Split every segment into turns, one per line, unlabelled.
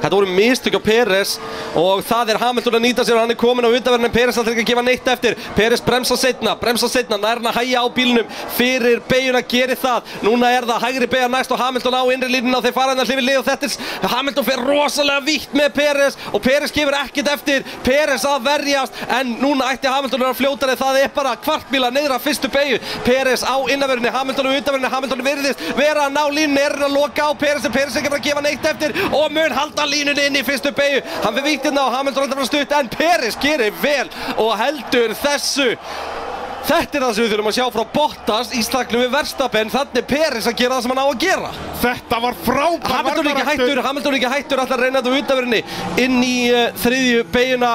Þetta voru mistök á Peres og það er Hamilton að nýta sér og hann er komin á undanverðin en Peres alltaf ekki að gefa neitt eftir. Peres bremsa setna, bremsa setna, nær hann að hæja á bílnum fyrir beiguna, gerir það. Núna er það hægri beiga næst og Hamilton á innri línuna og þeir fara hann að hlifi lið og þetta er Hamilton fer rosalega vítt með Peres og Peres gefur ekkert eftir. Peres að verjast en núna ætti Hamilton að fljóta þegar það er bara kvartbíla neyðra fyrstu beigju. Peres á innanverðinni, Hamilton á undanverðinni, Hamilton virðist vera að ná línunni, er að loka á Peres en Peres er ekki að fara að gefa neitt eftir og mun halda línunni inn í fyrstu beigju. Hann fyrir víktina og Hamilton ætti að fara stutt en Peres gerir vel og heldur þessu. Þetta er það sem við þurfum að sjá frá Bottas í slagnum við Verstapen, þannig er Peres að gera það sem hann á að gera.
Þetta var frábær
Hamilton er ekki hættur, Hamilton er ekki hættur, alltaf reyna þetta utanverðinni inn í uh, þriðju beiguna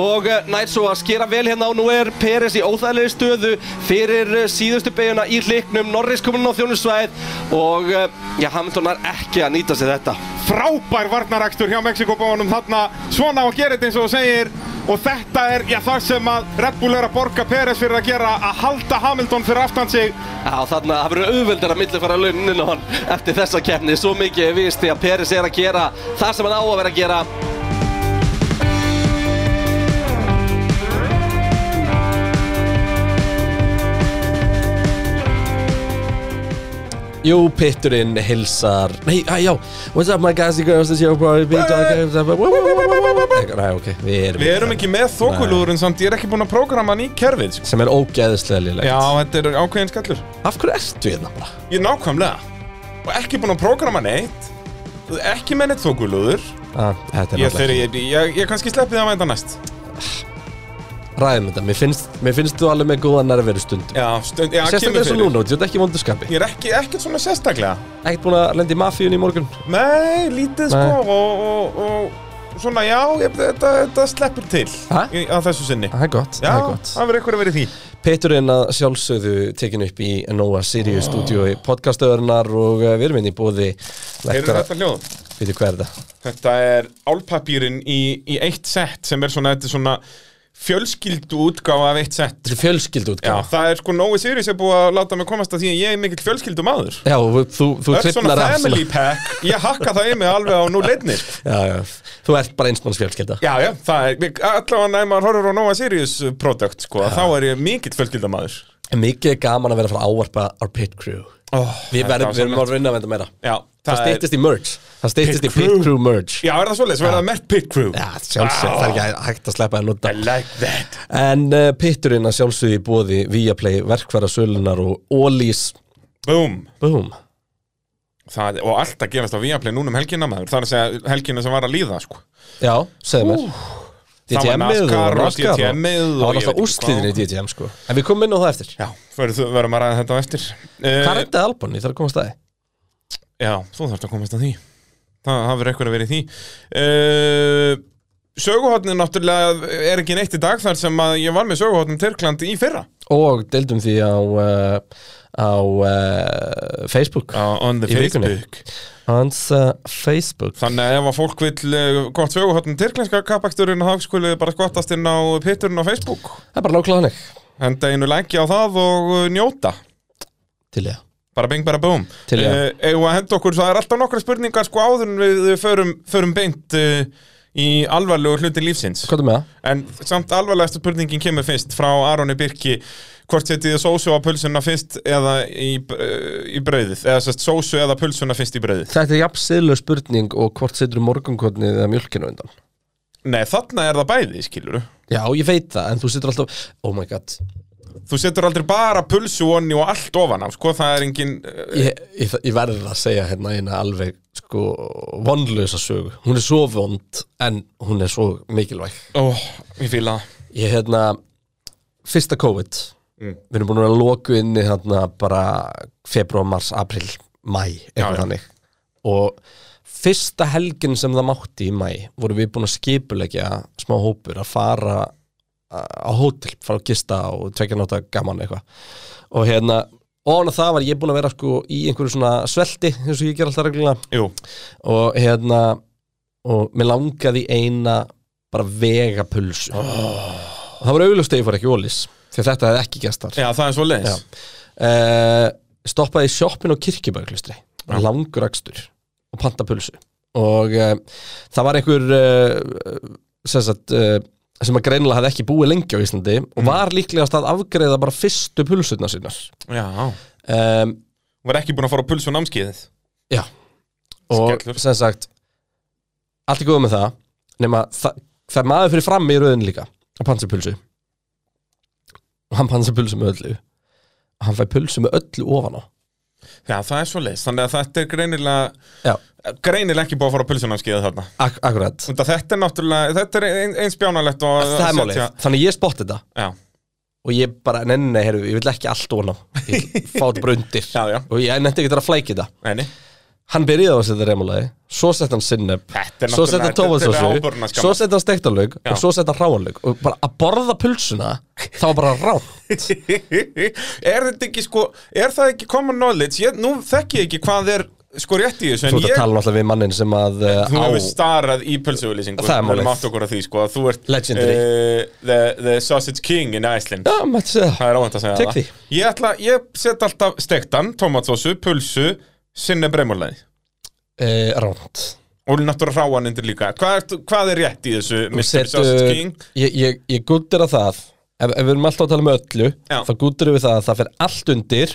og uh, nær svo að skera vel hérna og nú er Peres í óþægilegu stöðu fyrir uh, síðustu beiguna í hliknum, Norris komin á þjónusvæð og uh, já, Hamilton er ekki að nýta sér þetta.
Frábær varnarakstur hjá Mexikobónum þarna svona á að gera þetta eins og þú segir og þetta er já, það sem að Red Bull er að borga Peres fyrir að gera að halda Hamilton fyrir aftan sig
Já, þannig að það verður auðveldir að millifara launinu hann eftir þessa keppni, svo mikið er vist því að Peres er að gera það sem hann á að vera að gera
Jú, pitturinn hilsar Nei, að, já What's up my guys, you girls, this is your boy Big dog Nei, ok, við erum
Við erum ekki með þokulúðurinn samt, ég er ekki búinn að prógrama hann í kerfið sko.
Sem er ógeðislega lélegt
Já, þetta er ákveðin skellur
Af hverju ertu hérna bara?
Ég er nákvæmlega og ekki búinn að prógrama neitt ekki með neitt þokulúður
Ah, þetta er
ég, þeir,
náttúrulega
ég, ég, ég kannski sleppi það að vænta næst
Ræðum þetta, mér finnst, mér finnst þú alveg með góða nærveru stund
Já, stund, já
Sérstaklega
kemur
eins og
fyrir
núna, þú ert ekki vondu skapi
Ég er ekki, ekkert svona sérstaklega
Ekkert búin að lenda í mafíun í morgun
Nei,
Nei.
lítið sko og, og, og svona já, ég, þetta, þetta sleppur til
Ha?
í, á þessu sinni
Það er gott,
Já,
það er gott
það verður eitthvað að vera í því
Peturinn að sjálfsögðu tekin upp í Nova Sirius oh. stúdíói podcastöðurnar og eh, við erum inn í bóði
Heyrðu
Lektora,
þetta hljóð?
veitu hvað er það?
Þetta er álpapýrin í, í eitt sett sem er svona, þetta er svona fjölskyldu útgáfa af eitt sett
Þetta er fjölskyld
Já,
útgáð
það er sko Nói Sirius er búið að láta mig komast að því að ég er mikill fjölskyldu maður
Já, og þú, þú
Það er svona
klifnar af
family pack, ég hakka það í mig alveg á nú leidnir
Já, já, þú ert bara einsmannsfjölskylda
Já, já, það er, allavega ef maður horfir á Nova Sirius product, sko, þá er ég mikill fjölskyldamaður.
Mikið er gaman að vera frá ávarpa our pit crew
Oh,
Við verðum, við erum að vinna að venda meira
Já,
Það
er,
stýttist í merge Það stýttist
Pit
í pit
crew.
crew merge
já, er það svoleiðis, verður það mert pit crew.
Já, sjálfsög, það er ekki hægt að sleppa að nota
I like that.
En uh, pitturinn að sjálfsögðu í bóði Viaplay, verkværa sölunar og Ólís
Boom.
Boom
Það, og allt að gerast á Viaplay núna um helgina maður, það er að segja helgina sem var að líða, sko.
Já, segðu mér
Það var
DTM-ið
NASCAR og DTM-ið
Það var
og ég veit
náttúrulega
ekki
úrsliðin í
hvað.
DTM sko En við komum inn á það eftir
Já, verður- verðum að ræða þetta á eftir.
Hvað
Uh,
rettaði Albon? Ég þarf að komast að því
já, þú þarfst að komast að því. Það hafur eitthvað að vera í því. Uh, Söguhotnin náttúrulega er ekki neitt í dag þar sem að ég var með söguhotnin Tyrkland í fyrra.
Og deildum því á uh, á uh, Facebook
Uh, on the
Í vikunni. Hans uh, Facebook
Þannig að ef að fólk vil eh, gott söguhotn tyrklenska kapaksturinn þá skulið þið bara skottast inn á pitturinn á Facebook
Það er bara nákvæmlega hannig
henda einu længi á það og eh, njóta
til ég
bara bing bara búm
Til í það.
Eh, eigum við að henda okkur, það er alltaf nokkra spurningar sko áður en við eh, förum, förum beint eh, í alvarlegu hluti lífsins
Hvað er með það?
en samt alvarlegasta spurningin kemur fyrst frá Aroni Birki hvort setið þið sósu á pulsuna fyrst eða í, eh, í brauðið eða sérst sósu eða pulsuna fyrst í brauðið
Þetta er jafnsiðlega spurning og hvort setur morgunkotnið eða mjölkinu undan
Nei, þarna er það bæði, skilur
Já, ég veit það, en þú setur alltaf Oh my god
Þú setur aldrei bara pulsu onni og allt ofan á, sko, það er engin
Ég, ég, ég verður að segja hérna eina alveg sko vonlösa sögu Hún er svo vond en hún er svo mikilvæg
Ó, ég fíla það
Ég hérna Fyrsta COVID
Mm.
Við erum búin að loku inni hérna bara februar, mars, april, mæ
Já,
eitthvað
já.
þannig og fyrsta helgin sem það mátti í mæ vorum við búin að skipulegja smá hópur að fara uh, á hótel, fara að gista og tvekja náta gaman eitthvað og hérna, ofan að það var ég búin að vera sko í einhverju svona svelti eins og ég ger alltaf reglulega
Jú,
og hérna og mér langaði í eina bara vegapulsu oh. og það var auglust að ég fór ekki ólís því að þetta hefði ekki gerst þar Eh,
já, það er svo
Já.
leiðis
uh, stoppaði í sjoppin á kirkjubæklustri langur akstur og panta pulsu og uh, það var einhver uh, sem, sagt, uh, sem að greinilega hafði ekki búið lengi á Íslandi og var líklegast að afgreiða bara fyrstu pulsurnar sínar
Já,
um,
var ekki búin að fara á puls og námskeiðið
Já Og
Skellur.
sem sagt Allt í góðu með það Nefna það, það er maður fyrir fram í rauðin líka Að pansa pulsu Og hann pansa pulsu með öllu Og hann fæ pulsu með öllu ofan á
Já, það er svo leist, þannig að þetta er greinilega
Já,
greinilega ekki búið að fara á pulsunámskeiðið þarna
ak akkurat
Þetta, þetta er náttúrulega, þetta er ein- eins bjánalegt og að
Það er málið,
setja-
þannig ég spotti þetta
Já,
Og ég bara, nei, nei, nei, heyrðu, ég vil ekki allt ofan á Ég vil fá þetta bara undir
já, já,
Og ég nefndi ekki þetta að flæki þetta
neini
Hann byrjaði á að setja remulagi, svo setja hann sinneb
Þetta er
Svo setja hann
náttúrulega- þetta er
tófansósu,
ábyrgðarskammar.
svo setja hann steiktarlaug
Já.
Og svo setja hann ráanlaug Og bara að borða pulsuna, þá var bara rán
Er þetta ekki sko Er það ekki common knowledge ég, Nú þekki ég ekki hvað er sko rétt í þessu
Þú
En
ert að
ég,
tala náttúrulega við mannin sem að uh,
þú
á
hefur starrað í pulsuulýsingu
Það er málið.
okkur að því sko að Þú ert
Legendary.
eh, the, the sausage king in Iceland
Já, mætti segja það
Það er óvænt að segja
Tek því.
það Ég, ætla, ég set alltaf steiktan, tomatsósu, pulsu Sinne bremurleið
uh, Ránt
Og náttúrulega ráan undir líka hvað, ert- hvað er rétt í þessu Mr. Sausage
Ég,
King?
ég, ég gúttir að það ef, ef við erum alltaf að tala um öllu
Já.
Þá gúttir við það að það fer allt undir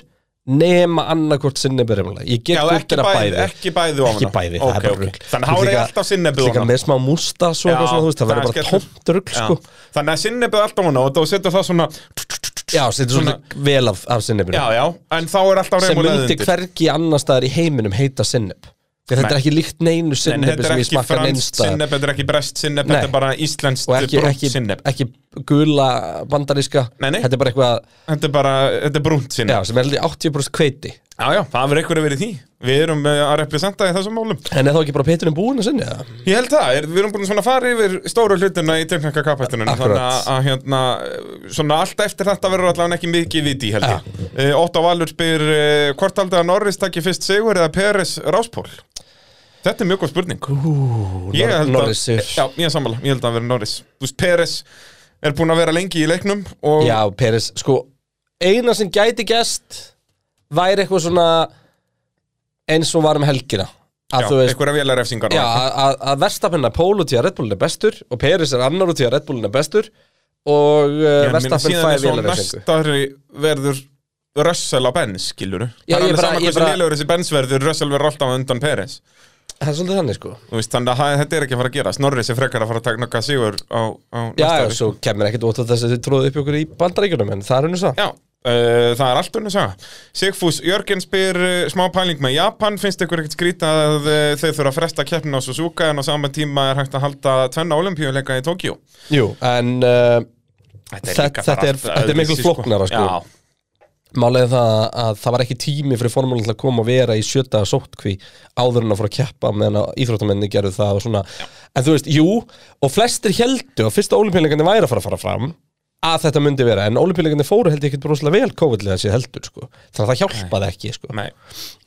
Nema annarkvort sinni berjumlega Ég get
Já, ekki
gúttir að
bæði,
bæði
ekki bæði ofan
Ekki
á.
bæði,
Ok,
það er bara
ok.
rugl
Þannig að hárið er alltaf sinnebið
Líka
ofan á.
með smá músta svo
Já,
eitthvað svona, þú veist, það
það er
verður bara
skellur.
tómt rugl sko.
Já. Þannig að sinnebið er alltaf hana og þú setur það svona
Já, setur svona vel af, af sinnebinu
Já, já, en þá er alltaf
Sem
reymulaðið
myndi hvergi annar staðar í heiminum heita sinneb Því að þetta
Nei.
er ekki líkt neinu
En
sinnebi
þetta er
sem ég
ekki
smakka
franskt
neinstaðar
sinneb, þetta er ekki brest sinneb,
Nei.
þetta er bara íslenskt
og ekki,
brúnt
ekki,
sinneb
ekki gula bandaríska
Nei, nei.
þetta er bara eitthvað
Þetta er bara, þetta er brúnt
já,
sinneb
sem er held ég 80% kveiti
Já, já, það verður einhverju verið í því Við erum eh, að representa í þessum málum
en er þá ekki bara péturinn búin að sinni það?
Ég held það, er, við erum búin að svona fara yfir stóru hlutina í teknika kapættunum
Akkurat.
Þannig að- að hérna, svona allt eftir þetta verður allavega ekki mikið viti held ég uh, Ótt á Valur spyr uh, hvort aldrei að Norris takki fyrst sigur eða Peres Ráspól Þetta er mjög góð spurning Ég held að-
Norris sigur.
Já, ég er sammála, ég held að það verður Norris Þú veist, Peres er búin að vera lengi í leiknum og
já, Peris, sko eina sem gæti gest væri eitthvað svona eins og var um helgina að
já,
þú veist
einhverja vélarefsingar
já, að- að- að Verstappenna pól út í að Red Bullin er bestur og Peris er annar út í að Red Bullin er bestur og uh, Verstappen fæði vel að reysingu
Næstari verður Russell á Benz, skilur
Já,
Það
ég
er alveg
bara-
saman
ég
hversu
bara-
liðlegur þessi Benz verður Russell verður alltaf á undan Peres
það er svolítið þannig sko
Þú veist, þannig að það- þetta er ekki að fara að gera Snorris er frekar að fara að taka nokkað sigur á, á
já,
næsta
já,
ári
svo kemur ekkert út á þess að þið tróðu upp ykkur í bandaríkunum en það er henni svo
já uh, það er allt unnum saga Sigfús Jörgen spyr uh, smá pæling með Japan finnst ykkur ekkert skrýta að uh, þau þurfa að fresta keppnin á Suzuka en á sama tíma er hægt að halda tvenna olimpíuleika í Tókíó
Jú, en uh, Þetta-
líka
þetta
bara
er-
allt
þetta er miklu
öðruvísi,
flóknara, sko.
Já,
Málega það að það var ekki tími fyrir formúlan til að koma og vera í sjöta sóttkví áður en að fóra að keppa meðan að íþróttamenni gerðu það og svona En þú veist, jú, og flestir heldu að fyrsta olimpíuleikandi væri að fara að fara fram að þetta myndi vera, en olimpíuleikandi fóru held ég ekkert broslega vel COVID-lega sér heldur, sko Þannig að það hjálpaði ekki, sko
nei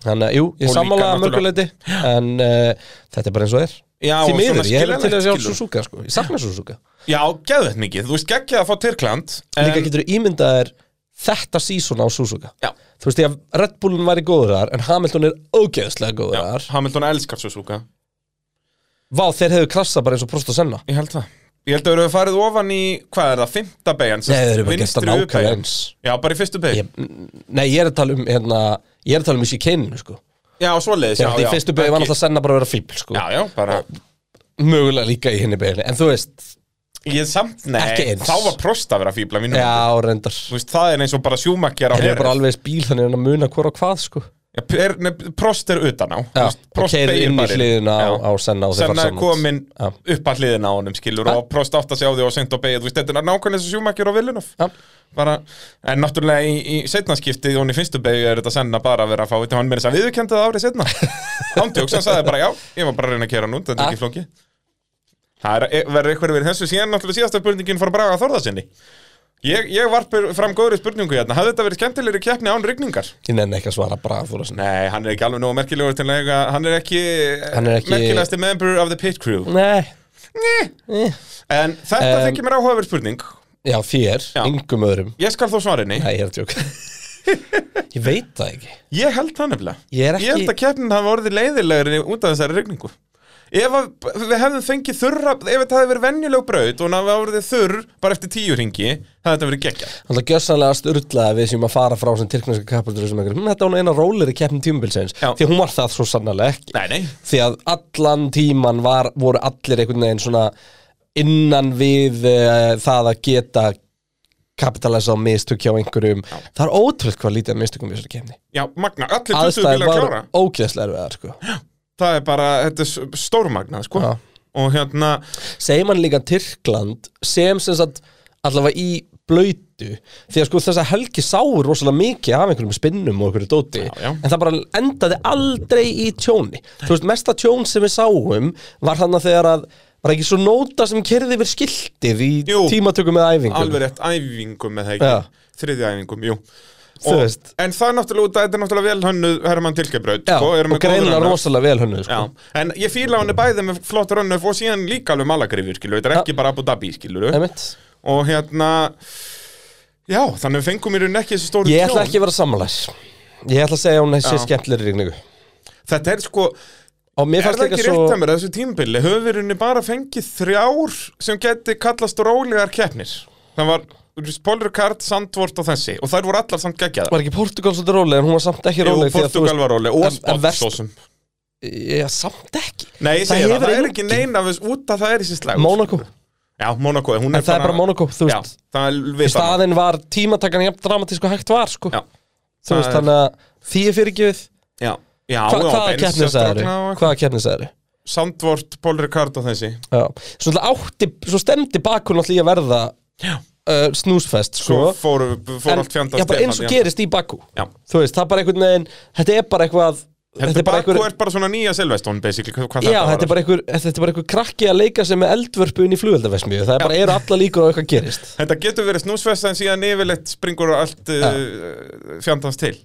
Þannig að, jú,
Og
ég
líka
sammála að mörguleiti
náttúrulega-
en uh, þetta er bara eins og er Því
Já, og svona
miður, ég hefði til
skiljanlegt,
að sjá
skilur.
Suzuka, sko, ég sakna Suzuka
Já, geðu þetta mikið, þú veist geggja að fá Tyrkland
Líka getur ímyndaðir þetta sísón á Suzuka
Já,
þú veist, ég að Red Bullin væri góður þar en Hamilton er ógeðslega góður
já,
þar
Hamilton elskar Suzuka
Vá, þeir hefðu krassað bara eins og Prost og Senna
Ég held það Ég held að við höfum farið ofan í, hvað er það, fymta beigjan
Nei, þeir eru bara gert það nákvæmlega eins
Já, bara í fyrstu beigjan
ég, Nei, ég er að tala um hérna, ég er að tala um í síkeninu, sko
Já, svoleiðis, já,
Þegar
já
í fyrstu beigju var
Ekki-
náttúrulega Senna bara að vera fíbl, sko
Já, já, bara
Mögulega líka í henni beigjunni, en þú veist
Ég samt, nei,
Ekki eins.
þá var prost að vera fíbla mínum
Já, reyndar
Þú veist, það er eins og bara sjúmakjar á
Þeir eru
hér
bara alveg eins bíl, þannig er hann að muna hvora hvað, sko
Já, per- nei, Prost er utan á
Já, og keiri inn í hliðina á, á Senna og þeir
Senna
fara
er komin
Já.
upp að hliðina á honum, skilur og prost átt að sjá því og seint á beigja Þú veist, þetta er nákvæmlega eins og sjúmakjar á Villeneuve
Já.
bara, En náttúrulega í, í setnaskiptið og í fyrstu beigju er þetta Senna bara að vera að fá Þetta hann meira þess að viðurkenndi það árið setna Ándjóks, hann sagði bara, já, ég var bara að reyna að kera nú Þetta er
Já.
ekki flókið Það er- e, verður eitthvað verið þessu síðan náttúrulega síðasta spurningin fór að braga Þórðarsinni Ég, ég varpur fram góðri spurningu hérna Hafði þetta verið skemmtilegri keppni án rigningar?
Ég nenni ekki að svara bara þú veist
Nei, hann er ekki alveg nógu merkilegur til að eiga- Hann er ekki,
Hann er ekki-
merkilegasti member of the pit crew
Nei, Eh.
En þetta
Em,
þykir mér áhugaverð spurning
já, þér,
Já.
yngum öðrum
Ég skal þó svara henni
Nei, ég er að tjóka Ég veit það ekki
Ég held það nefnilega
Ég er ekki-
held að keppnin hafa orðið leiðilegri út af þessari rigningu ef að, við hefðum fengið þurra ef þetta hefði verið venjuleg braut og það hefði verið þurr bara eftir tíu ringi það hefði þetta verið geggja
Þannig að gjössanlega styrlaði við sem að fara frá sem tyrkneska kappatur sem eitthvað, hm, þetta var nú eina rólir í keppnum tímubilsins,
Já.
því að hún var það svo sannarlega ekki,
Nei, nei
því að allan tíman var, voru allir einhvern veginn svona innan við uh, það að geta kapitalæsa á mistök hjá einhverjum það er ótrúð hvað lítið að mistökum við þessari kemni
Já, magna, allir 20
aðstæður
bílar að
var
klára
ógeðslega erfiðar sko.
Það er bara, þetta er s- stórmagnað, sko
Já.
Og hérna,
segir mann líka Tyrkland sem sem sagt allavega í blöytu því að sko þessa helgi sáur rosalega mikið af einhverjum spinnum og einhverju dóti
já.
en það bara endaði aldrei í tjóni þú veist mesta tjón sem við sáum var þannig að þegar að var ekki svo nóta sem kerði yfir skiltið í
Jú.
tímatökum með æfingum
alveg rétt æfingum með það ekki
Já.
Þriðja æfingum, jú
Þú
Og-
veist.
En það er náttúrulega út að þetta er náttúrulega vel hönnuð Hermann Tilkebraut
já,
sko, eru
og
með góðan
greina
rönnur.
rosalega vel hönnu sko.
Já, en ég fíla hann bæði með flott rönnöf og síðan líka alveg malagrifur, skilur, þetta er ekki bara Abu Dhabi, skilur
Einmitt.
og hérna já, þannig við fengum í rauninni ekki þessi stóru
ég ætla
tjón.
ekki að vera sammálaðis ég ætla að segja að hún sé
Já.
skemmtilegri rigningu
þetta er sko,
og mér
er
fannst
það ekki
líka svo
rétt að mér að þessu tímabili, höfum við í rauninni bara fengið þrjár sem geti kallast rólegar keppnir, það var Polrikard, Sandvort og þessi og þær voru allar samt geggjaðar
var ekki Portugal svolítið róleg en hún var samt ekki
Jú,
róleg því að þú veist-
Portugal var róleg og
en- en
Spott
verst-
svo sem
Já, samt ekki
Nei, ég
Það
segi það,
hefur
það er
engin-
ekki neina út að það er í sér slag
Mónakó,
Já, Monaco, hún
en það er bara Mónakó, þú
Já,
veist
það er við
Í staðinn var tímatakan jafn dramatísk og hægt var, sko
Já,
Þú veist,
það er-
þannig að því er fyrirgjöfið
já, já
Hva,
já,
Hvaða
Benz
keppnis það eru?
strákna og-
Hvaða keppnis það eru?
Sandvort, Polrikard og þessi
Já, svo náttúrulega átti, svo stemdi bakun alltaf í að verða
Já.
uh, snúsfest, sko
Svo fór, fór
En-
allt fjandast
Já, bara eins og gerist í Bakú
Já.
Þú veist, það er bara einhvern veginn Þetta er bara eitthvað
Þetta er bara,
einhver-
er bara svona nýja Silveston basically, hvað hvað
Já, þetta
þetta
er bara einhver, þetta er bara einhver krakki að leika sem er eldvörpu inn í flugveldavesmiðu Það er bara, eru alla líkur á eitthvað gerist
Þetta getur verið snúsfesta en síðan yfirleitt springur allt ja. fjandast til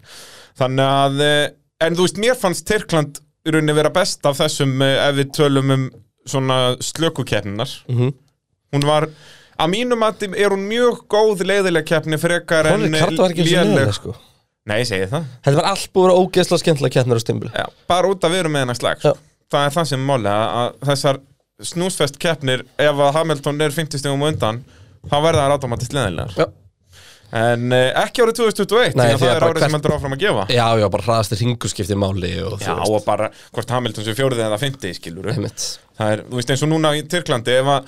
Þannig að, eh, en þú veist, mér fannst Tyrkland í rauninni vera best af þessum eh, ef við tölum um svona slökukeppninar
Mhm.
Hún var, að mínum að er hún mjög góð leiðileg keppni frekar en eh,
Konrad Kart var ekki eins og neðan, sko
Nei, ég segi það
Þetta var allt búið að vera ógeðslega skemmtilega keppnir á stimbul
Já, bara út að við erum með hennar slag
Já.
Það er það sem er máli að að þessar snúsfest keppnir ef að Hamilton er 50 stegum undan þá verða það automatist leðinlegar
Já.
En eh, ekki árið 2021
Nei,
því
því
að það
að
er
bara
árið sem
hvert-
heldur áfram að gefa
Já, já, bara hraðast í ringuskipti máli og þú
Já,
veist
og bara hvort Hamilton sem fjórið eða 50 skilur
Einmitt.
Það er, þú veist, eins og núna í Tyrklandi ef að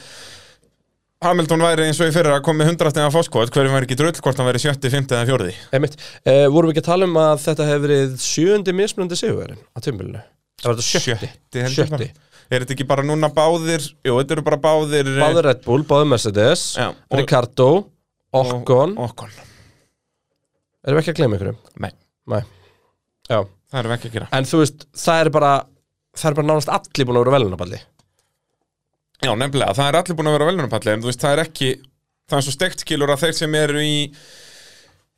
Hamilton væri eins og í fyrra að komi 100 stegar fóskot hverjum væri ekki drull hvort hann væri 70, 50 eða 40
Einmitt. Uh, Vorum við ekki að tala um að þetta hefur verið sjöundi mismunandi sigurverðin á timbilinu Það var þetta sjötti
heldur
Sjötti.
bara. Er þetta ekki bara núna báðir Jú, þetta eru bara báðir eh,
Báður Red Bull, báður Mercedes
Já, og-
Ricardo, Okkon
Okkon
Erum við ekki að gleyma ykkur um?
Nei,
Nei Já,
það erum við ekki að gera
en þú veist, það er bara það er bara nánast allir búin að vera velunaballi
Já, nefnilega, það er allir búin að vera velunarpalli en þú veist, það er ekki, það er svo steikt skilur að þeir sem eru í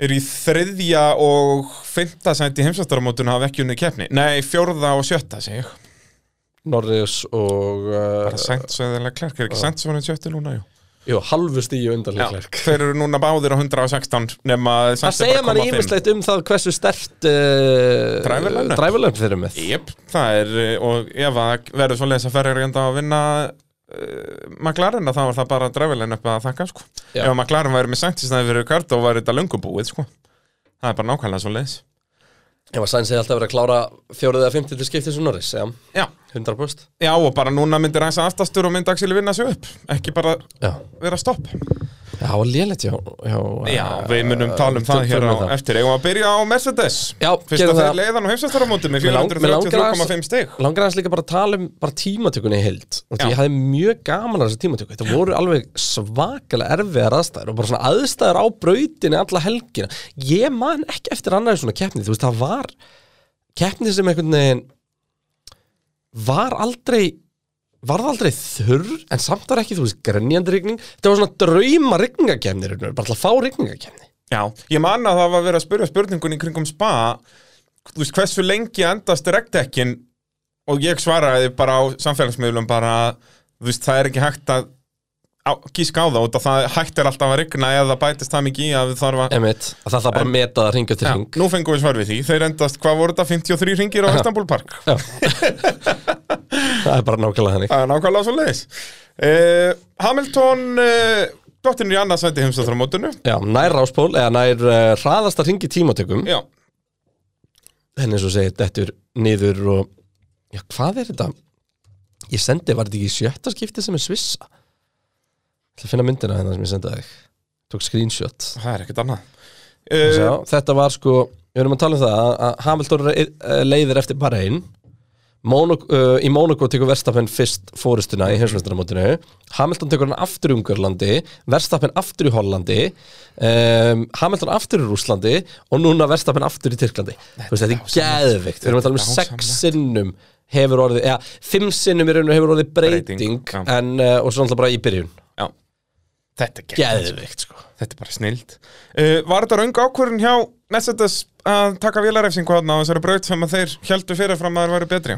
eru í þriðja og fymta sæti í heimsvættaramótun hafa ekki unni keppni Nei, fjórða og sjötta, segi ég
Norris og
Bara
uh,
sænt svo eða klærk, er ekki sænt svo hann sjötti núna, jú
jú, halvu stíu
Já,
undanlega
þeir eru núna báðir á 116 nema
Það
sænt
segja mann ímislegt um það hversu stert uh,
Driver lineup.
driverlöfn þeir eru með
Jep, það er, eh, og ef að verður svo leiðis að ferri reynda að vinna uh, McLaren að það var það bara drefilegin upp að þakka sko
Já.
Ef að McLaren væri með sænt í snæði fyrir Ricardo væri þetta löngubúið sko Það er bara nákvæmlega svo leiðis
Ég var sæns eða alltaf verið að klára fjórið eða fymtið til skiptið sem Norris, já,
Já,
100 post
já og bara núna myndir hans aftastur og myndi Axel vinna sig upp Ekki bara
Já,
vera stopp
já og lélegt, já, já,
Já,
eh,
við munum tala um það
tölum
hér
við
á
það.
eftir Eigum við að byrja á Mercedes
Já,
Fyrst
gerum
að
það.
þeir leiðan á heimsastarumóti með
Mig lang- mig langar aðeins-
433,5 stig
Langar aðeins líka bara að tala um bara tímatökunni í heild og því
Já.
ég hafði mjög gaman að þessu tímatöku þetta voru alveg svakalega erfiðar aðstæður og bara svona aðstæður á brautinni alla helgina ég man ekki eftir annaði svona keppni þú veist það var keppni sem einhvern veginn var aldrei varð aldrei þurr en samt var ekki þú veist grenjandi rigning þetta var svona drauma rigningakefni bara til að fá rigningakefni
Já, ég man að það var verið að spyrja spurningunni í kringum spa Þú veist, hversu lengi endast regdekkin og ég svaraði bara á samfélagsmiðlum bara að, þú veist, það er ekki hægt að á- gíska á það út að það hægt er alltaf að rigna eða það bætist það mikið í að við þarf að
Emitt, það þarf bara að meta það ringa til
Já,
ring
nú fengum við svar við því, þeir endast, hvað voru þetta, 53 ringir á Istanbul Park?
Já. það er bara nákvæmlega þannig
Það er nákvæmlega svo leiðis uh, Hamilton, uh, dottinur í annars sæti heimstöðramótinu
Já, nær ráspól, eða nær uh, hraðasta ringi tímatökum
Já,
henni eins og segir, dettur niður og já, hvað er þetta? Ég sendi, var þetta ekki í sjötta skipti sem er svissa? Það finna myndina hérna sem ég sendi þig tók screenshot
það er ekkert annað
Sjá,
uh, þetta
Þetta var sko, við erum að tala um það að- að Hamilton er- eh, leiðir eftir Bahrein Mono, uh, í Monaco tekur Verstappen fyrst fórustuna í heimsmeistaramótinu Hamilton tekur hann aftur í Ungarlandi Verstappen aftur í Hollandi um, Hamilton aftur í Rúslandi og núna Verstappen aftur í Tyrklandi Þú veist, þetta er geðvikt, við erum að tala um
Þetta er
sex
dásamlegt.
sinnum hefur orðið, eða fimm sinnum í rauninu hefur orðið breyting,
Breyting, já.
en, uh, og svo náttúrulega bara í byrjun
Já, þetta er gegn
geðvikt sko
Þetta er bara snild uh, Var þetta raung ákvörðin hjá Nessetes að taka vélarefsingu hann á þessari braut sem að þeir heldu fyrirfram að þeir væru betri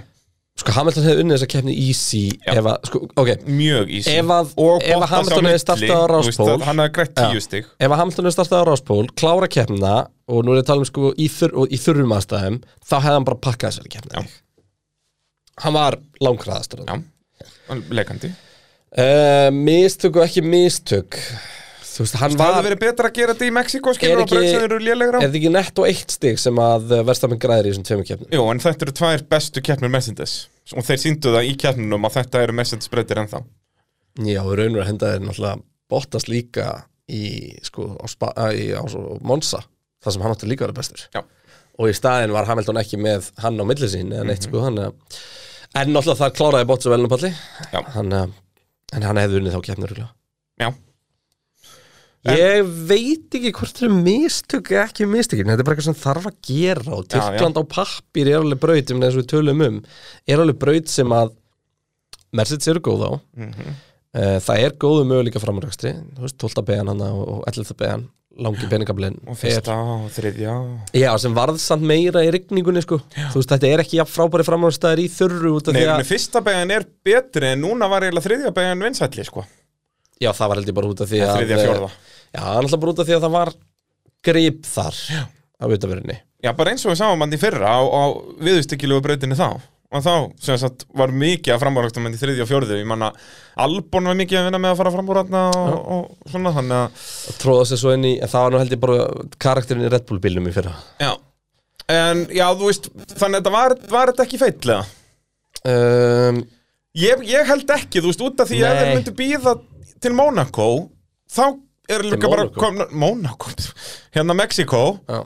Sko Hamilton hefði unnið þessa keppni easy ef að, sko, ok,
Mjög ísi
Ef að- ef að Hamilton hefði startað á ráspól.
Hann hefði greitt
Já.
tíu stig
ef að Hamilton hefði startað á ráspól, klára keppna og nú er ég að tala um sko í, þur, og í þurrum aðstæðum, þá hefði hann bara pakkað þessari keppni
Já.
hann var langkraðastur
Já, leikandi
uh, mistök og ekki mistök þú veist, hann
Það hefði
var
verið betra að gera þetta í Mexiko skilur
Er
á braut
ekki-
sem þeir eru lélegra á
er það ekki nett og eitt stig sem að verðstafinn græðir í þessum tveimur keppnum
Jú, en þetta eru tvær bestu keppnir Mercedes og þeir sýndu það í keppninum að þetta eru Mercedes breytir ennþá
já, og raunur að henda þeir náttúrulega bóttast líka í, sko, á, spa, að, í, á svo, Monsa, þar sem hann átti líka að vera bestur
Já,
og í staðin var Hamilton ekki með hann á milli sín eða
Mhm.
neitt sko hann, eh, en náttúrulega þar kláraði Bottas velnum palli
Já.
hann, eh, en hann hefði unnið þá kemnur
já,
ég veit ekki hvort þau mistök eða ekki mistökin, þetta er bara eitthvað sem þarf að gera og
Já, já.
Tyrkland á pappir er alveg braut um þess við tölum um, er alveg braut sem að Mercedes eru góð á
Mhm.
Eh, það er góðu möguleika framrækstri, þú veist 12. beðan hann og 11. beðan langi peningablinn
og fyrsta og þriðja
Já, sem varð samt meira í rigningunni sko. Þú veist, þetta er ekki jafn frábæri framhálstæðir í þurru út af
Nei,
því
en
að
fyrsta began er betri en núna var eiginlega þriðja began vinsælli, sko
Já, það var held ég bara út af því að eh,
Þriðja, fjórða
Já, náttúrulega bara út af því að það var grip þar Já. á utafyrinni
Já, bara eins og við sáum hann í fyrra á, á viðustykkilegu breytinni þá og þá, sem sagt, var mikið að framúræktum í þriðja og fjórðu, ég manna Albon var mikið að vinna með að fara framúrætna og, og svona, þannig að
og tróða sér svo inn í, en það var nú held ég bara karakterinn í Red Bull bílnum í fyrra
Já En, já, þú veist, þannig að þetta var, var þetta ekki feitlega
um,
Ég, ég held ekki, þú veist, út af því að
Nei.
þeir myndu býða til Monaco þá er líka bara
Monaco?
komna, Monaco, hérna Mexiko
Já,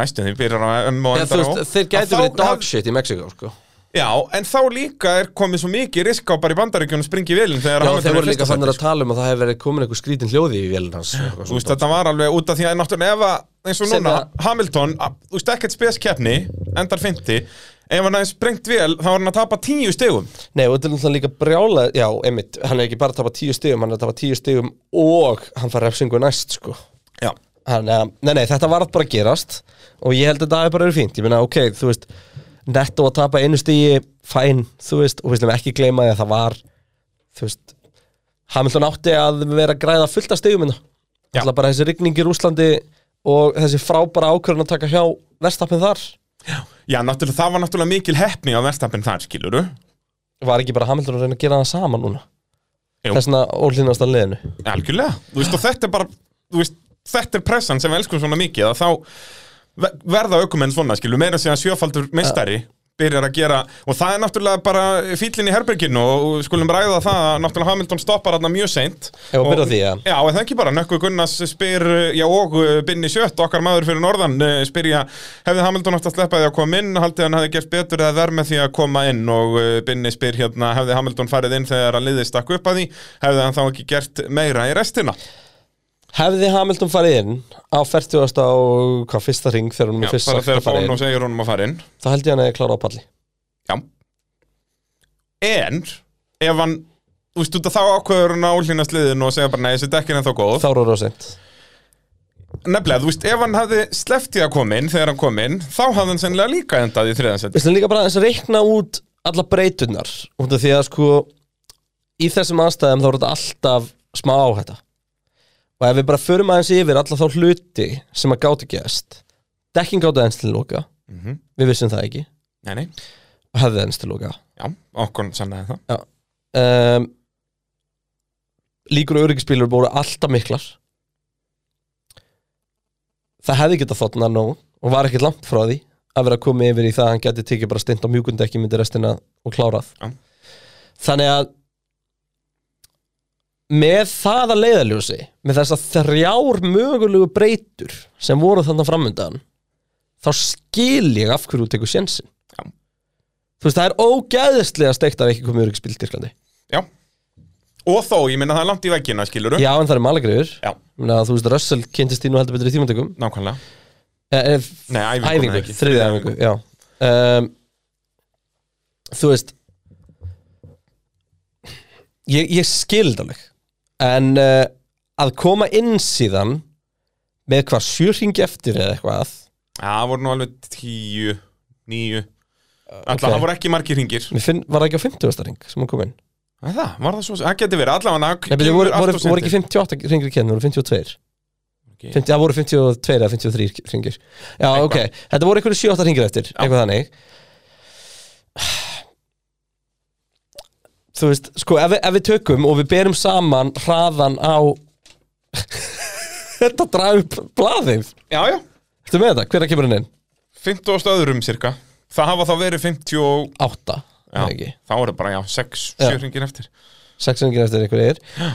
næstum því byrjar á M og
Eða, þú
endar á
veist, þeir
Að
gætu
þá
verið dog
hef-
shit í Mexiko sko.
Já, en þá líka er komið svo mikið risk á bara í bandaríkjunum springi velin þegar
Já,
Hamilton
þeir
er í
voru líka
fyrsta
fannir
sæti, sko.
að tala um að það hefur verið komin einhver skrítin hljóði í vélun hans sko, og eitthvað
Þú veist,
svona.
þetta var alveg út af því að náttúrulega ef að eins og
Sem
núna,
að-
Hamilton að- þú veist, ekkert speskeppni, endar 50 ef hann hefði sprengt vel, þá var hann að tapa 10 stegum
Nei, og þetta er náttúrulega líka brjála Já, einmitt, hann er ekki bara að tapa tíu stigum Hann er að tapa tíu stigum og hann fær refsingu næst, sko
Já,
Þannig að, nei, nei, þetta var bara að gerast Og ég held að þetta er bara verið fínt Ég meina, ok, þú veist Netto að tapa einu stigi, fæn, þú veist Og við slum ekki gleyma því að það var Þú veist Hamilton átti að vera að græða fullt af stigum minna
Já.
Alltaf bara þessi rigning í Rúslandi Og þessi frábæra ákvörðun að taka hjá Verstappin þar
Já, náttúrulega, það var náttúrulega mikil heppni á verðstappin þar, skiluru
Var ekki bara Hamilton að reyna að gera það sama núna
Jú.
Þessna ólínast að liðinu
Algjörlega, þú veist, og þetta er bara þú veist, þetta er pressan sem við elskum svona mikið að þá ve- verða aukumenn svona, skilu, meira sér að sjöfaldur meistari byrjar að gera, og það er náttúrulega bara fíllinn í herberginu og og skulum ræða það að náttúrulega Hamilton stoppar þarna mjög seint
Já, og byrja á því, já.
Já, en það ekki bara, Nökkvi Gunnars spyr, já og uh, Binni Sjött, okkar maður fyrir norðan, uh, spyrja, hefði Hamilton átt að sleppa því að koma inn, haldið hann hefði gert betur eða verð með því að koma inn og uh, Binni spyr hérna, hefði Hamilton farið inn þegar að liðið stakk upp að því, hefði hann þá ekki gert meira í restina?
Hefði Hamilton farið inn á 40. og hvað fyrsta ring þegar hún
Já,
er fyrst sagt
bara
að
þegar
fara
Bónu
inn,
segir honum að fara inn.
þá held ég hann að ég klára á palli.
Já. En, ef hann, þú veist, út að þá ákveður hann að ólínast liðinu og segja bara, nei, þessi dekkin er þá góð.
Þá eru það sent.
Nefnilega, þú veist, ef hann hafði sleftið að koma inn þegar hann kom inn, þá hafði hann sennilega líka endað í þriðansett.
Við slum líka bara aðeins að reikna út alla breytunar, út af því að sko í þessum aðstæðum þá eru þetta alltaf smá áhætta og ef við bara förum aðeins yfir alla þá hluti sem að gátu gæst dekkin gátu aðeins til loka
Mhm.
við vissum það ekki
Nei, nei,
og hefði aðeins til loka
já, okkur sannaði það
um, líkur og öryggisbílur voru alltaf miklar það hefði getað þóttna nóg og var ekkert langt frá því að vera að koma yfir í það að hann geti tekið bara stint á mjúkundekki myndi restina og klárað
Já.
þannig að með það að leiðaljósi með þess að þrjár mögulegu breytur sem voru þannig framöndan þá skil ég af hverju þú tekur sjensin
Já.
þú veist það er ógæðislega steikt að við ekki komið öryggisbíl í Tyrklandi
Já, og þó, ég minna það er langt í veggina, skilur
Já, en það er malagriður
Já.
Þú veist, Russell kynntist því nú heldur betur í tímantökum
nákvæmlega
eh, eh,
Nei, æfingu, nei,
Æfingu,
ekki.
þriðið æfingu, já um, Þú veist Ég, ég skild alveg En uh, að koma inn síðan Með hvað sjörringi eftir eða eitthvað
Já, það voru nú alveg tíu, níu Alla, það voru ekki margir hringir
Mér finn, var það ekki á 50. ring sem hún kom inn
Nei, það, var það svo, það geti verið allavega
Nei, beti, voru, voru, voru ekki 58 ringir kenn, voru 52
Ok.
50, það voru 52 eða 53 ringir Já, ok, þetta voru einhverju 7-8 ringir eftir eitthvað þannig Þú veist, sko, ef, við- ef við tökum og við berum saman hraðan á Þetta draga upp blaðið
Já, já,
Ertu með þetta? Hver er kemur hann inn?
50 öðrum cirka Það hafa þá verið 50 og
8,
Já,
eða ekki
þá voru bara, já, 6,
Já.
7 hringir eftir
6 ringir eftir einhverjir uh,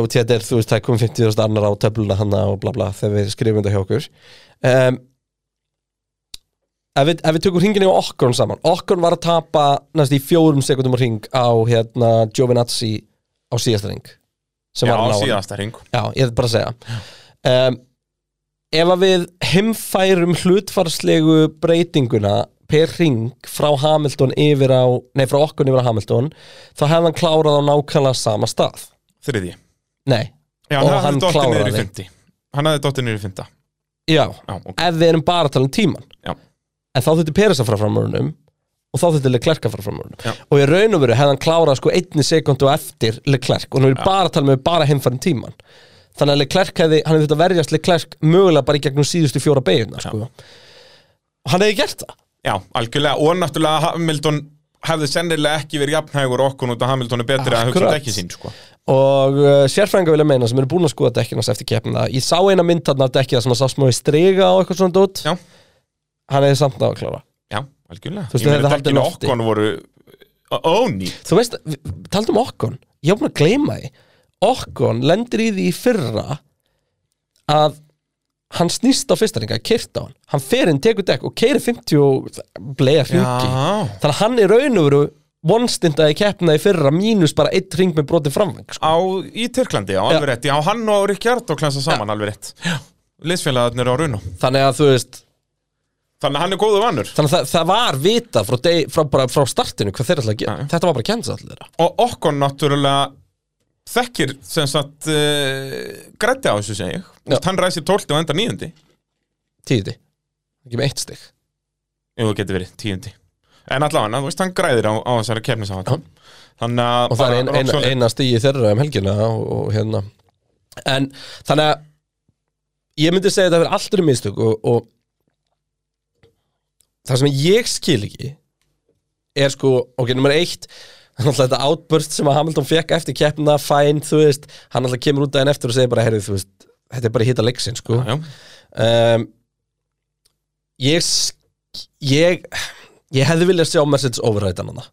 og þetta er, þú veist, það er komið 50.000 annar á töfluna hana og bla bla þegar við skrifum þetta hjá okkur um, ef, við, ef við tökum ringin á Okkon saman, Okkon var að tapa næst í fjórum sekundum á ring á hérna Giovinazzi á síðasta ring sem
Já,
var að ná honum.
síðasta hring
Já, ég er bara að segja um, Ef að við heimfærum hlutfarslegu breytinguna per ring frá Hamilton yfir á, nei frá okkur yfir á Hamilton þá hefði hann klárað á nákvæmlega sama stað
Þriði
Nei,
Já,
Og
hann
hann
hafði dottir niður í
kláraði.
50 Hann hafði dottir niður í 50
já,
Já, ok,
ef við erum bara að tala um tíman
Já.
en þá þurfti Peres að fara fram úr húnum og þá þurfti Leclerc að fara fram úr
Já.
húnum og í raun og veru hefði hann klárað sko einni sekundu eftir Leclerc og nú er ég bara að tala með bara heimfærum tíman þannig að Leclerc hefði, hann hefði þurft að verjast Leclerc mögulega bara í gegnum síðustu fjóra beiguna sko. hann hefði gert það
já, algjörlega Og náttúrulega Hamilton hefði sennilega ekki verið jafnhægur okkur út að Hamilton er betri að hugsa
Akkurat.
ekki sín, sko
og uh, sérfrænga vilja meina sem eru búin að skoða dekkinans eftir keppina ég sá eina mynd þarna af dekkina sem að sá smá í strega og eitthvað svona dót
Já.
hann hefði samt náð að klára
Já, algjörlega
Þú veist,
Ég meina,
hefði haldið
dekkin á
lofti.
Ocon voru óný
Þú veist, taldum okkon Ég var búin að gleyma því Okkon lendir í því í fyrra að hann snýst á fyrsta ringa, kyrt á hann hann fer inn, tekur dekk og keiri 50 og bleið hringi
Já,
þannig að hann er raun og veru vonstindaði keppna í fyrra mínus bara eitt ring með brotið framveng sko.
á, í Tyrklandi, já, alveg rétt Já, hann og Rikjardó klensa saman, alveg rétt Liðsfélagarnir á Runo
sko. þannig að þú veist
Þannig að hann er góðu vannur
þannig að það, það var vita frá, deg, frá, bara, frá startinu hvað þeir ætla að gera
Já.
þetta var bara að kenna allir þeirra
Og Okkon náttúrulega þekkir sem sagt uh, grætti á þessu segi ég
Já.
Úst, Hann ræsir 12 og enda 9
tíði, ekki með eitt stygg
Jú, það getur verið 10 En allavega, þú veist, hann græðir á, á þessari kefnisátt Þannig að
og það er ein,
bara
ein,
rock solid.
eina stíi þeirra um helgina og, og hérna en þannig að ég myndi segja þetta fyrir allt eru mistök og, og það sem ég skil ekki er sko, ok, nummer eitt þannig að þetta outburst sem að Hamilton fekk eftir keppna, fæn, þú veist hann alltaf kemur út daginn eftir og segir bara, heyrðu, þú veist þetta er bara hitta leiksin, sko
Já,
um, ég sk- ég ég hefði viljað sjá message overrætan hana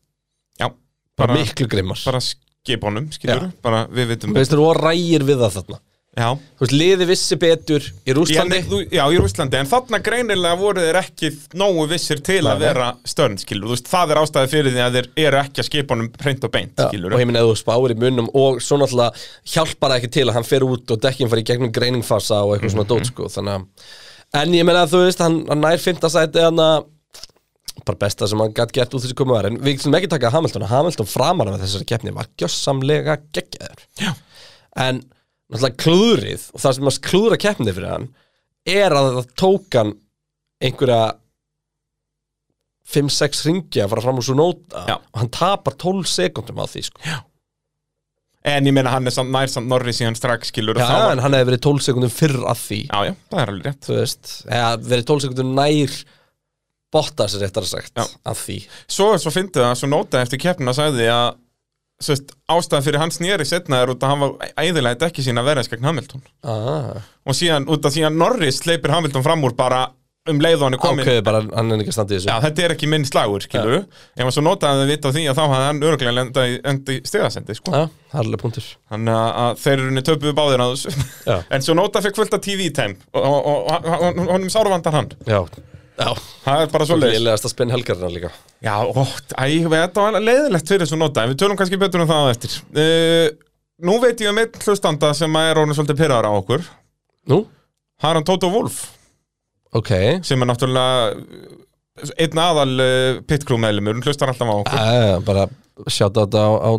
já,
bara,
bara,
miklu grimmar
bara skipunum, skilur Bara við vitum
Þú veist, þú rægir við það þarna
Já,
Þú veist, liði vissi betur í
Já,
Rúslandi
nei, þú, já, í Rúslandi, en þarna greinilega voru þeir ekki nógu vissir til
Nei,
að
nei.
vera störn, skilur, þú veist, það er ástæði fyrir því að þeir eru ekki að skipa honum hreint og beint, skilur,
og ég minna að þú spáir í munum og svo náttúrulega hjálpar það ekki til að hann fer út og dekkin fari í gegnum greiningfasa og eitthvað svona dót sko þannig að, en ég meina að þú veist hann, hann nær fimmtasæti hann að bara besta sem hann gætt gert út þessi komu var en við sem ekki taka Hamilton, Hamilton framar með þessari keppni var gjössamlega geggjaður
Já.
en náttúrulega klúðrið og það sem að klúðra keppni fyrir hann er að það tók hann einhverja 5-6 ringi að fara fram úr svo nóta
Já.
og hann tapar 12 sekundum á því sko.
En ég meina hann er samt nær samt Norris í hann strax skilur og
Já,
þá
en hann hefði verið 12 sekundum fyrr að því
Já, já, það er alveg rétt
Þú veist, eða verið 12 sekundum nær Bottas er réttar sagt
Já.
að því
Svo, svo fyndið það, svo nótaði eftir keppnina sagði að svo veist, ástæðan fyrir hans nýri setna er út að hann var æðilega ekki sína verðins gegn Hamilton
ah,
og síðan, út að síðan Norris leipir Hamilton fram úr bara um leið og hann er komin
Ákveði bara, hann er ekki að standa í þessu
Já, þetta er ekki minn slagur, skilur Ef maður svo notaði að vita á því að þá hafði hann örglega lenda í, enda í stigasendi, sko
Já, harlega punktur
Þannig að- að þeir eru henni töpuðu báðir að þessu
Já,
En svo nota fekk fullt af TV-tæm og, og, og, og hon- honum sárvandar hann
já, já
Það er bara svo leiðis
Lélegast að spenna helgarina líka
Já, ó, æ, þetta var leiðilegt fyrir svo nota En við tölum kannski betur um það á eftir uh, Nú veit ég um einn hlustanda sem er orðin svolítið pyrrar á okkur
Nú,
Það er hann Tóto Wolf
ok
sem er náttúrulega uh, einn aðal uh, pitcrew meðlumur Hún hlustar alltaf á okkur
ah, Bara sjáta þetta á, á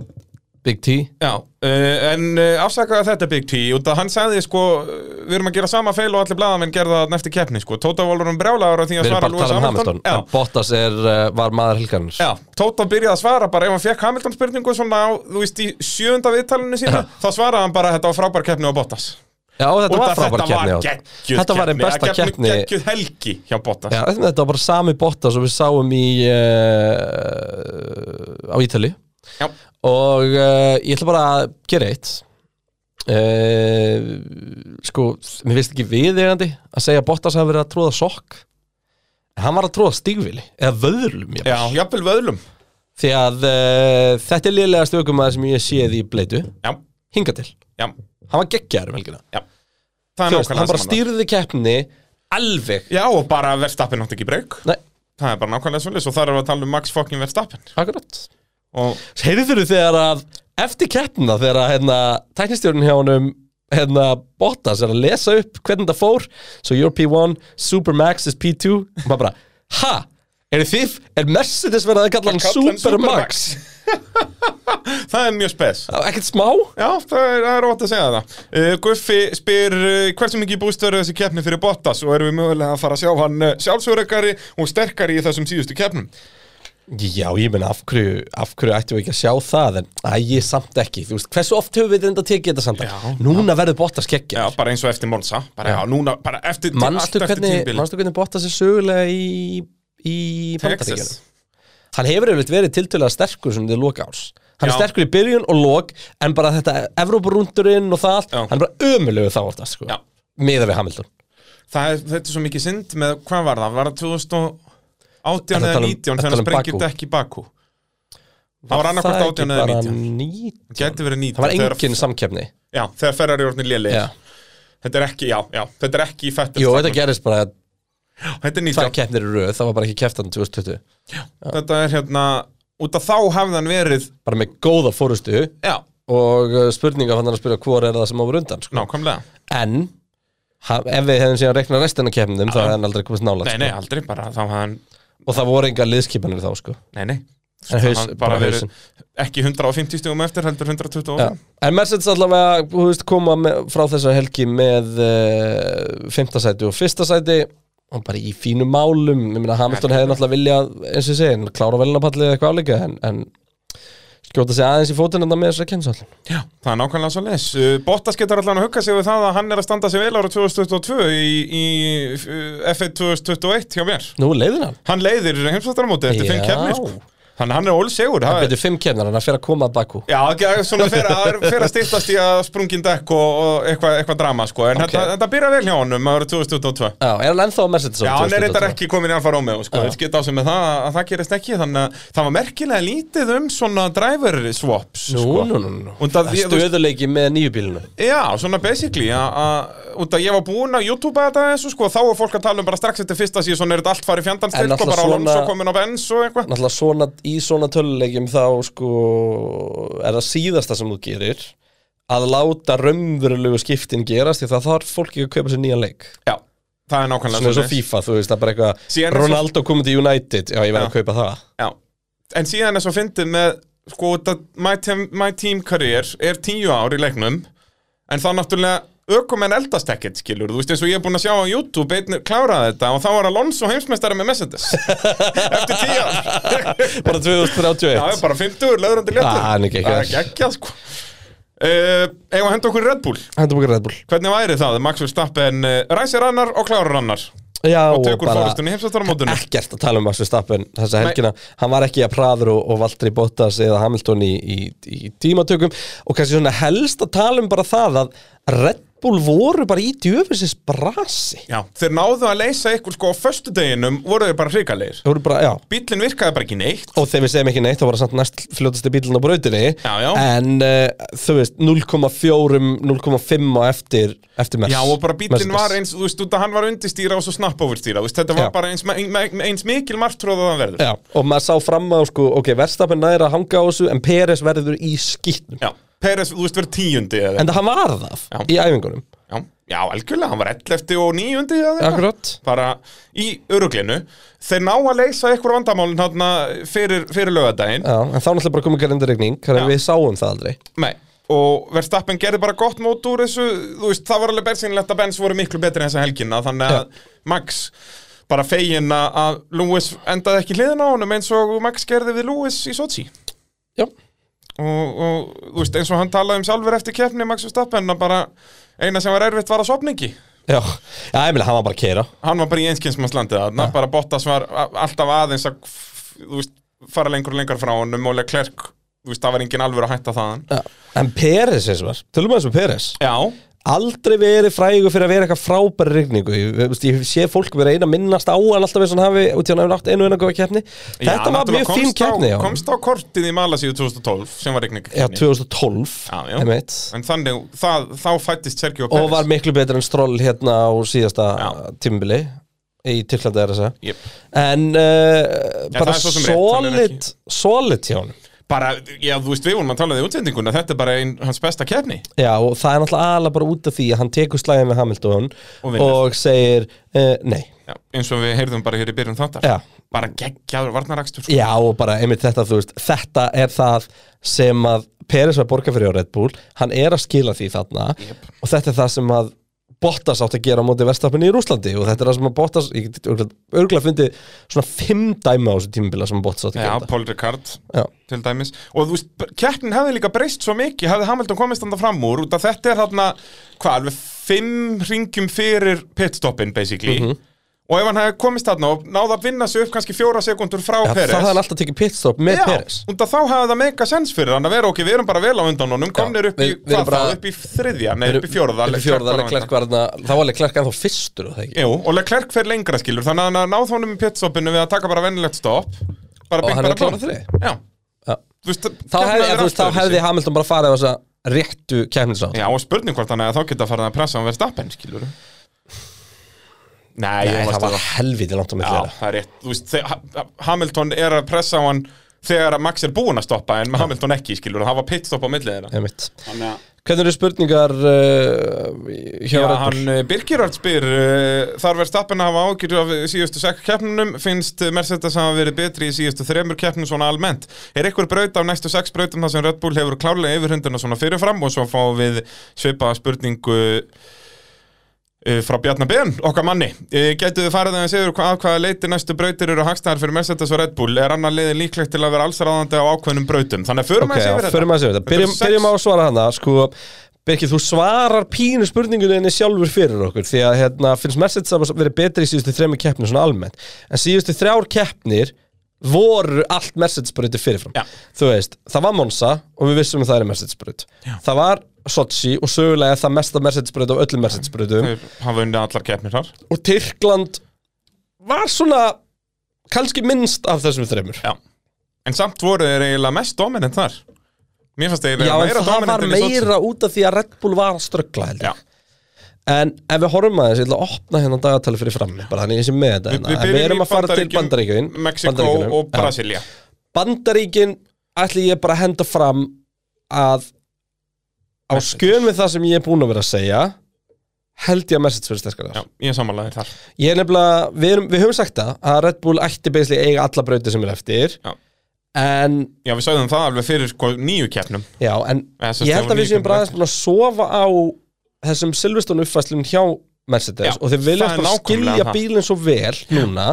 Big T
Já, uh, en uh, afsakaði þetta Big T út að hann sagði sko uh, við erum að gera sama feil og allir blaðamenn gerða það eftir keppni sko, Tóta var um brjálagur að því
Við
að
erum
svara
bara að tala um Hamilton En
Já,
Bottas er, uh, var maður helgarins
já, Tóta byrjaði að svara bara ef hann fekk Hamilton spurningu svona á, þú veist, í sjöunda viðtalinu sína þá svaraði hann bara þetta var frábær keppni á Bottas
Já, þetta
Út
var
að
frábær keppni já.
geggjuð
Þetta var einn
keppni,
besta
að
keppni
Geggjuð helgi hjá Bottas
Já, þetta var bara sami Bottas og við sáum í uh, á Ítali
Já.
og uh, ég ætla bara að gera eitt uh, sko, mér finnst ekki viðeigandi að segja að Bottas hafi verið að tróða sokk en hann var að tróða stígvili eða vöðlum
Já,
ég
jafnvel vöðlum
því að uh, þetta er liðlega stökumæður sem ég séð í bleitu
Já,
hinga til,
já,
hann var geggjaður um helgina
það er
Þú veist,
nákvæmlega
hann bara
saman.
stýrði keppni alveg
Já, og bara verðstappin átt ekki breyk
Nei,
Það er bara nákvæmlega svolítið, og þar erum við að tala um Max fucking verðstappin
akkurat
og
Heyrður þú þegar að eftir keppna þegar að hérna, tæknistjórn hjá honum hérna, Bottas er að lesa upp hvernig það fór so your P1, Supermax is P2 og maður bara, ha? Er þið, er Mercedes verið að kalla hann
Kalla hann
Supermax?
Það er mjög spes
Það var Ekkert smá?
Já, það er, það er ótt að segja það uh, Guffi spyr uh, hversu mikið búst verður þessi keppni fyrir Bottas og erum við mögulega að fara að sjá hann uh, sjálfsögurökari og sterkari í þessum síðustu keppnum
Já, ég meina, af hverju, af hverju ættum við ekki að sjá það en æ, ég samt ekki, þú veist, hversu oft höfum við reynda að tekið þetta samt
Já.
Núna verður Bottas
Já,
kekkja
bara eins og eftir Monsa bara, já. núna, bara eftir,
Manstu
allt eftir
hvernig,
tímabilið.
manstu hvernig Bottas er sögulega í, í Bandaríkjunum?
Texas
hann hefur yfirleitt verið tiltölulega sterkur sem þið loka ás hann er
Já.
sterkur í byrjun og lok en bara þetta Evrópurúndurinn og það allt
Já.
hann er bara ömulegu þá oftast sko
Já.
miða við Hamilton
Það er, þetta er svo mikið synd með, hvað var það? Var það 2018
Ertu að
eða
tala um- ertu
19
að
þegar hann
tala um
sprengir
Bakú?
dekk í Bakú? Það var annað hvort
það
18 eða
bara
19
19?
Gæti verið 19
það var
þegar-
engin samkefni
Já, þegar Ferrari er orðin léleg
Já.
Þetta er ekki, já, já, þetta er ekki í fættur
jú þetta gerist bara
Þetta er
tvær
19
keppnir í röð það var bara ekki keftan 2020
Þetta er hérna, út af þá hafði hann verið
bara með góða fórustu
Já,
og uh, spurninga fann hann að spyrja hvor er það sem á var undan sko.
nákvæmlega
en ha- ef við hefðum síðan reiknað restina keppnum þá hefði hann aldrei komist nála
Nei, nei, aldrei bara, þá hafði hann
og það voru enga liðskipanir þá sko.
Nei, nei
En haus-
Hann
bara
verið
hausinn.
Ekki 150 stugum eftir, heldur 120
Já. En Mercedes allavega þú veist, koma með, frá þessa helgi með uh, fymta sæti og fyrsta sæti og bara í fínum málum ég meina Hamilton hefði náttúrulega viljað eins og ég segi, klára velinapallið eða eitthvað álíka en, en skjóta sig aðeins í fótinn en það með þessari kennsallin
Já, það er nákvæmlega svo les Uh, Bottas getur allan að hugga sig við það að hann er að standa sig vel ára 2022 í, í uh, F1 2021 hjá mér
Nú leiðir hann
Hann leiðir heimsvartarmóti eftir fimm
Já.
kefnir sko. Þannig að hann er ólsegur
Það
það er-
betur fimm kefnar en að fyrir að koma að Bakú
Já, ekki- svona fer að, fer að stýttast í að sprungin dekk og, og eitthvað eitthva drama sko. En
Ok.
þetta, þetta byrja vel hjá honum ára 2022
Já, er hann ennþá á Mercedes
Já,
árið
hann er reyndar
2022?
ekki komin í Alfa Romeo sko. Ég get á sem með það að það gerist ekki Þannig að það var merkilega lítið um svona driver swaps
Nú,
sko.
nú, nú, nú.
Og það-
Það
ég-
er stöðuleiki með nýju bílinu
Já, svona basically að- að- Út að ég var búinn að YouTube þetta þessu sko, Þá er fólk að tala um bara strax eftir fyrsta síðan Svona er þetta allt farið fjandans
En
til sko,
náttúrulega
Bara
svona-
Alonso komin á Benz og eitthvað
náttúrulega svona, í svona töluleikjum þá sko er það síðasta sem þú gerir að láta raunverulegu skiptin gerast því það þarf fólk ekki að kaupa sér nýjan leik
Já, það er nákvæmlega
svona eins og
svoleiðis.
FIFA, þú veist, það er bara
Síðan
eitthvað
er svo-
Ronaldo komið til United, já ég verð
Já.
að kaupa það
Já, en síðan er svo fyndið með sko, þetta my, team, my team career er tíu ár í leiknum en þá náttúrulega ökumenn eldast ekkert skilur, þú veist eins og ég er búinn að sjá á YouTube einn kláraði þetta og þá var Alonso heimsmeistari með Mercedes eftir tíu ár
bara
Já,
2031
bara 50 löðrandi léttur
Ah, hann er geggjaður.
geggjað sko uh, Eða henda okkur í Red Bull
Hentum okkur Red Bull
Hvernig væri það? Max Verstappen uh, ræsir annar og klárar annar
Já,
og tekur fórustunni heimsvættarmótinu
ekkert að tala um Max Verstappen þessa helgina, hann var ekki að praður og, og Valtteri Bottas eða Hamilton í, í, í tímatökum og kannski svona helst að tala um bara það að Red Bull voru bara í djöfisins brasi
Já, þeir náðu að leysa ykkur sko á föstudeginum voru þeir bara hrikalegir
Þeir voru bara, já,
Bíllinn virkaði bara ekki neitt
og þegar við segjum ekki neitt þá var það samt næst fljótasti bílun á brautinni
Já, já.
en uh, þú veist 0,4 0,5 á eftir, eftir mess
Já, og bara bíllinn var eins, þú veist, út að hann var undistýra og svo snappofurstýra, þú veist, þetta var
Já.
bara eins, me- me- eins mikil martróð að það verður
Já, og maður sá fram á sko, ok, verstafinn næri að hanga á þessu en Peres verður í skýtnum
Já, Peres, þú veist, verður tíundi eða
En það hann var það
Já.
í æfingunum
Já, já algjörlega, hann var 11. og 9. eða eitthvað.
Akkurat
bara í öruglinu þeir ná að leysa ykkur vandamálin þarna fyrir, fyrir lögadaginn
Já, en þá náttúrulega bara komið gerðindarregning Þannig
Já.
að við sáum það aldrei
Nei. og Verstappen gerði bara gott mót úr þessu þú veist, það var alveg bersinlegt að Benz voru miklu betri en þessa helgina þannig að Max bara fegin að- að Lewis endaði ekki hliðin á honum eins og Max gerði við Lewis í Sochi
Já,
og, og þú veist, eins og hann talaði um sjálfur eftir keppni Max Verstappen að bara eina sem var erfitt var að sopna ekki
já, já ég meina, hann var bara að keira
hann var bara í einskynnsmannslandi þarna, bara Bottas var a- alltaf aðeins að f- þú veist, fara lengur og lengur frá honum og Leclerc, þú veist, það var engin alvöru að hætta þaðan
já. En Peres eins og var, tölum aðeins með Peres
Já,
Aldrei verið frægur fyrir að vera eitthvað frábæri regningu ég, þú veist, ég sé fólk vera eina minnast á hann alltaf eins og hann hafi út í hann hafi nátt einu einu góða keppni Þetta var
náttúrulega
mjög fín
komst á-
keppni já.
Komst á kortið í Malasíu 2012 sem var regning
Já, 2012
Já, já.
einmitt.
En þannig, það, þá fættist Sergio Pérez
Og var miklu betur en Stroll hérna á síðasta
Já.
tímbili Í Tyrklandi er þess að
Jep.
En uh, bara
það er svo sem rétt, hann er
solid,
ekki-
solid hjá hann
Bara, já, þú veist, við vorum að tala um útsendinguna Þetta er bara ein, hans besta keppni
Já, og það er náttúrulega aðalega bara út af því að hann tekur slæðin við Hamilton
Og
og,
vinnur.
segir uh, nei.
já, Eins og við heyrðum bara hér í byrjun þáttar
Já.
Bara geggjaður varnarakstur sko.
Já, og bara einmitt þetta, þú veist, þetta er það sem að Peres var borga fyrir á Red Bull, hann er að skila því þarna og þetta er það sem að Bottas átt að gera á móti verstafinu í Rúslandi og þetta er það sem að Bottas, ég get örgulega fundið svona fimm dæmi á þessu tímabila sem að Bottas átt að
Já,
gera þetta.
Paul Ricard
Já.
til dæmis og þú veist, keppnin hefði líka breyst svo mikið hefði Hamilton komist þannig fram úr út að þetta er þarna, hvað, alveg fimm ringjum fyrir pitstoppin basically
Mhm.
og ef hann hefði komist þarna og náði að vinna sig upp kannski fjóra sekundur frá
Já,
Peres
það hann alltaf tekið pitstop með
Já,
Peres.
út að þá hefði það meika sens fyrir hann að vera ok, við erum bara vel á undan honum, komnir upp í,
við- við erum
hvað
bara-
þá, upp í þriðja, nei, upp í fjórða
Upp í fjórða,
var á
Leclerc
undan.
var þarna, þá var Leclerc ennþá fyrstur og það ekki.
Jú, og Leclerc fer lengra skilur, þannig að hann náð honum í pitstoppinu við að taka bara venilegt stopp bara
Og
bing,
hann
bara
er klárað
bong.
þriðji.
Já,
Já.
þú veist,
þá
keppnin
hefði,
er
þú veist,
allt
þá
öðruvísi.
hefði Hamilton bara farið á þessa réttu kemnisátt
Já, og spurning hvort hann eða þá geta farið að pressa hann verið stappen, skilur Nei,
Nei,
ég
það
varst að
var helviti langt á milli
Já,
þeirra
það er rétt, þú veist, þegar Ha- Hamilton er að pressa á hann þegar að Max er búinn að stoppa en Hamilton ekki, skilur, það var pitstopp á millið þeirra
einmitt.
Þannig að
Hvernig eru spurningar uh, hjá Red
Já,
Bull?
hann eh, Birgir Örd spyr uh, Þar verð stappen að hafa ágjur af síðustu sekk keppnunum Finnst Mercedes hafa verið betri í síðustu þremur keppnum svona almennt Er einhver braut af næstu sex brautum þar sem Red Bull hefur klárlega yfirhundina svona fyrirfram Og svo fáum við svipaða spurningu eh, frá Bjarnar Ben, okkar manni Eh, Gætu þið farið aðeins yfir hva- að hvaða leiti næstu brautir eru hagstæðar fyrir Mercedes og Red Bull Er annar liðin líklegt til að vera allsraðandi á ákveðnum brautum Þannig að förum
Ok,
aðeins
já,
yfir þetta
förum að segja þetta
eru
Byrjum,
sex-
byrjum á að svara hana sko, Birgir, þú svarar pínu spurningunni henni sjálfur fyrir okkur Því að hérna, finnst Mercedes að verið betri í síðustu þremur keppnir svona almennt En síðustu þrjár keppnir voru allt Mercedes-brauti fyrirfram
Já.
Þú veist, það var Monza og við vissum að það er Mercedes-braut Það var Sochi og sögulega það mesta Mercedes-braut af öllum Mercedes-brautum
Þeir hafa unnið allar keppnir þar
og Tyrkland var svona kannski minnst af þessum þreymur
Já. En samt voru þeir eiginlega mest dominant þar Mér fannst þeir
Já,
eiginlega
en
meira
það var
dominant en í Sochi.
meira út af því að Red Bull var að ströggla held
Já,
ég En ef við horfum aðeins, ég ætla að opna hérna dagatali fyrir frammi bara þannig að ég sé með þetta
Vi-
hérna
við
En
byrjum
við erum
í
að fara til
Bandaríkjum,
Bandaríkjum
Mexiko og Brasilia
Bandaríkin ætli ég bara að henda fram að á skjön við það sem ég er búin að vera að segja held ég að message fyrir sterkar þar
Já, ég samanlega þar
Ég er nefnilega, við, erum, við höfum sagt það að Red Bull ætti beislega eiga alla brauti sem er eftir
Já.
En,
Já, við sagðum það alveg fyrir sko, nýju keppnum
já, en
Eða sem sagt,
ég
það
held
voru
að við
níu
séum bara aðeins
keppnum.
búin að sofa á þessum Silveston uppfæslun hjá Mercedes
Já,
og þeir
það
viljast
er
bara
nákvæmlega
skilja
það.
bílinn svo vel núna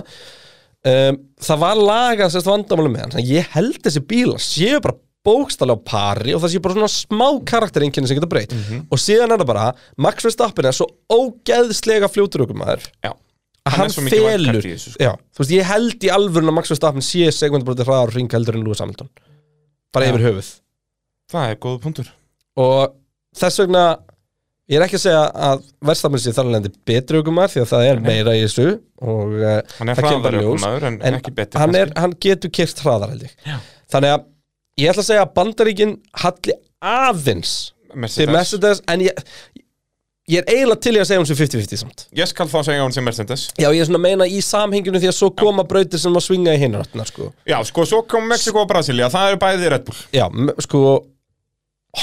um, það var lagað sérst vandamáli með hann, þannig að ég held þessi bílar séu bara bókstallega á pari og það sé bara svona smá karakterinkinni sem geta breytt
Mhm.
og síðan er það bara, Max Verstappen er svo ógeðslega fljóturökumæður
Já,
að
Hann er
hann,
svo
hann
mikið
felur
wildcard í þessu, sko.
Já, þú veist, ég held í alvörun að Max Verstappen sé segmundbroti hraðar hring heldur en Lewis Hamilton bara
Já.
yfir höfuð
það er góð punktur
og þess vegna ég er ekki að segja að Verstappen sé þar alveg betri ökumæður því að það er meira í þessu og uh,
Hann er
það kemur
hraðar
bara í ljós
ökumaður en,
en
ekki betri
hann, er,
kannski.
hann getur kert hraðar held ég
Já.
þannig að ég ætla að segja að bandaríkin halli aðeins til
Mercedes.
Mercedes en ég, ég er eiginlega til í að segja um sem 50-50 samt
Ég skal þá segja hún sem Mercedes
já ég er svona að meina í samhenginu því að svo koma brautir sem að svinga í hinaráttina sko
Já, sko, svo kom Mexiko og Brasilia, það eru bæði Red Bull
já m- sko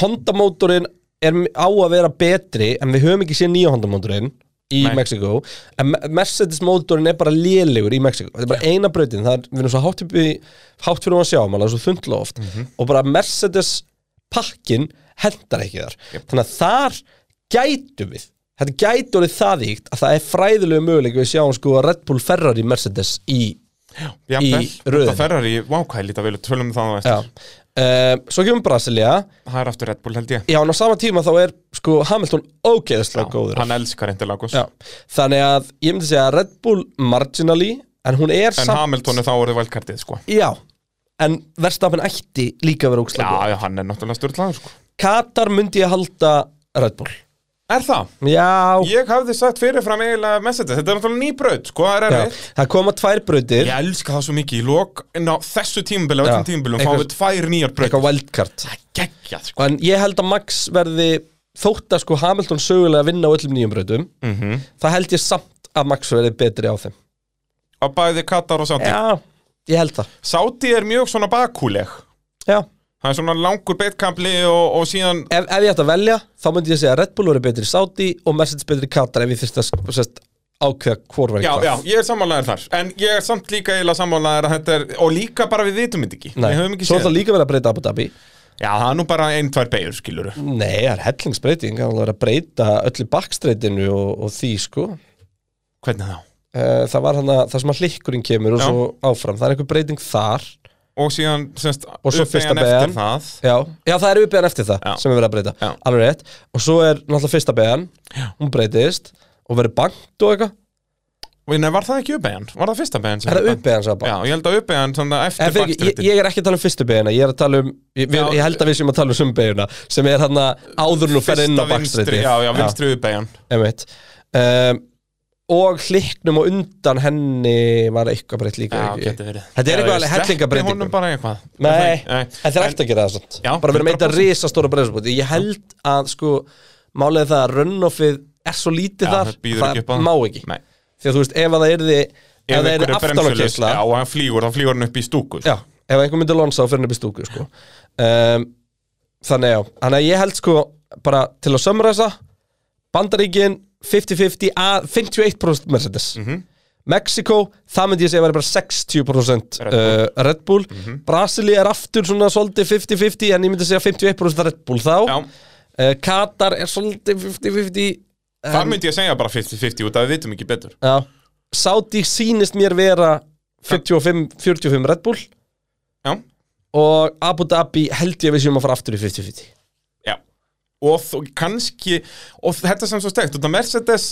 Honda mótorinn er m- á að vera betri en við höfum ekki séð nýja Honda mótorinn í
Nei.
Mexiko en Me- Mercedes mótorinn er bara lélegur í Mexiko þetta er bara eina brautin það er, við erum svo hátt, upp í, hátt fyrir að sjá maður svo þundla oft og bara Mercedes pakkin hendar ekki þar þannig að þar gætum við þetta gætu orðið það íkt að það er fræðilegu möguleik við sjáum sko að Red Bull Ferrari Mercedes í
Í
röðinni.
Það ferrar í vákæli, það vilja tölum við það á
já.
eftir
Uh, svo kemur Brasilia
Það er aftur Red Bull held ég
Já, en á sama tíma þá er sko Hamilton ógeðslega góður
Hann elskar Interlagos
Já. Þannig að ég myndi segja að Red Bull marginally en hún er
En
samt
Hamilton er þá orðið valkartið, sko
Já, en Verstappen ætti líka að vera
Já,
ógeðslega góður
já, hann er náttúrulega styrlaður, sko
Katar myndi ég halda Red Bull
Er það?
Já,
Ég hafði sagt fyrirfram eiginlega Mercedes Þetta er náttúrulega ný braut, sko, það er
já.
erfitt
það koma tvær brautir
Ég elska það svo mikið í lok En á þessu tímabili, á öllum
Já.
tímabilum
Eitthvað-
Fáum við tvær nýjar braut
eitthvað wildcard
Geggjað, sko
En ég held að Max verði þótt að sko Hamilton sögulega vinna á öllum nýjum brautum
Mhm.
það held ég samt að Max verði betri á þeim
Á bæði Katar og Sáti
Já, ég held það
Sáti er mjög svona bakúleg
Já,
Það er svona langur beitkampli og, og síðan
ef, ef ég ætti að velja þá myndi ég segja að Red Bull verið betri í Saudi og Mercedes betri í Katar ef ég þyrst að sk- sest, ákveða hvor verið
Já, já, ég er sammálaður þar En ég er samt líka eiginlega sammálaður að þetta er Og líka bara við vitum þetta ekki
Nei,
Við höfum ekki
svo
séð
er það líka verið að breyta Abu Dhabi
Já, það er nú bara ein, tvær beigur, skilur
Nei, það er hellingsbreyting það er verið að breyta öllu bakstreitinu og, og því sko
Hvernig þá?
Eh, það var hann að það sem að hlikkurinn kemur og
Já.
svo áfram, það er einhver breyting þar
Og síðan, semst,
Og svo fyrsta
uppeigjan eftir
beygjan.
það
Já, já það er uppeðan eftir það
Já.
sem er verið að breyta,
Já.
alveg rétt og svo er náttúrulega fyrsta beðan, hún breytist og verið bankt og eitthvað
Og nei, var það ekki uppeigjan? Var það fyrsta beigjan?
er það uppeðan sem að bankt?
Já, ég held að uppeigjan svona,
En
eftir
fyrir, ekki, ég,
bakstretin
ég er ekki að tala um fyrstu beigina, ég er að tala um ég, við,
Já.
ég held að við séum að tala um sumbeigina sem er hann að áður nú fer inn á bakstreiti
Já, já, vinstri uppeigjan
einmitt. um, og hliknum og undan henni var eitthvað breytt líka
Já,
ekki?
getur verið
Þetta er eitthvað
Já, ég
alveg
sleppti
hellingabreytingum.
honum bara eitthvað
Nei,
Nei.
en þeir ættu að gera það samt
Já,
bara verið með þetta
100%.
risastóra breyðsbúti ég held að sko málega það að runoffið er svo lítið
Já,
þar
það býður ekki upp á það.
má ekki
Nei.
því að þú veist ef að það yrði ef það
einhver
yrði
er bremsulaus,
aftanákeisla
Já, og hann flýgur, þá flýgur hann upp í stúku
Já, ef einhver myndi lonsa og fyrir henni upp í stúku sko. um, Þannig já Þannig að ég held sko bara til að sömræsa Bandaríkin 50-50 að 51% Mercedes mm Mexiko, það myndi ég segja að vera bara 60% Red
Red Bull.
Bull, uh, Red Bull. Brasili er aftur svona svolítið 50-50 en ég myndi segja 51% Red Bull þá
Já.
uh, Katar er svolítið 50-50
Þar myndi ég segja bara 50-50 út af við vitum ekki betur
Já. Saudi sýnist mér vera 45-45 Red Bull
Já,
og Abu Dhabi held ég að við séum að fara aftur í 50-50
já Og þú, kannski, og þetta sem svo stegt Þetta Mercedes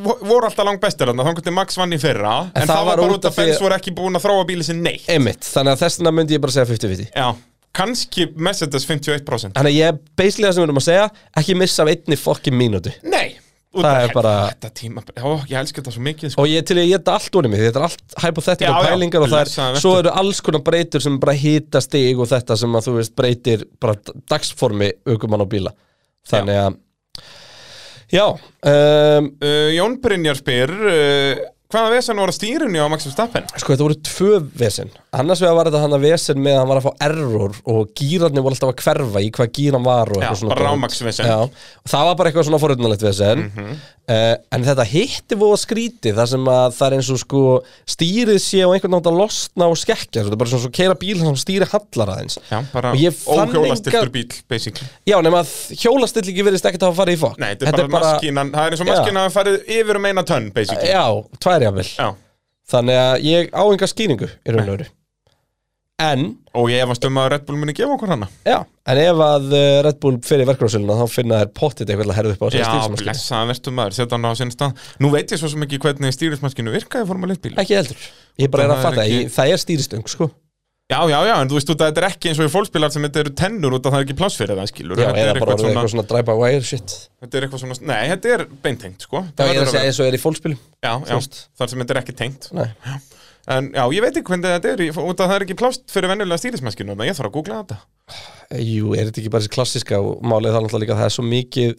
vo- voru alltaf langt bestir þarna Þannig að Max vann í fyrra En, það, var bara út af
því- Eh.
Fens voru ekki búin að þróa bíli sinni neitt
Einmitt, þannig að þessna myndi ég bara segja 50-50
Já, kannski Mercedes 51%
Þannig að ég er basically það sem við erum að segja ekki missa af einni fokkin mínútu
Nei út
Það
af-
er bara-
Þetta tíma, ó, ég elska þetta svo mikið sko.
Og ég er til í að geta allt úr mig, þetta er allt hypothetical
Já, já,
pælingar og það er,
blessaðan vertu.
svo eru alls konar breytur sem bara hýta stig og þetta sem að þú veist breytir bara d- dagsformi aukumann og bíla Þannig að Já, um,
uh, Jón Brynjar spyr uh, Hvaða vesen voru að stýrunni á Max Verstappen?
sko þetta voru tvö vesen Annars vegar var þetta hann að vesen með að hann var að fá error og gýrarnir voru alltaf að hverfa í hvað gýran var og
Já,
eitthvað svona
bara
dót.
rámaksvesen
Já, og það var bara eitthvað svona forutnulegt vesen
Mhm.
uh, En þetta hitti voða skrítið þar sem að það er eins og sko stýrið sé og einhvern nátt að losna og skekkja Þetta er bara svona svo keira bíl sem stýri hallar aðeins
Já, bara
Og ég fann
óhjólastiltur
engan-
bíl, basically
Já, nema að hjólastillingi verðist ekkert að hafa farið í fokk
Nei, þetta er bara, maskínan, það er eins og
Já. Eh.
maskínan hafi farið yfir um eina tönn, basically
Já, tvær jafnvel
Já,
Þannig að ég á enga skýringu í raun og veru en
Og ég efast um að Red Bull muni gefa okkur hana
Já, en ef að eh, Red Bull fyrir verkefnarsöluna þá finna þær pottið eitthvað til að herða upp á þessari
Já,
stýrismannskinu.
blessaðan verðstu maður, setja hann á sinn stað Nú veit ég svo sem ekki hvernig stýrismannskinu virka í Formule 1 bíl
Ekki heldur. Ég bara er að
Það er
fatta,
ekki-
ég, það er stýristöng, sko.
Já, já, já, en þú veist út að þetta er ekki eins og í fólksbílar sem þetta eru tennur út að það er ekki pláss fyrir það, skilur
Já,
þetta,
eða bara
er eitthvað
orðið
svona,
eitthvað svona drive-by-wire shit.
þetta er eitthvað svona, nei, þetta er beintengt, sko
Já,
Það
ég er
verður
að
að
segja
vera-
eins og er í fólksbíl.
Já,
þú
já,
veist.
þar sem þetta er ekki tengt
Nei.
En já, ég veit ekki hvernig þetta er í- út að það er ekki pláss fyrir venjulega stýrismannskinu þannig að ég þarf að googla þetta
Jú, er þetta ekki bara þessi klassiska og málið það náttúrulega líka að það er svo mikið,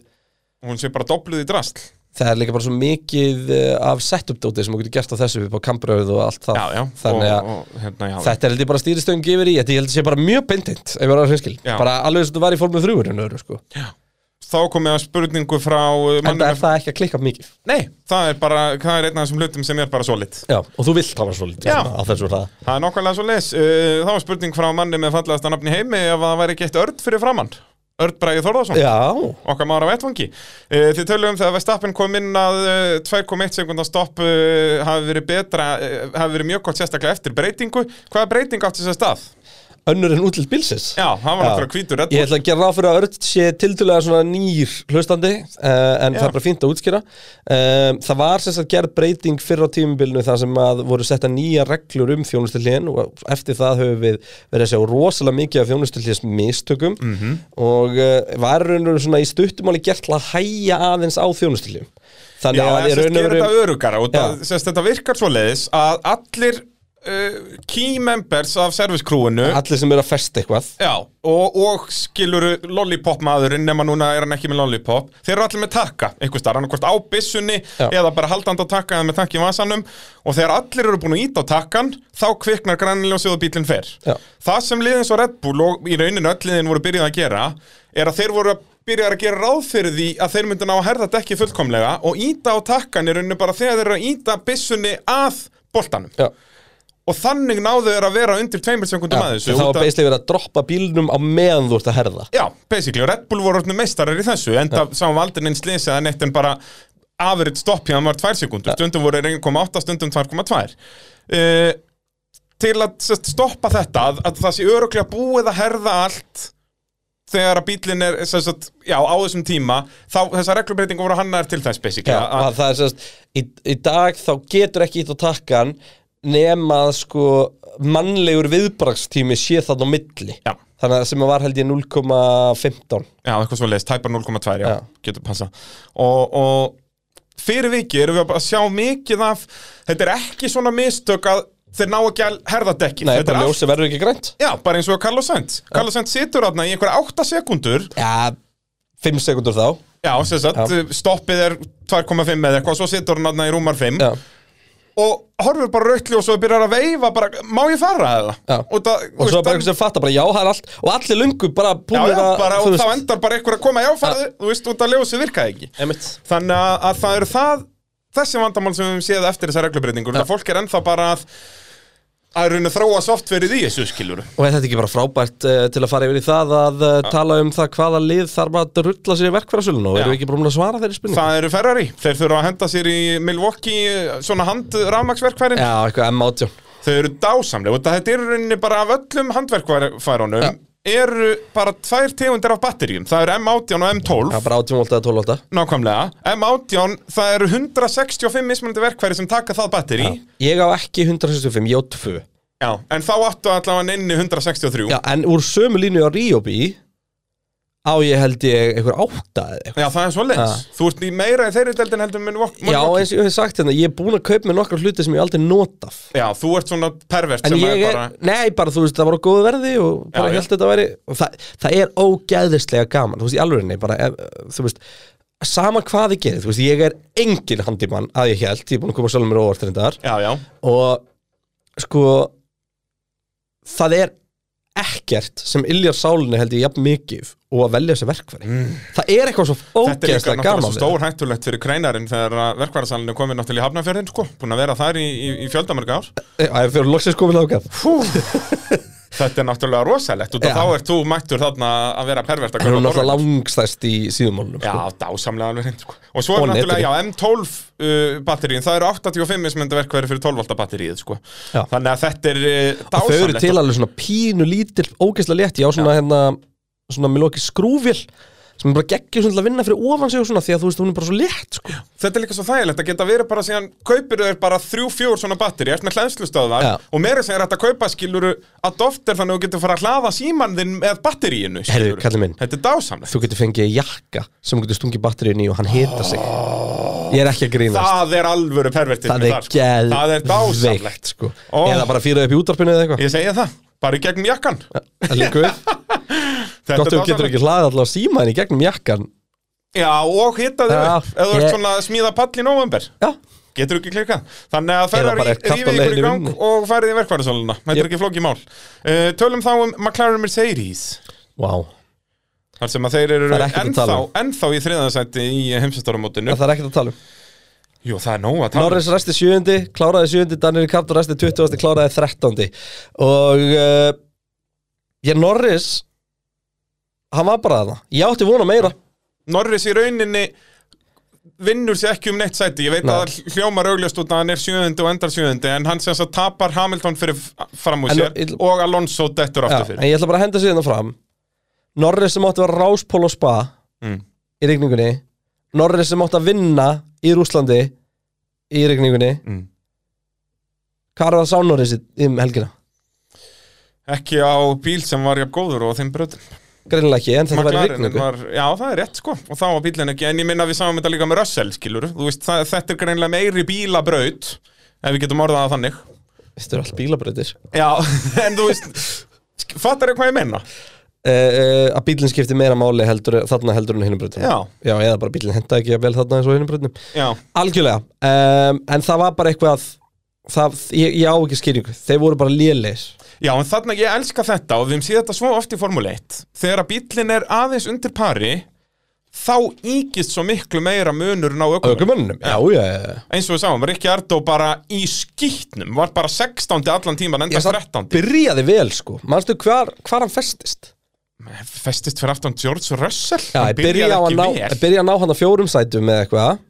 og hún sé bara dobluð í drasl
það er líka bara svo mikið eh, af setup-dótið sem þú getur gert á þessu upp á kambröðu og allt það.
Já, já,
Þannig að
og, og, hérna, já,
þetta er heldur bara stýristöng yfir í, þetta ég heldur sé bara mjög beintind, ef ég var að hreinskil.
Já.
Bara alveg sem þetta var í formið þrjúurinn öðru, sko.
Þá kom ég að spurningu frá uh,
En
manninum-
er það ekki að klikka mikið.
Nei, það er bara, það er einn af þessum hlutum sem er bara solid
Já, og þú vilt hafa svolítið
Já.
svona á þessu hraða.
Það er nokkvæmlega svo leis Það var spurning frá manni með fallegasta nafni í heimi ef að það væri ekki eitt örd fyrir framann Örd Bræði Þórðarsson,
Já,
okkar maður á vettvangi Eh, Þið töluðum þegar Vestappin kom inn að eh, 2,1 sekundar stopp eh, hafi verið betra, eh, hafi verið mjög gott sérstaklega eftir breytingu Hvaða breyting átti sér stað?
önnur en útlilt bílsins
Já, hann var
Já.
náttúrulega hvítur Red
Ég
Bull
ætla að gera ráð fyrir að Örd sé tildulega svona nýr hlustandi uh, en
Já.
það er bara fínt að útskýra um, Það var sem sagt gerð breyting fyrr á tímubilinu þar sem að voru setta nýja reglur um þjónustillíðin og eftir það höfum við verið að sjá rosalega mikið af þjónustillíðis mistökum
Mhm.
-hmm. og uh, var raunur svona í stuttumáli gert til að hæja aðeins á þjónustillíðum Þannig
Já,
að
en
ég
sérst
raunur
gerir
veru
þetta örugara og
Já.
það, sérst þetta virkar svo leiðis að allir uh, key members af servicekrúinu
allir sem eru að festa eitthvað
Já, og, og skiluru lollipop maðurinn nema núna er hann ekki með lollipop þeir eru allir með takka, einhvers staðar, hann hvort á byssunni
Já.
eða bara haldandi á takka eða með takki í vasanum og þegar allir eru búin að íta á takkan þá kviknar grænljósið og bílinn fer
Já.
það sem liðin svo Red Bull og í rauninu öll liðin voru byrjað að gera er að þeir voru að byrja að gera ráð fyrir því að þeir myndu ná að herða dekki fullkomlega og íta á takkan í rauninu bara þegar þeir eru að íta byssunni að boltanum
Já.
og þannig náðu þeir að vera undir tveimur sekundum að þessu
Það var
út af-
beislega verið að droppa bílnum á meðan þú ert að herða
Já, basically, og Red Bull voru orðinu meistarar í þessu en það sá aldrei neins lýs eða neitt en bara afrið stopp hjá hann var 2 sekundur stundum voru þeir 1,8, stundum 2,2 uh, Til að sest, stoppa þetta, að, að það sé öruglega búið að herða allt þegar að bílinn er, sem sagt, já, á þessum tíma þá þessar reglubreitingu voru hannaðar til þess basically,
Já,
að,
að það er sérst, í, í dag þá getur ekki ít á takkan nema að sko mannlegur viðbrakstími sé þarna á milli
Já.
þannig að sem að var held ég 0,15
Já, eitthvað svo leiðist, tæpar 0,2, já,
Já.
getur passa og, og fyrir vikið erum við að bara sjá mikið af þetta er ekki svona mistök að þeir ná ekki að herða dekki
Nei,
þetta
bara
er
ljósi verður ekki grænt
Já, bara eins og Carlos Sainz Carlos Sainz situr átna í einhverja 8 sekundur
Já, 5 sekundur þá
Já, sem sagt,
Já.
stoppið er 2,5 eða eitthvað, svo situr hann átna í rúmar 5
Já,
og horfur bara rautli og svo byrjar að veifa bara, má ég fara eða?
Já.
Og, það,
og svo bara
hann-
einhvern sem fattar bara já, það er allt og allir lungu bara
Já,
búinir
já,
að
bara,
þú
og
veist.
þá endar bara einhver að koma, já, farðu, þú veist, út að ljósi virkaði ekki
Einmitt.
Þannig að, að það eru það þessi vandamál sem við höfum séð eftir þessar reglubreitingur ja. fólk er ennþá bara að að runa að þróa softverið í þessu skilur
Og er þetta ekki bara frábært uh, til að fara yfir í það að uh, tala um það hvaða lið þarf að drulla sér í verkfærasölun og
Já.
erum við ekki búin að svara þeirri spurningu?
Það eru Ferrari, þeir þurfa að henda sér í Milwaukee eh, svona hand rafmaksverkfærin
Já, eitthvað M18
þau eru dásamlega og þetta er í rauninni bara af öllum handverkfærunum eru bara tvær tegundir af batteríum það eru M18 og M12
Já, bara 18 volt eða 12 volt
nákvæmlega, M18 það eru 165 mismunandi verkfæri sem taka það batteri já.
Ég á ekki 165, ég á 2
en þá áttu allavega inni 163
Já, en úr sömu línu á Ríóbi á ég held ég einhver átta eða eitthvað
Já, það er svoleiðis. Þú ert í meira í þeirri deldin heldur minn vokk.
Ah. Já, eins og ég hef sagt hérna, ég er búin að kaupa mér nokkra hluti sem ég hef aldrei notað
Já, þú ert svona pervert
En
sem
ég
er
er,
bara...
nei bara þú veist, það var á góðu verði og bara
Já,
já,
já.
held þetta væri og það, það er ógæðislega gaman, þú veist, í alvörinni bara, ef, þú veist, sama hvað ég gerir þú veist, ég er engin handimann að ég held, ég er búin að koma sjálfum mér á óvart reyndar
Já, já.
og sko það er ekkert sem illjar sálinni held ég jafn mikið og að velja sér verkfæri það er eitthvað svo
Mm. Þetta er líka
ógeðslega
náttúrulega
gaman
svo stór hættulegt fyrir kreinarinn þegar verkværasalinn er komið náttúrulega í Hafnarfjörðin, sko. Búin að vera þar í, í, í fjöldamörg ár.
það er fyrir loksins komið lágað
Hú! Þetta er náttúrulega rosalegt út
Já.
af þá ert þú mættur þarna að vera pervert að
Hún er
kaupa
náttúrulega
forvörn.
langstæst í síðumálunum
Já,
sko.
dásamlega alveg hreint sko. Og svo er
Og
náttúrulega,
netinu.
já, M12 uh, batteríin, það eru 85 mismynda verkværi fyrir 12 volta batteríið sko.
Já.
Þannig að þetta er uh,
Og þau eru
dásamlegt
til alveg svona pínu lítil Ógeðslega létt, já svona hérna Svona með lokið skrúvél Sem er bara geggjum svona til að vinna fyrir ofan sig og svona Því að þú veist hún er bara svo létt sko.
Þetta er líka svo þægilegt að geta verið bara síðan kaupir þau bara þrjú, fjór svona batteri ert með hlæðslustöðar
Já.
og meira sem er þetta kaupa skiluru adopter þannig að þú getur fara að hlaða síman þinn með batteríinu
Herðu,
skilurðu.
kallið minn
Þetta er dásamlegt
Þú getur fengið jakka sem þú getur stungið batteríun í og hann hita sig Ég er ekki að grínast
Það er alvöru pervertið
Það er
Það er dásamlegt
geðveikt sko.
Ó.
Eða bara fýra upp í útarpinu eða eitthvað
Ég segja það, bara í gegnum jakkan
Það líka við
Þetta
Gott
er
að þú getur
dásamlegt.
ekki hlaðið allavega símaðin í gegnum jakkan
Já, og hitta þau
Já,
upp Ef þú ert
ég-
svona að smíða pall í november
Já,
Getur ekki klikkað Þannig að það
Eða bara
er
er kalt á
rífið ykkur í
leiðinni í
gang
vinnunni.
og farið í verkvarðasöluna Þetta er
Jep.
ekki flókið mál uh, Tölum þá um McLaren Mercedes
vá
Þar sem að þeir eru
Það er ekkert að
ennþá,
tala um.
ennþá í þriðansætti í heimsastáramótinu
Það er ekkert að tala um
Jú, það er nóg að tala um.
Norris resti sjöundi, kláraði sjöundi Daniel Ricciardo resti 20. kláraði 13. Og uh, Ég Norris Hann var bara það Ég átti vona meira
Norris í rauninni vinnur sér ekki um neitt sæti Ég veit
Nei.
að það hljómar augljóst út að hann er sjöðundi og endar sjöðundi En hann sem þess að tapar Hamilton fyrir f- fram úr
En-
sér
ég-
Og Alonso dettur
Já,
aftur
En
fyrir
ég ætla bara að henda sér hérna fram Norris sem átti að vera ráspól og spa
Mm.
Í rigningunni Norris sem átti að vinna í Rúslandi Í rigningunni
Mm.
Hvað er það sá Norris í- um helgina?
Ekki á bíl sem var jafn góður og á þeim bröðum
Greinilega ekki, en þetta var í
McLaren
rigningu
var, já það er rétt sko og þá var bílinn ekki, en ég minna að við sáum þetta líka með Russell skilur, þú veist, það, þetta er greinlega meiri bílabraut, ef við getum orðað það þannig
Þetta eru allt bílabröðir
Já, en þú veist sk- Fattar þau hvað ég menna?
uh, að bílinn skipti meira máli heldur, þarna heldur en á hinum bröndum
Já.
eða bara bílinn henda ekki vel þarna eins og á hinum bröndum
Já,
algjörlega, um, en það var bara eitthvað það, ég, ég á ekki skýringu þeir voru bara léleis
já en þarna ég elska þetta og við höfum séð þetta svo oft í Formule 1 Þegar að bíllinn er aðeins undir pari þá íkist svo miklu meira munurinn á ökumönnum
aukumönnum, já, já, já,
Eins og við sáum, Rikki Ardó bara í skýtnum var bara 16. allan tíman
já
enda 13.
byrjaði vel sko, manstu hvar, hvar hann festist
Festist fyrir aftan George Russell
já,
Hann
ég byrjaði á að
byrjaði
ná,
ekki
ég byrjaði að ná hann að fjórum sætum með eitthvað
vel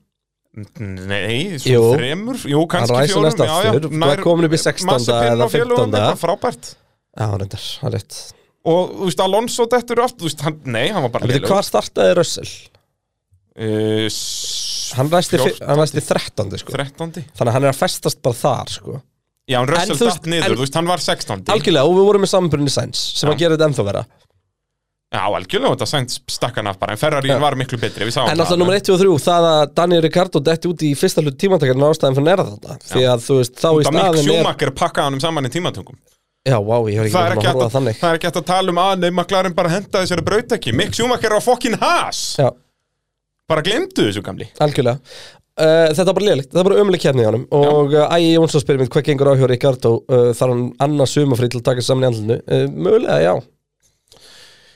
Nei, svo
Jú.
þremur Jú, kannski
ræsir
fjórum
næst aftur, var kominn upp í 16.
Massapinn
eða
og félögum,
15.
þetta er frábært
já, reyndar, það er rétt
Og, þú veist, Alonso dettur aftur, þú veist, hann, nei, hann var bara
Veitir,
lélegur.
hvað startaði Russell?
Uh, s-
hann ræsti, fi-
14.
hann ræsti 13 sko.
13.
þannig að hann er að festast bara þar sko.
Já, hann Russell
þú veist-
datt niður,
en-
þú veist, hann var 16.
algjörlega, og við vorum með samanbyrjunni Sainz sem
Já.
að gera þetta ennþá vera
Já, algjörlega, þetta sænt stakkan af bara, en Ferrarín
Já.
var miklu betri, við sáum
En alltaf nummer 1 og 3, það að Daniel Ricardo detti út í fyrsta hlut tímantakar en ástæðan fyrir næra þetta því að þú veist, þá í
Það mikk
staðin er
sjúmakar pakkaði hann um saman í tímatungum
Já, vá, ég hef ekki
Það er
verið að
ekki
horfa
hægt
að
að,
þannig
það er ekki hægt að tala um að Nei, McLaren bara henda þessari braut ekki Mikk sjúmakar á fokkin has
Já,
Bara glemdu þessu gamli
algjörlega uh, Þetta var bara lélikt, þetta var bara ömuleg kefni á honum og uh, Ægi Jónsson spyrir mér hvað gengur á hjá Ricardo uh, þar hann annars sumafrið til að taka sig saman í andlinu uh, Mögulega, já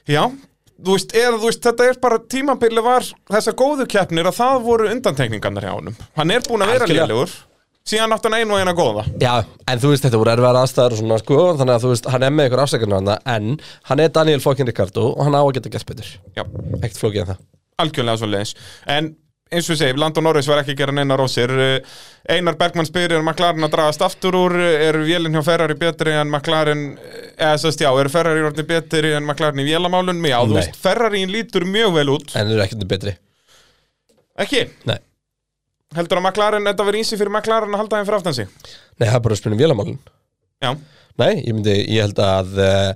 Já, þú veist, eða, þú veist þetta er bara tímabili var Þessar góðu keppnir að það voru undantekningarnar hjá honum Hann er búin að vera
Algjörlega.
lélegur Síðan átt hann einu og eina góða
Já, en þú veist, þetta voru erfiðar aðstæður og svona, sko, þannig að þú veist, hann er með ykkur afsækjarnar hann, en hann er Daniel fokkin Ricardo og hann á að geta gert betur.
Já,
Ekkert flókið en það.
algjörlega svo leiðis en eins og ég segi, Landon Norris var ekki að gera neina rósir Eh, Einar Bergmann spyr er McLaren að dragast aftur úr Eh, er vélinn hjá Ferrari betri en McLaren eh, eða sérst já, er Ferrari orðin betri en McLaren í vélamálun já, þú
Nei.
veist, Ferrari lítur mjög vel út
En það er ekkert betri.
ekki,
Nei.
heldur að McLaren þetta verið ísi fyrir McLaren að halda þeim fyrir aftan sig
Nei, það er bara að spyrja um vélamálun.
já,
Nei, ég myndi, ég held að uh,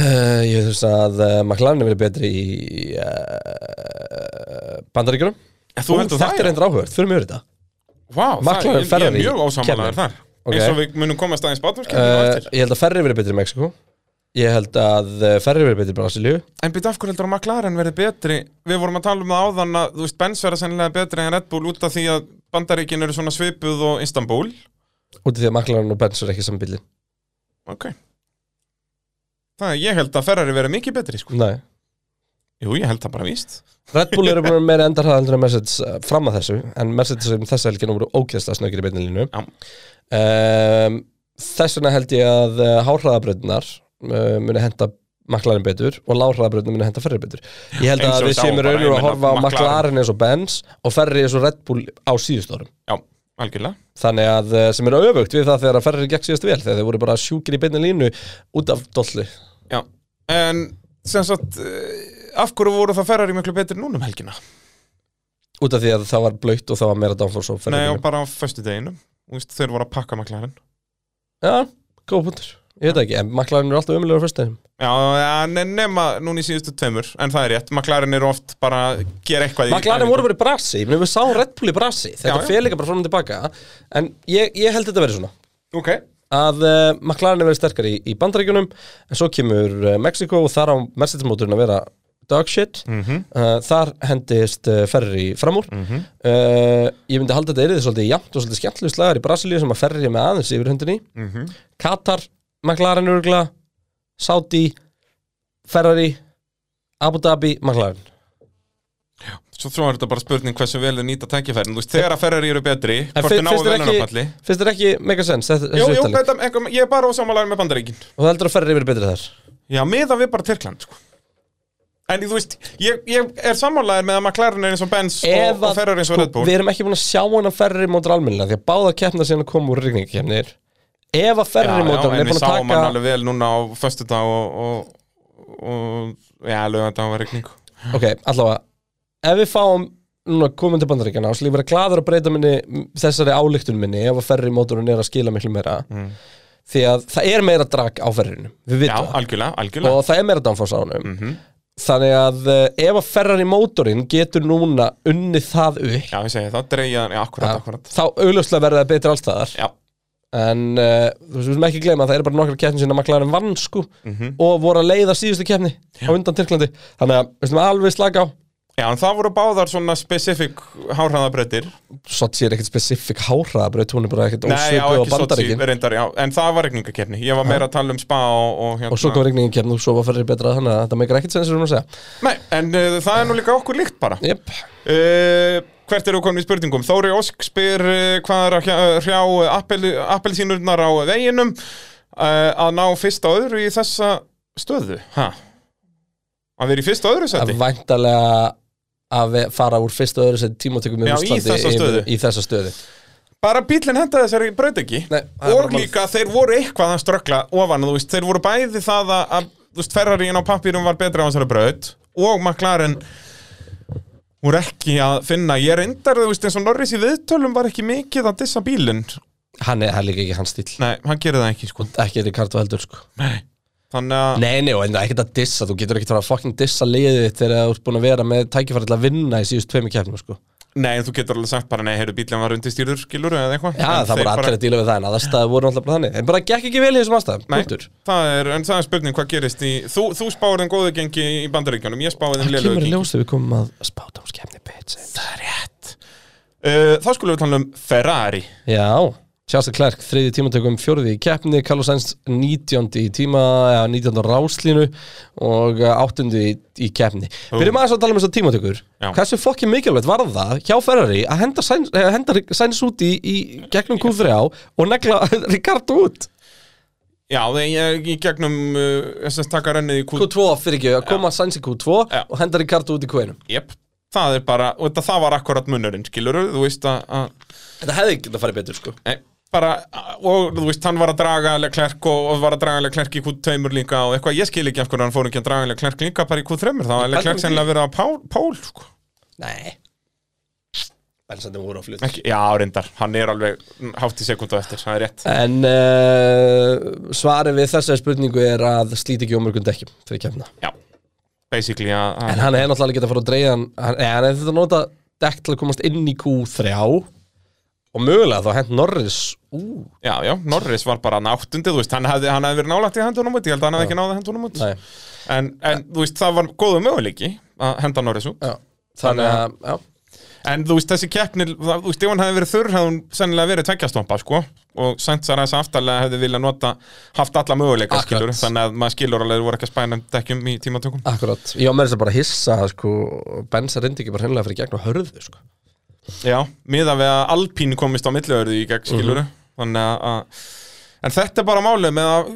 uh, ég held að uh, McLaren er verið betri í uh, bandaríkjunum
þú heldur það,
Þetta er
já?
endur áhugað, þurfum við yfir þetta
Vá, það,
McLaren
ég, ég er
Ferrari
mjög ósamalegaður
kemur.
þar
Ok.
eins og við munum komast aðeins
uh,
bátmörskjöfni uh,
Ég held að Ferri verið betri í Mexiko Ég held að uh, Ferri verið betri í Brasilíu
En byrja af hverju heldur að McLaren verði betri Við vorum að tala um það áðan að þú veist, Benz verða sennilega betri en Red Bull út af því að Bandaríkin eru svona svipuð og Istanbul
út af því að McLaren og Benz er ekki saman bíli
Ok Það er, ég held að Ferrari verði mikið betri sko.
Nei
Jú, ég held það bara víst
Red Bull eru búin að vera meira endarhraða heldur en Mercedes uh, fram að þessu en Mercedes um þessa helginu voru ógeðslega snöggir í beinilínu
Já.
um, þess vegna held ég að uh, háhraðabröðnar uh, muni henda McLaren betur og láhraðabröðnar muni henda Ferrari betur ég held
Eins og
að
við
við
sáum
séum í
bara,
raunir
ég
að
meina,
horfa á
McLaren.
McLaren eins og Benz og Ferrari eins og Red Bull á síðustórum
Já, algjörlega
þannig að eh, sem er auðvögt við það þegar að Ferrari gekk síðast vel þegar þeir voru bara sjúkir í beinni línu út af dollu
Já, en sem sagt eh, af hverju voru það ferrar í miklu betur núna um helgina?
út af því að það var blöytt og það var meira downforce á
Nei, og
Ferrari
bara á föstu deginu veist, Þeir voru að pakka maklærin
já, góð punktur ég veit það ekki, en McLaren er alltaf umlega á fyrstegin
Já, ja, ne- nema núna í síðustu tveimur En það er rétt, maklærin eru oft bara að gera eitthvað í
McLaren
æfingum.
voru bara í brasi, ég meina við sáum Red Bull í brasi þetta
Já, já.
fer líka bara fram og tilbaka en ég, ég held þetta verið svona
Ok,
að uh, McLaren er verið sterkar í, í bandaríkjunum en svo kemur uh, Mexiko og þar á Mercedes-móturinn að vera dog shit
Mhm.
uh, þar hendist uh, Ferri fram úr uh, ég myndi halda að þetta er þið svolítið jafnt og svolítið skemmtlu slagar í Brasilíu sem að Ferri er með aðeins yfir hundinni
Mhm.
Katar, McLaren örgla Saudi Ferrari, Abu Dhabi McLaren
svo þrjóðan er þetta bara spurning hversu vel þau nýta tækifærin Þú veist, þegar að ferrar eru betri
En
Hvort þau
fin-
náu
finnst þér
velunarfalli
ekki, finnst þér ekki mega sens þessu
Jú, jú,
upptalning?
þetta, einhver, ég er bara ósámalægur með bandaríkin
og það heldur að Ferri verið betri þar
Já, miðan við bara Tyrkland sko. En þú veist, ég, ég er sammálaður með að McLaren er eins og Benz og,
Ef
og
að, sko,
Ferrari eins og Red Bull
Við erum ekki búin að sjá hann að ferri mótur almennilega því að báða keppna síðan að koma úr rigningakefnir Ef að
Já,
ferri
já,
mótur er
en við
búin að
sáum
taka
hann alveg vel núna á föstudag og, og, og já, lögðan var regning
Ok, allavega Ef við fáum núna komin til bandaríkjana og slíf vera gladur að breyta minni m, þessari ályktun minni ef að ferri móturinn er að skila miklu meira því að það er meira drag á ferrinu við
Mm. Já,
vitum það
algjörlega, algjörlega Mm. Mhm.
og það er meira downforce á honum þannig að eh, ef að ferrar í mótorinn getur núna unnið það upp
Já, ég segi það, dreigja, já, akkurat, akkurat
þá augljóslega verða það betur allstaðar
Já,
En uh, þú veist, við sem ekki gleyma að það eru bara nokkra keppni sinna maklarinn vann sko
Mhm.
og voru að leiða síðustu keppni á undan Tyrklandi Þannig að, við sem alveg slaka á
já, en það voru báðar svona specific hárhæðabrettir
Sochi er ekkert spesifik háraðabraut, hún er bara ekkert
Nei,
ósvipu
já,
á
ekki Sochi,
bandaríkin
reyndar, já En það var regningakefni, ég var meira að tala um spa og, og hérna
Og svo kom regningin keppni og svo var ferri betra þannig að þetta meikar ekkert sens sem hún að segja
Nei, en uh, það er nú líka okkur líkt bara
Jep,
Uh, hvert eru komin í spurningum? Þóri Ósk spyr uh, hvað er að hjá- hrjá appel, appelsínurnar á veginum uh, að ná fyrst og öðru í þessa stöðu ha? að vera í fyrst og öðru
að
seti?
væntalega að við- fara úr fyrst og öðru sett tímatökum með
Já, í
Úslandi
þessa stöðu.
í þessa stöðu
Bara bílinn henda þessari braut ekki
Nei, það er bara
og
málið.
líka þeir voru eitthvað að ströggla ofan þú veist, þeir voru bæði það að, að þú veist, ferraríin á pappýrum var betra á þessari braut og McLaren voru ekki að finna ég reyndar, þú veist, eins og Norris í viðtölum var ekki mikið að dissa bílinn
Hann er, hann er líka ekki hans stíl
Nei, hann gerir það ekki sko
Ekki Ricardo heldur sko
Þannig að
Nei, nei, og en það er ekkert að dissa, þú getur ekkert að fara að fucking dissa liðið þitt þegar þú ert búin að vera með tækifæri til að vinna í síðust tveimur keppnum, sko.
Nei, en þú getur alveg sagt bara Nei, heyrðu, bílinn var undirstýrður, skilur eða eitthvað
Já,
En
það
þeir
voru allir að díla við það, en aðstæði voru alltaf bara þannig. En bara gekk ekki vel í þessum aðstæðum,
Nei,
punktur.
það er, en það er spurning hvað gerist í Þú, þú spáir þeim góðu gengi í bandaríkjunum Ég spáir þeim
Það
lélugu
kemur í
gengi
ljós þegar við komum að spátámskeppni, bitch. Það er rétt.
uh, Þá skulum við tala um Ferrari
Já, Charles Clark, þriði tímatökum, fjórði í keppni, Carlos Sainz, 19. í tíma, ja, 19. á ráslínu og eh, áttundi í, í keppni. Byrjum aðeins að tala um þessar tímatökur.
Já.
Hversu fokkin mikilvægt var það hjá Ferrari að henda Sainz, eh, henda Sainz út í, í gegnum Q3 á og negla Ricardo út?
Já, þegar ég í gegnum uh, SS taka rennið í Q2
Q2 fyrir ekki, að koma Sainz í Q2
Já.
og henda Ricardo út í Q1.
Jep, það er bara, og þetta, það var akkurat munurinn, skilur Þú veist að, að
Þetta hefði ekki að fara betur, sko.
nei, bara, og þú veist, hann var að draga Leclerc og, og var að draga Leclerc í Q2 líka og eitthvað, ég skil ekki af hverju hann fór ekki að draga Leclerc líka bara í Q3
Ég
þá var
pældi
Leclerc
í því.
sennilega verið á pál, pál sko.
Nei. Bensandi voru á flut.
Ekki, já, reyndar, hann er alveg hátt í sekundu eftir, það er rétt
En uh, svarið við þessari spurningu er að slíti ekki ómörgum dekkjum fyrir kemna.
Já, basically að,
En
að
hann hefði náttúrulega getað að fara að dreigja hann, hann, eh, hann hefði þetta nota dekk til að komast inn í Q3 og mögulega þá hent Norris ú,
Já, já, Norris var bara náttundi, þú veist, hann hefði, hann hefði verið nálægt í að henda honum út, ég held að hann hefði ekki náða að henda honum út
Nei.
en, en þú veist, það var góðu möguleiki að henda Norris út
já, þannig að já,
En þú veist, þessi keppni, það- þú veist, ef hann hefði verið þurr hefði hún sennilega verið tveggjastoppa, sko og Sandsar þess aftarlega hefði viljað nota haft alla möguleika,
Akkurat.
skilur þannig að maður skilur alveg, þeir voru ekki að spæna dekkjum í tímatökum
akkurat ég á með þess að bara hissa að, sko, Benz reyndi ekki bara hennilega fyrir gegn og hörðu sko.
Já, miða við að Alpín komist á milliöðurðu í gegn skiluru Þannig að- að En þetta er bara málið með að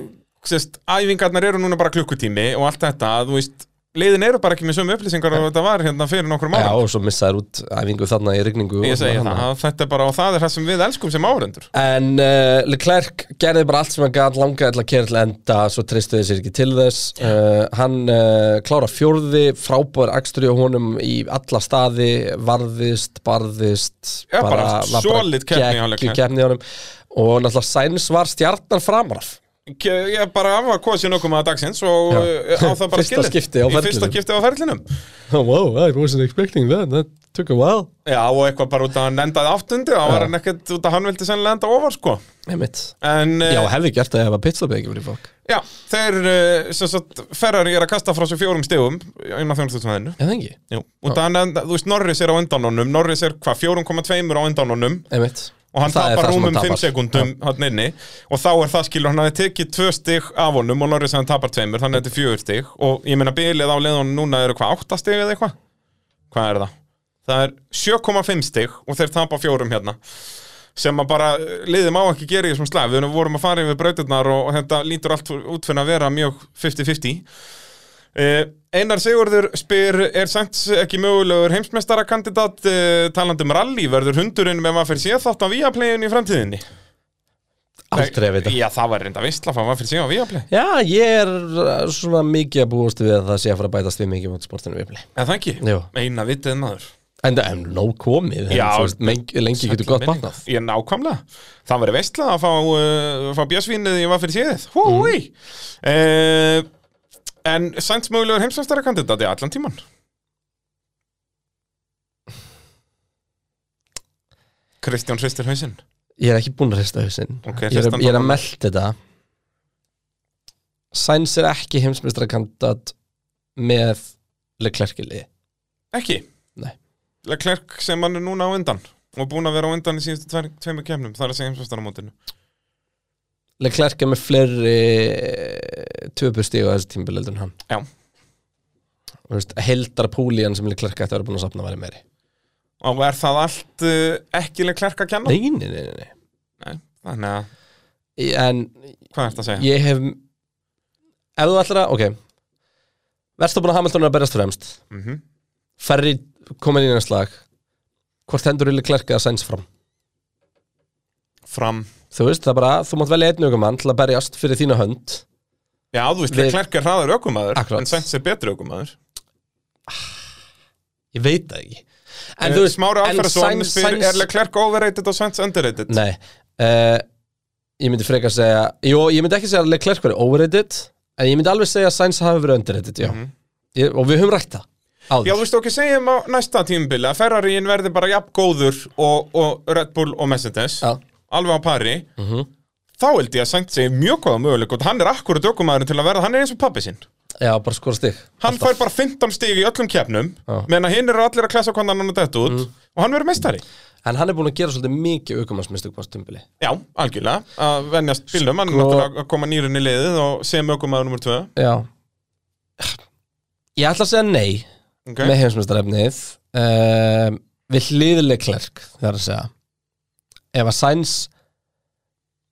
sérst, æfingarnar eru núna bara klukkutími og allt þetta að þú veist, leiðin eru bara ekki með sömu upplýsingar og þetta var hérna fyrir nokkur
Já,
málum.
og svo missaður út æfingu þarna í rigningu
Ég
og
segi
svona
það, að þetta er bara, og það er það sem við elskum sem áhörendur.
En uh, Leclerc gerði bara allt sem hann gæti langaði til að kera til enda svo treystuði sér ekki til þess uh, hann uh, klára fjórði frábúður akstri á honum í alla staði varðist, barðist
Já, bara
var
solid keppni hjá
geggjuð
Leclerc.
keppni hjá honum og náttúrulega Sainz var stjarnan framaraf
Ke- Ég bara hann var kosin okkur maður dagsins og
Já.
uh, á það bara
Fyrsta skipti á
Í Fyrsta
ferlinum.
skipti á ferlinum.
oh, Wow, I wasn't expecting that, that took a while
Já, og eitthvað bara út að hann endaði áttundi, þá var hann ekkert út að hann vildi sennilega enda ofar, sko.
Einmitt.
En, eh,
Já, hefði gert það ef að pitstopið ekki verið fólk
já, þeir, eh, sem sagt, Ferrari er að kasta frá sér fjórum stegum inn á þjónustusvæðinu.
Eða ekki,
Jú, og þannig að, þú veist, Norris er á undanunum, Norris er hvað, 4,2 á undanunum
einmitt
og hann
Það er
tapar
það sem
rúmum
hann
5
tapar.
sekundum hann inni og þá er það skilur hann að tekið 2 stig af honum og Norris hann tapar 2, þannig að þetta er 4 stig og ég meina bilið á leiðunum núna eru hvað, 8 stig eða eitthvað? Hvað er það? Það er 7,5 stig og þeir tapa fjórum hérna sem að bara liðum á ekki gera í þessum slag við vorum að fara yfir brautirnar og, og þetta lítur allt út fyrir að vera mjög 50-50 Uh, Einar Sigurður spyr er Sainz ekki mögulegur heimsmeistarakandidat uh, talandi um rally verður hundurinn með maður fyrir síðan þátt á Viaplayun í framtíðinni
Aldrei að vita
Já það var reynda vistla að maður fyrir síðan á Viaplay
Já, ég er uh, svona mikið að búast við að það sé að fara að bætast við mikið mot sportinu viðbli.
En það ekki,
Jú.
eina vitið maður
En það er nóg komið, en,
Já.
þú veist, meng, lengi getur gott batnað.
Ég nákvæmlega, það var vistla að fá, uh, fá björsvinnið í maður fyrir síðan Húi mm. En Sainz mögulegur heimsmeistarakandidat í allan tíman Kristján Hristir Hausinn
Ég er ekki búinn að hrista hausinn.
Ok,
ég,
hristu
er,
hann
ég er
þá.
að melda þetta. Sainz er ekki heimsmyndstrakandat með Leclercili.
Ekki?
Nei.
Leclerc sem hann er núna á undan og búin að vera á undan í síðustu tveir, tveimur kemnum það er að segja heimsvæstaramótinu
Leclerc er með fleiri töpustíu á þessu tímbileldur en hann.
Já.
Þú veist, heldar púlían sem Leclerc ætti að vera búin að sapna væri meiri.
og er það allt uh, ekki Leclerc að kenna?
Nei, nei, nei, nei, nei.
Nei. Þannig að,
En
hvað er þetta að segja?
ég hef ef þú ætlar að, ok Verstofn og Hamilton er að berjast fremst
Mm
Ferri komin í einslag hvort hendur Uli Klerk að sæns fram
Fram
þú veist, það er bara, þú mátt velja einn aukumann til að berjast fyrir þína hönd
Já, þú veist,
Við-
Leclerc er hraðar ökumæður
Akkurat.
en Sainz er betri ökumæður
ég veit það ekki en,
Eh,
þú veist,
Smári
en
Alferðarsson
Sainz-
spyr,
Sainz-
er Leclerc overrated og Sainz underrated?
Nei, uh, ég myndi frekar segja Jó, ég myndi ekki segja að Leclerc verið overrated En ég myndi alveg segja að Sainz hafi verið underrated, já ég, Og við höfum rætt það
Mhm. Já,
áður.
þú veist, ok, segjum á næsta tímubili að Ferraríin verði bara jafn góður og, og Red Bull og Mercedes
Já.
alveg á pari
Mhm.
þá held ég að Sainz segir mjög góða möguleik og hann er akkurat ökumæðurinn til að verða, hann er eins og pappi sinn
já, bara skora stig
hann fær bara 15 stig í öllum kefnum
Já.
meðan að hinn eru allir að klessa hvernig hann er dætt út
Mm.
og hann verður meistari
En hann er búin að gera svolítið mikið aukumannsmistök á stumbili
Já, algjörlega, að venjast bílum, hann er
Sko-
náttúrulega að koma nýrinn í liðið og sem ökumæður nummer 2
Já Ég ætla að segja nei
okay.
með heimsmyndstarefnið um, við hliðileg klerk þegar að segja ef að Sainz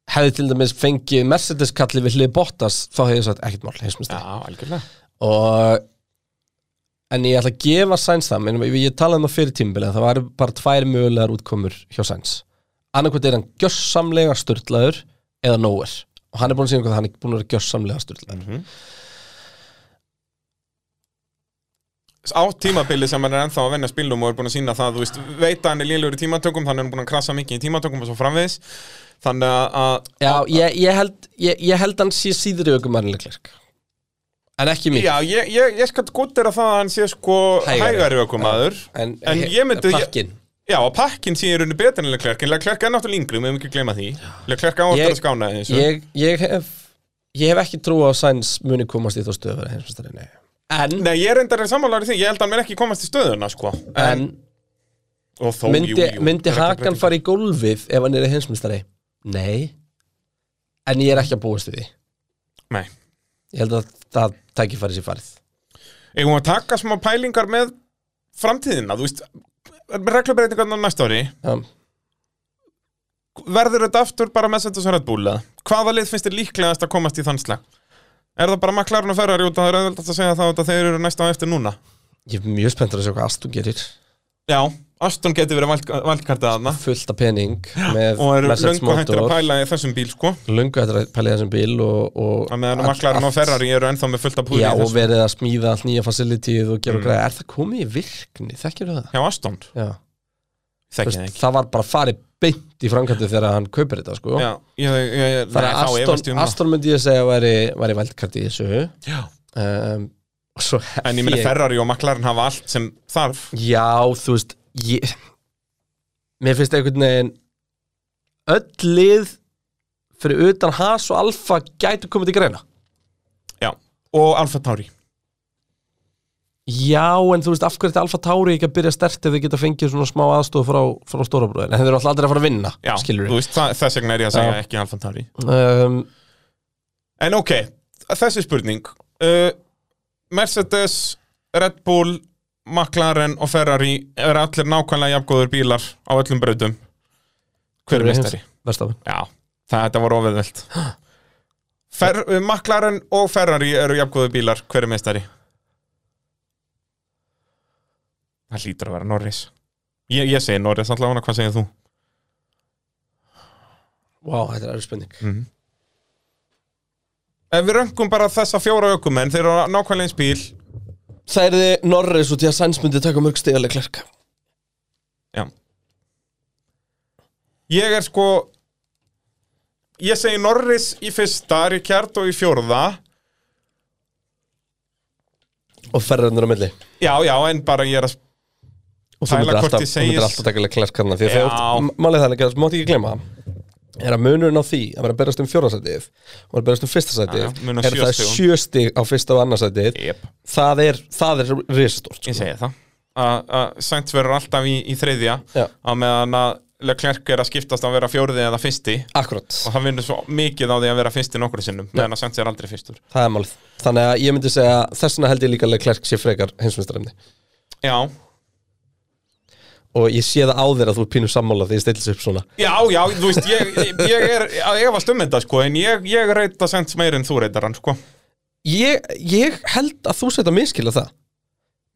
hefði til dæmis fengið Mercedes kalli við hlið Bottas þá hefði ég sagt ekkert mál
Já,
heimsmyndstarefnið
algjörlega
og en ég ætla að gefa Sainz það menn, ég talaði um það fyrir tímbilið það var bara tvær mögulegar útkomur hjá Sainz annarkvæmt er hann gjörsamlega störtlaður eða nowhere og hann er búin að segja einhvern hann er búin að vera gjörsamlega störtlaður
Á tímabili sem hann er ennþá að venjast bílum og er búin að sína það, þú veist, veit að hann er lélugur í tímatökum, þannig er hann búin að krasa mikið í tímatökum og svo framvegis, þannig að
Já, ég, ég, held, ég, ég held hann sé síður í aukumærin Leclerc En ekki mikið
Já, ég, ég, ég skal gotera það að hann sé sko
Hægari.
hægari ökumæður
En,
en ég myndi-
Pakkin
Já, og pakkin sé í rauninni betur en Leclerc en Leclerc er náttúrulega yngri, við hefum ekki að gleyma því Leclerc áhættur
Ég-
að skána þessu
ég, ég hef Ég hef ekki trú á að Sainz muni komast í þá stöðu að vera heimsmestari, nei En,
Nei, ég reyndar er sammálaður í því, ég held að hann mér ekki komast í stöðuna sko.
en
og þó,
myndi,
jú, jú,
myndi
er ekki
Hakan
breyting.
fara í gólfið ef hann er heimsmestari? Nei En ég er ekki að búast við því
Nei,
Ég held að það tæki farið sér farið
eigum við að taka smá pælingar með framtíðina, þú veist reglubreitingarnar næsta ári
um,
verður þetta aftur bara Mercedes og Red Bull eða? Hvaða lið finnst þér líklegast að komast í þann slag? Er það bara maklarinn og ferðar út að það er auðvitað að segja það út að þeir eru næsta á eftir núna?
Ég er mjög spenntur að sjá hvað Aston gerir
Já, Aston getur verið valdkartið aðna
fullt af pening með
og er
Mercedes
löngu hættir að
motor.
pæla í þessum bíl sko
löngu hættir að pæla í þessum bíl og, og
að meðan
allt-
maklarinn og
allt-
ferðari eru ennþá með fullt af púði
Já,
í
og
þessu
verið að smíða allt nýja facilityð og gera mm. græða Er það komið í virkni? Þekkir það?
hjá Aston,
Já,
þekki
Vist,
það ekki
það var bara farið beint í framkvæmdu þegar hann kaupir þetta sko.
Já, ég, ég, ég,
Það er
þá
að
efast ég
Aston,
um það.
Aston myndi ég segja að væri, væri vældkart í þessu
Já.
um, og svo
En ég meina Ferrari og McLaren hafa allt sem þarf
Já, þú veist ég, Mér finnst einhvern veginn öll lið fyrir utan Haas og Alfa gætu komið til greina
Já, og Alfa Tauri
Já, en þú veist, af hverju þetta Alfa Tauri ekki að byrja stert ef þau geta fengið svona smá aðstof frá, frá stórabröðin, en þeir eru alltaf aldrei að fara að vinna
Já,
skilur
þú veist, það, þess vegna er ég að segja
Já.
ekki Alfa Tauri
við um,
En ok, þessi spurning uh, Mercedes, Red Bull, McLaren og Ferrari eru allir nákvæmlega jafngóður bílar á öllum brautum Hver er mestari?
Verstafinn
Já, það, þetta var ofiðveld Fer, uh, McLaren og Ferrari eru jafngóður bílar Hver er mestari? Það hlýtur að vera Norris Ég, ég segi Norris allavega, hvað segir þú?
Vá, þetta er erfið spurning
Ef við röngum bara þessa fjóra ökumenn Þeir eru á nákvæmlega eins bíl
Það er þið Norris út í að Sainz myndi taka mörg stíðaleg klerka
Já Ég er sko Ég segi Norris í fyrsta Rikjardo í fjórða
og ferðarnir á milli
Já, já, en bara ég er að
og þú
Pæla
myndir
hvort
alltaf,
ég
þú myndir
segis-
alltaf taka klerkarna því að
Já.
þegar, málið þannig að þú mátt ekki glemma er að munurinn á því að vera að berast um fjórðarsætið og vera að berast um fyrsta
Já, já, mun á
sætið er
sjö
það
stigum.
sjö stig á fyrsta og annarsætið
yep.
það er, það er sko. risastort
Ég segi það Að Sainz verður alltaf í, í þriðja
Já.
Á meðan að Leclerc er að skiptast að vera fjórði eða fyrsti
Akkurat,
Og það vinnur svo mikið á því að vera fyrsti nokkru sinnum Meðan að Sainz er aldrei fyrstur
það er málið Þannig að ég myndi segja, þess vegna held ég líka að Leclerc sé frekar heimsmyndstarefni
Já,
og ég sé það á þér að þú er pínu sammála því ég stillis upp svona
já, já, þú veist Ég, ég er að efast um þetta sko En ég, ég reyta Sainz meir en þú reytar hann sko
Ég, ég held að þú setja miskila það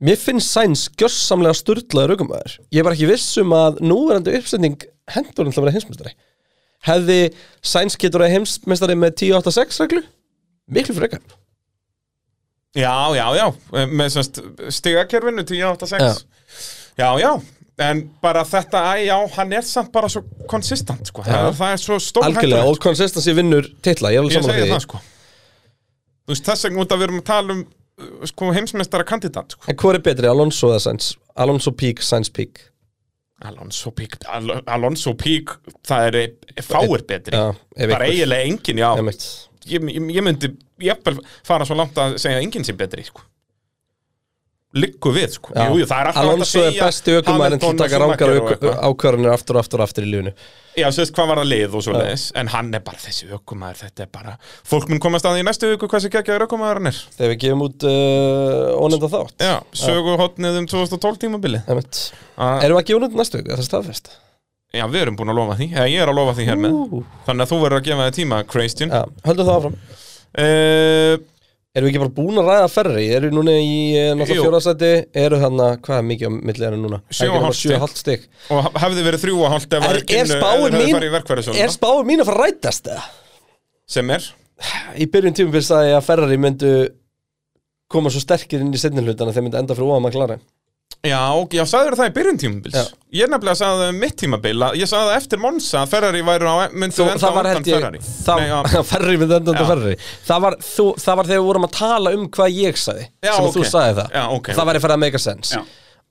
Mér finnst Sainz gjörsamlega sturlaður aukumæður Ég var ekki viss um að núverandi uppsetning hendur hann til að vera heimsmeistari Hefði Sainz getur að heimsmeistari með 10-8-6 reglu? Miklu frekar
Já, já, já, með semst stigakerfinu 10.86 Já, já, en bara þetta, æ, já, hann er samt bara svo konsistant, sko, það er, það er svo stór
Algjörlega, og consistency vinnur titla, ég er alveg
Ég segi
samanlega
það,
því
sko Þú veist, þess vegna út að við erum að tala um uh, sko, heimsmeistara kandidat, sko
En hvað er betri, Alonso eða Sainz? Alonso Peak, Sainz Peak
Alonso Pík, Al Alonso Pík það er e- fáir betri
Já, ef einhver.
bara eiginlega engin, já
Emmett
ég, ég, ég myndi, ég fara svo langt að segja að enginn sem betri, sko Liggu við, sko,
Já.
jú, jú, það er alltaf hægt að
Alonso er
segja
besti aukumæður en þú
Hamilton og
taka
Schumacher
rángar
og eitthvað.
ákvarðanir aftur og aftur og aftur í lífinu
Já, þú veist hvað var það lið og svo leiðis En hann er bara þessi ökumæður, þetta er bara Fólk mun komast að því í næstu viku hvað sem geggjaður ökumæður hann er
Þegar við gefum út uh, ónenda þátt
Já, sögu hotnið um 2012 tímabili
Emmett
A
Erum við að gefa hún út næstu viku? Er Það staðfest
Já, við erum búin að lofa því, eða ég er að lofa því hér með
Ú.
Þannig að þú verður að gefa þig tíma, Christian
Já, höldum það áfram
uh,
Erum við ekki bara búin að ræða ferri? Eru núna í eh,
Jú.
náttúrulega fjórasæti Eru þarna, hvað er mikið á milli eru núna?
Sjö og hálft stig.
hálf stig
Og ha- hefði verið þrjú að holta
Er, er spáin mín Er
er
spáin mín að fara að rætast eða?
Sem er,
Í byrjun tímum fyrir sagði ég að ferrari myndu koma svo sterkir inn í setni hlutan að þeir myndu enda fyrir óa maklari
já, og- já, sagður það í byrjun tímabils
Já.
Ég nefnilega sagði það um mitt tímabil að- Ég sagði það eftir Monsa að Ferrari væru á Myndi
Þú,
enda
það
á
var
undan
held ég
Ferrari Nei, já.
það- Ferrari myndi enda undan
Já.
ferrari það var, þú, það var þegar við vorum að tala um hvað ég sagði
Já,
sem að þú
ok.
sagði það
Já, ok.
það væri fyrir að make sense
Já.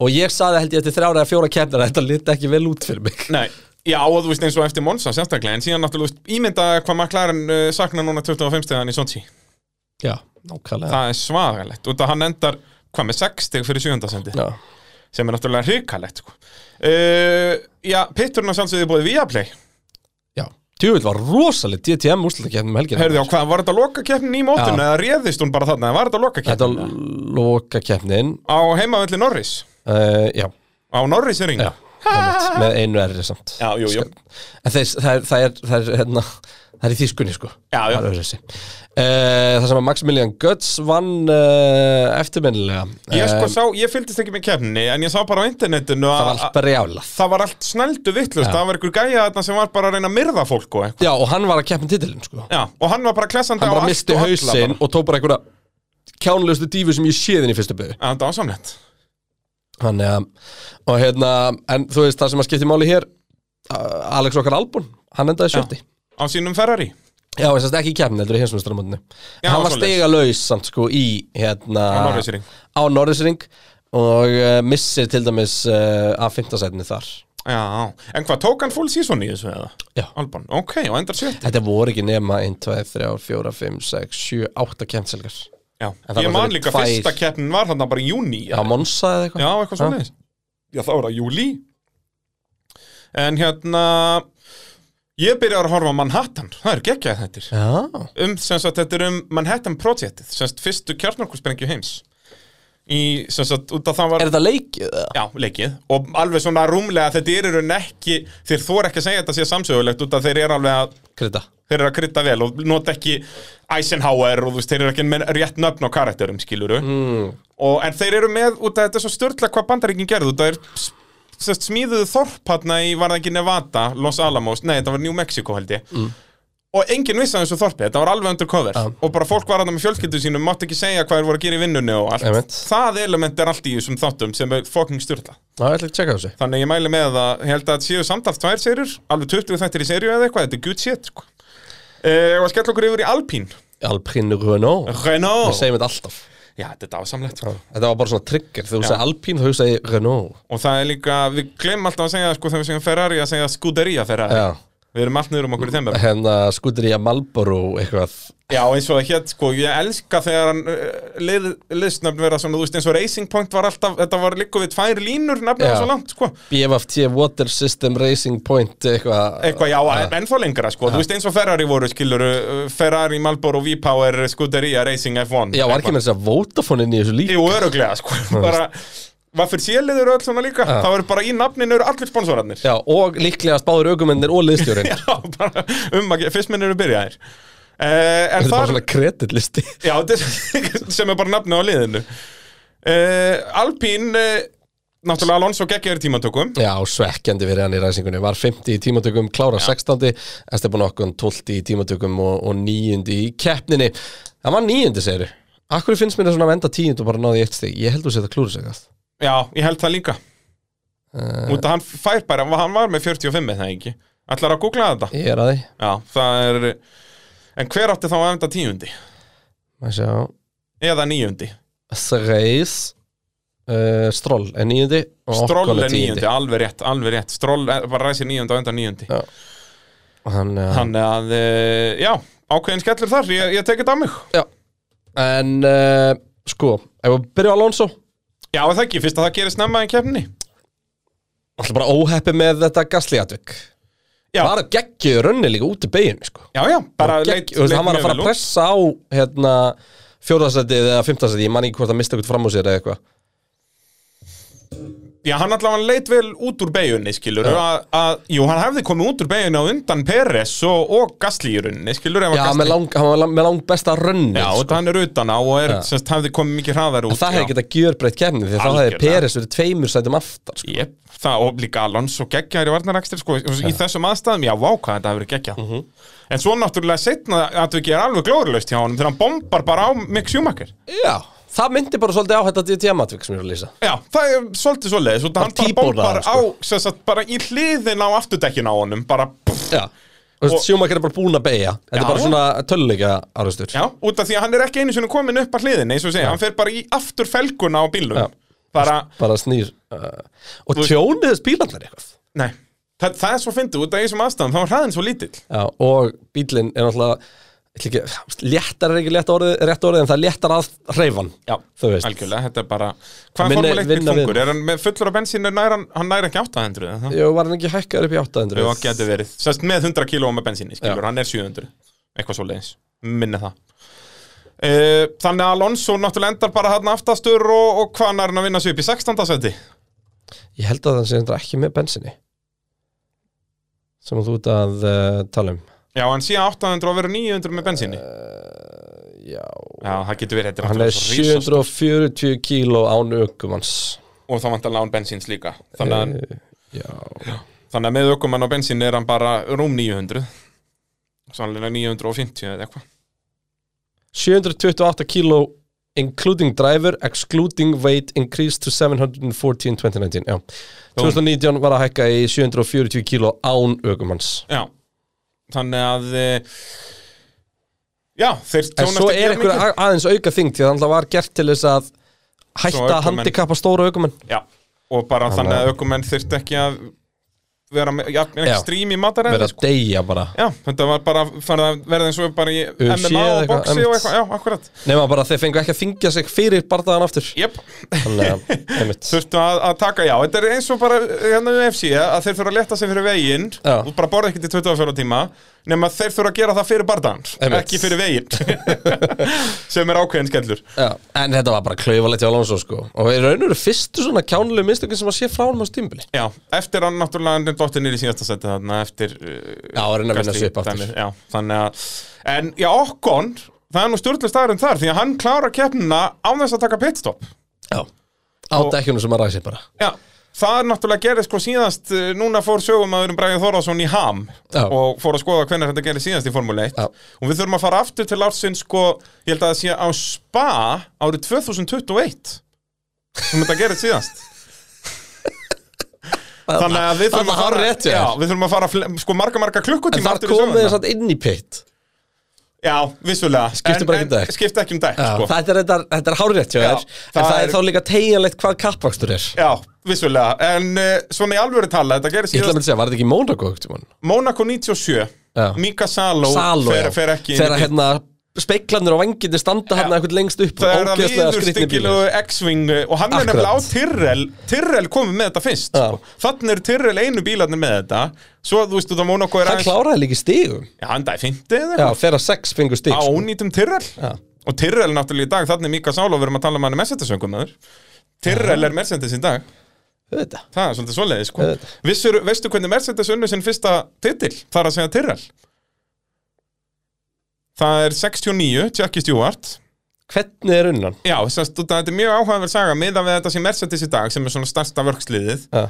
og ég sagði held ég eftir þrjára eða fjóra kemnar þetta liti ekki vel út fyrir mig
Nei, já og þú veist eins og eftir Monsa sérstaklega En síðan náttúrulega þú veist, ímynda hvað McLaren uh, sakna núna 25 stegan í Sochi
já, nákvæmlega
Það er svagalegt Út að hann endar, hvað með 6 steg fyrir 7. sendi
já.
Sem er náttúrulega hrikalegt sko. uh, Já, pitturinn á sjálfsögðu búið Viaplay
já, djúvill var rosalit DTM úrslutakefnum um helgina
Herðu á hvað, var þetta lokakeppnin í mótinu
Já.
Eða réðist hún bara þarna, eða var þetta
þetta
lokakeppnin
var loka kefnin
Á heimavelli Norris
uh, já,
Á Norris er ringa
Já. einmitt, með einu erri samt
Já, jú, jú.
Sko, En þeir, það, er, það, er, það, er, hérna, það er í þýskunni sko
Já, já.
Það, er öðruvísi. Eh, það sem að Maximilian Götz vann uh, eftirminnilega
Ég sko
Eh,
sá, ég fylgdist ekki með kefni En ég sá bara á internetinu
Það
að
var allt bara jálað
það var allt snældu vittlust
Já.
Það var einhver gæja þarna sem var bara að reyna að myrða fólk og eitthvað
Já, og hann var að keppin titilin sko
Já, og hann var bara klessandi
Hann
á
bara
allt
misti
og alla
hausinn
bara.
og tók bara einhverja kjánlaustu dífu sem ég séðin í fyrstu byggðu
Já, þetta var samlegt
Þannig að, og hérna, en þú veist það sem að skipti máli hér uh, Alex okkar Albon, hann endaði sjötti
Á sínum Ferrari
Já, þess að ekki í kemni, heldur í hinsmjöstramótinu Hann var
svoleiðis.
stega laus samt sko í hérna
Á Norrisring.
á Norrisring og uh, missir til dæmis uh, að fintasætni þar
Já, en hvað, tók hann full season í þessu eða?
Já.
Alban, ok, og endar sjötti
Þetta voru ekki nema 1, 2, 3, 4, 5, 6, 7, 8 kemselgar
Já,
En það
ég
var
man
fyrir
líka
tvær-
fyrsta keppnin var hann bara í júni
Já, Monsa eða eitthvað
Já, eitthvað
Já.
svona leis Já, þá er það júli En hérna Ég byrjar að horfa á Manhattan Það er geggjað þetta er.
Já,
um, sem sagt, Þetta er um Manhattan projektið sem sagt, fyrstu kjarnorkursprengju heims Í, sem sagt, út af það var
Er þetta leikið? eða?
Já, leikið Og alveg svona rúmlega þetta er í raun ekki Þeir þor ekki að segja þetta sé samsögulegt út af þeir eru alveg að
Krita
Þeir eru að krydda vel og nota ekki Eisenhower og þú veist, þeir eru ekki með rétt nöfn á karakterum, skiluru mm.
Hmm.
og, En þeir eru með, út að þetta er svo störtla hvað bandaríkin gerðu, út að þeir s- sest, smíðuðu þorp hérna í, var það ekki Nevada, Los Alamos, nei, þetta var New Mexico held ég mm. Og enginn vissi að þessu þorpi, þetta var alveg undercover
Já.
Og bara fólk var hann með fjölskyldu sínum, mátt ekki segja hvað þeir voru að gera í vinnunni og allt
Einmitt.
Það element er allt í þessum þáttum sem er fucking störtla
Já, ég ætla ekki að checka þessu
Þannig að ég mæli með að, ég held að þetta séu samtalt tvær serjur, alveg 20 þættir í serju eða eitthvað, þetta er good shit, sko. Uh, og að skella okkur yfir í Alpín.
Alpine Renault Við
Renault.
segjum þetta alltaf
Já, þetta er dásamlegt, sko.
Þetta var bara svona trigger Þegar þú
Já.
segir Alpine, þú segir Renault
Og það er líka, við glemum alltaf að segja, sko, þegar við segjum Ferrari, að segja Scuderia Ferrari.
Já,
Við erum allt niður um okkur í þeim. bara.
hérna skutir í að Malboro eitthvað
Já, eins og það hétt, sko, ég elska þegar hann eh, lið, liðsnöfn vera svona, þú veist, eins og Racing Point var alltaf, þetta var líka við tvær línur
Já.
nefnilega svo langt, sko.
BFFT Water System Racing Point eitthvað
eitthvað, já, ennþá lengra sko, þú veist eins og Ferrari voru, skilur eh, Ferrari, Marlboro, V-Power, Scuderia, Racing F1
Já, var ekki með þess að Vodafone inn í þessu líka
Jú, öruglega, sko bara, Vaffir Sélið eru öll svona líka Það eru bara í nafninu eru allir sponsorarnir
Já, og líklega spáður aukumennir og liðstjórin
Já, bara um að ge- fyrst minn eru byrjaðir uh, En
Þetta er bara
þar
svona kreditlisti
Já, þetta er- sem er bara nafnið á liðinu uh, Alpín uh, Náttúrulega Alonso geggjaður í tímantökum
Já, svekkjandi fyrir hann í ræsingunni Var 50 í tímatökum, klára 16 Esteban Okkon 12 í tímatökum og, og 9 í keppninni Það var 9, segir Akkur finnst mér það svona að venda 10 og bara náði eitt stig Ég held þú sér að klúra sig það
Já, ég held það líka
Eh.
Út að hann fær bara, hann var með 45 eða ekki Ætlar að googla þetta
Eh, Ég er að því
Já, það er En hver átti þá að enda tíundi?
Má sjá
Eða níundi?
Þreis uh, Stroll er 9
Stroll er níundi, alveg rétt, alveg rétt Stroll er, bara ræsir níundi og enda níundi
Já. Hann, uh,
Þannig að, eh, já, ákveðin skellur þar Ég, ég tekið það mig
Já En uh, sko, ef við byrjum á Alonso
Já, er það ekki, fyrst að það gerir snemma í keppninni
Alltaf bara óheppi með þetta gasliatvik
Já.
Bara geggið rönni líka út í beginu sko.
Já, já, bara
Gegg-
leit,
þú veist,
leit
Hann var að
mjög
fara að
vel út.
pressa á hérna, fjórðarsætið eða fimmtarsætið Ég man ekki hvort að mista eitthvað fram úr sér eða eitthvað
Já, hann allavega leit vel út úr beigunni, skilur að, að, Jú, hann hefði komið út úr beigunni á undan Peres og, og Gasly í rauninni, skilur ef að
Já,
Gasly-
með lang, hann var lang- með lang besta rönni
Já,
sko.
þetta hann er utan á og er, semst, hefði komið mikið hraðar út
En það hefði
já.
getað gjörbreytt kefni Því þá hefði
Algjörlega.
Peres verið tveimur sætum aftar sko.
Jep, það og líka Alonso geggjaður í varnarækstir sko, í þessum aðstæðum, já, vá hvað þetta hefur geggjað
Mhm.
En svo náttúrulega setna að við gerum alveg glóðurlaust hjá honum þegar hann bombar bara á Mick Schumacher
Já, sko. það myndi bara svolítið á þetta DTM-atvik sem ég er að lýsa
Já, það er svolítið svoleiðis og hann bara
tíborðaði
bombar
hann, sko.
á, sem sagt, bara í hliðin á afturdekkin á honum, bara pff,
Já, þú veist, Schumacher er bara búinn að beigja Þetta
Já.
er bara svona töluleika árastur
já, út af því að hann er ekki einu sinni komin upp að hliðin, eins og segja, hann fer bara í afturfelguna á bílum
Já.
Bara,
bara snýr uh, og tjónið þess bílarnar eitthvað
nei, það, það er svo fyndið, út af þessum aðstæðum, þá var hraðin svo lítill
já, og bílinn er náttúrulega ég ætla ekki, léttar er ekki létt orðið, rétt orðið en það léttar að hreyfan
Já,
þú veist
Algjörlega, þetta er bara Hvað er
Minni-
formuleitt bíl
vinna við.
þungur? Er hann með fullur af bensín, er nær hann, hann nær ekki 800 eða það?
Jú, var hann ekki hækkar upp í 800
Jú, það getur verið Sest með 100 kílóum með bensíni, skilur,
Já.
hann er 700 Eitthvað svo leiðis, minni það Eh, Þannig að Alonso náttúrulega endar bara hann aftastur og, og hvað nær hann að vinna sig upp í 16. seti
Ég held að það sé þetta ekki með bensinni sem þú ert að uh, tala um
Já, hann sé 800 og verið 900 með bensinni
Eh, Já
Já, það getur verið þetta
Eh, Hann er
náttúrulega svo risast-
740 kíló án ökumans
Og þá vantarlega án bensins líka Þannig að,
Eh, Já
þannig að með ökumann á bensin er hann bara rúm 900 Sannlega 950 eða eitthvað
728 kíló including driver, excluding weight increased to 714 2019 Já 2019 var að hækka í 740 kíló án ökumans
Já, þannig að e, Já, þeir
En
tjónast
svo
ekki
er
jafn
einhver
mikið.
a- aðeins auka þing því að það var gert til þess að
Svo
hætta
ökumenn-
að handikappa stóra aukumenn
Já, og bara þannig
að-
að ökumenn þyrfti ekki að vera með, já, ekki
Já.
strím í
vera
mataræði
að deyja bara
Já, þetta var bara farið að verða eins og bara í
UFC
MMA
eða
og
eitthvað,
boxi og
einmitt.
eitthvað, já, akkurat
nema bara að þeir fengu ekki að þingja sig fyrir barðaðan aftur
Jep,
þannig að einmitt
þurftu að, að taka, já, þetta er eins og bara hérna um UFC að þeir þurfa að leta sig fyrir veginn
Já.
og bara borða ekkert í 24 tíma nema þeir þurfa að gera það fyrir bardaðans
Einmitt.
ekki fyrir veginn sem er ákveðin skellur
Já, en þetta var bara klaufalegt hjá Alonso sko og við raunum eru fyrstu svona kjánulegu mistökin sem að sé frá hann á stímbili
Já, eftir hann náttúrulega hann dóttir nýri síðasta seti þarna eftir uh,
Já, er hann að vinna
Gasly,
sig upp aftur
dæmið, Já, þannig að En, já, Okkon, það er nú stjórnlega staðurinn þar því að hann klára keppnina án þess að taka pitstop
Já, á dekkjunum sem að ræsi bara
Já, það er náttúrulega gerðist sko síðast eh, Núna fór sögumæðurinn Bræðið Þórásson í ham
Já.
Og fór að skoða hvernig þetta gerðist síðast í Formule 1
Já.
Og við þurfum að fara aftur til ársinn sko Ég held að það sé á Spa árið 2021 Sem þetta gerðist síðast Þannig að við þurfum
Þarna
að
hár
fara
rétt hjá
já,
þér.
Við þurfum að fara fle- sko marga marga
En
klukkutíma
þar
aftur í
komið
söguna.
þess að inn í pitt
Já, vissulega
Skipti
En-
bara ekki um
en-
dekk.
Skipti ekki um dekk
Já,
sko.
Þetta er, þetta, þetta er hárrétt hjá
Já,
þér En
það
það
er-
er þá líka tegjanlegt hvað kappakstur er
Já, vissulega En uh, svona í alvöru tala, þetta gerðist
Ég ætla að mynda
síðast
að segja, var þetta ekki í Mónaco einhvern tímann?
Monaco 97
Já.
Mika Salo,
Saló,
fer,
já.
fer ekki inn í
Þegar
bíl.
hérna speiklanir og vanginni standa hérna eitthvað lengst upp
Það er það
ógeðslega
viður
skrýtnir
styggilegu X-Wing eh, og hann er
Akkurat.
nefnilega á Tyrrell Tyrrell komið með þetta fyrst
Já.
sko. Þannig eru Tyrrell einu bílarnir með þetta Svo þú veist út að Monaco er
Það kláraði líka í stigum
Já, hann dæði fymti eða
Já,
eitthvað
þeirra sex fengur stig
Á
sko.
ónýtum Tyrrell
Já.
Og Tyrrell náttúrulega í dag, þannig er Mika Sálo Við erum að tala um hann er Mercedes-öngumæður Tyrrell er Mercedes í dag
Auðvitað.
Það er svolítið svoleiði sko
Auðvitað.
Vissur, Veistu hvernig Mercedes unnu sinn fyrsta titill? Það er að segja Tyrrell Það er 69, Jackie Stewart
Hvernig er unnan?
Já, sérst, þetta er mjög áhugaverð saga miðan við þetta sem Mercedes í dag sem er svona starsta vörksliðið
Já.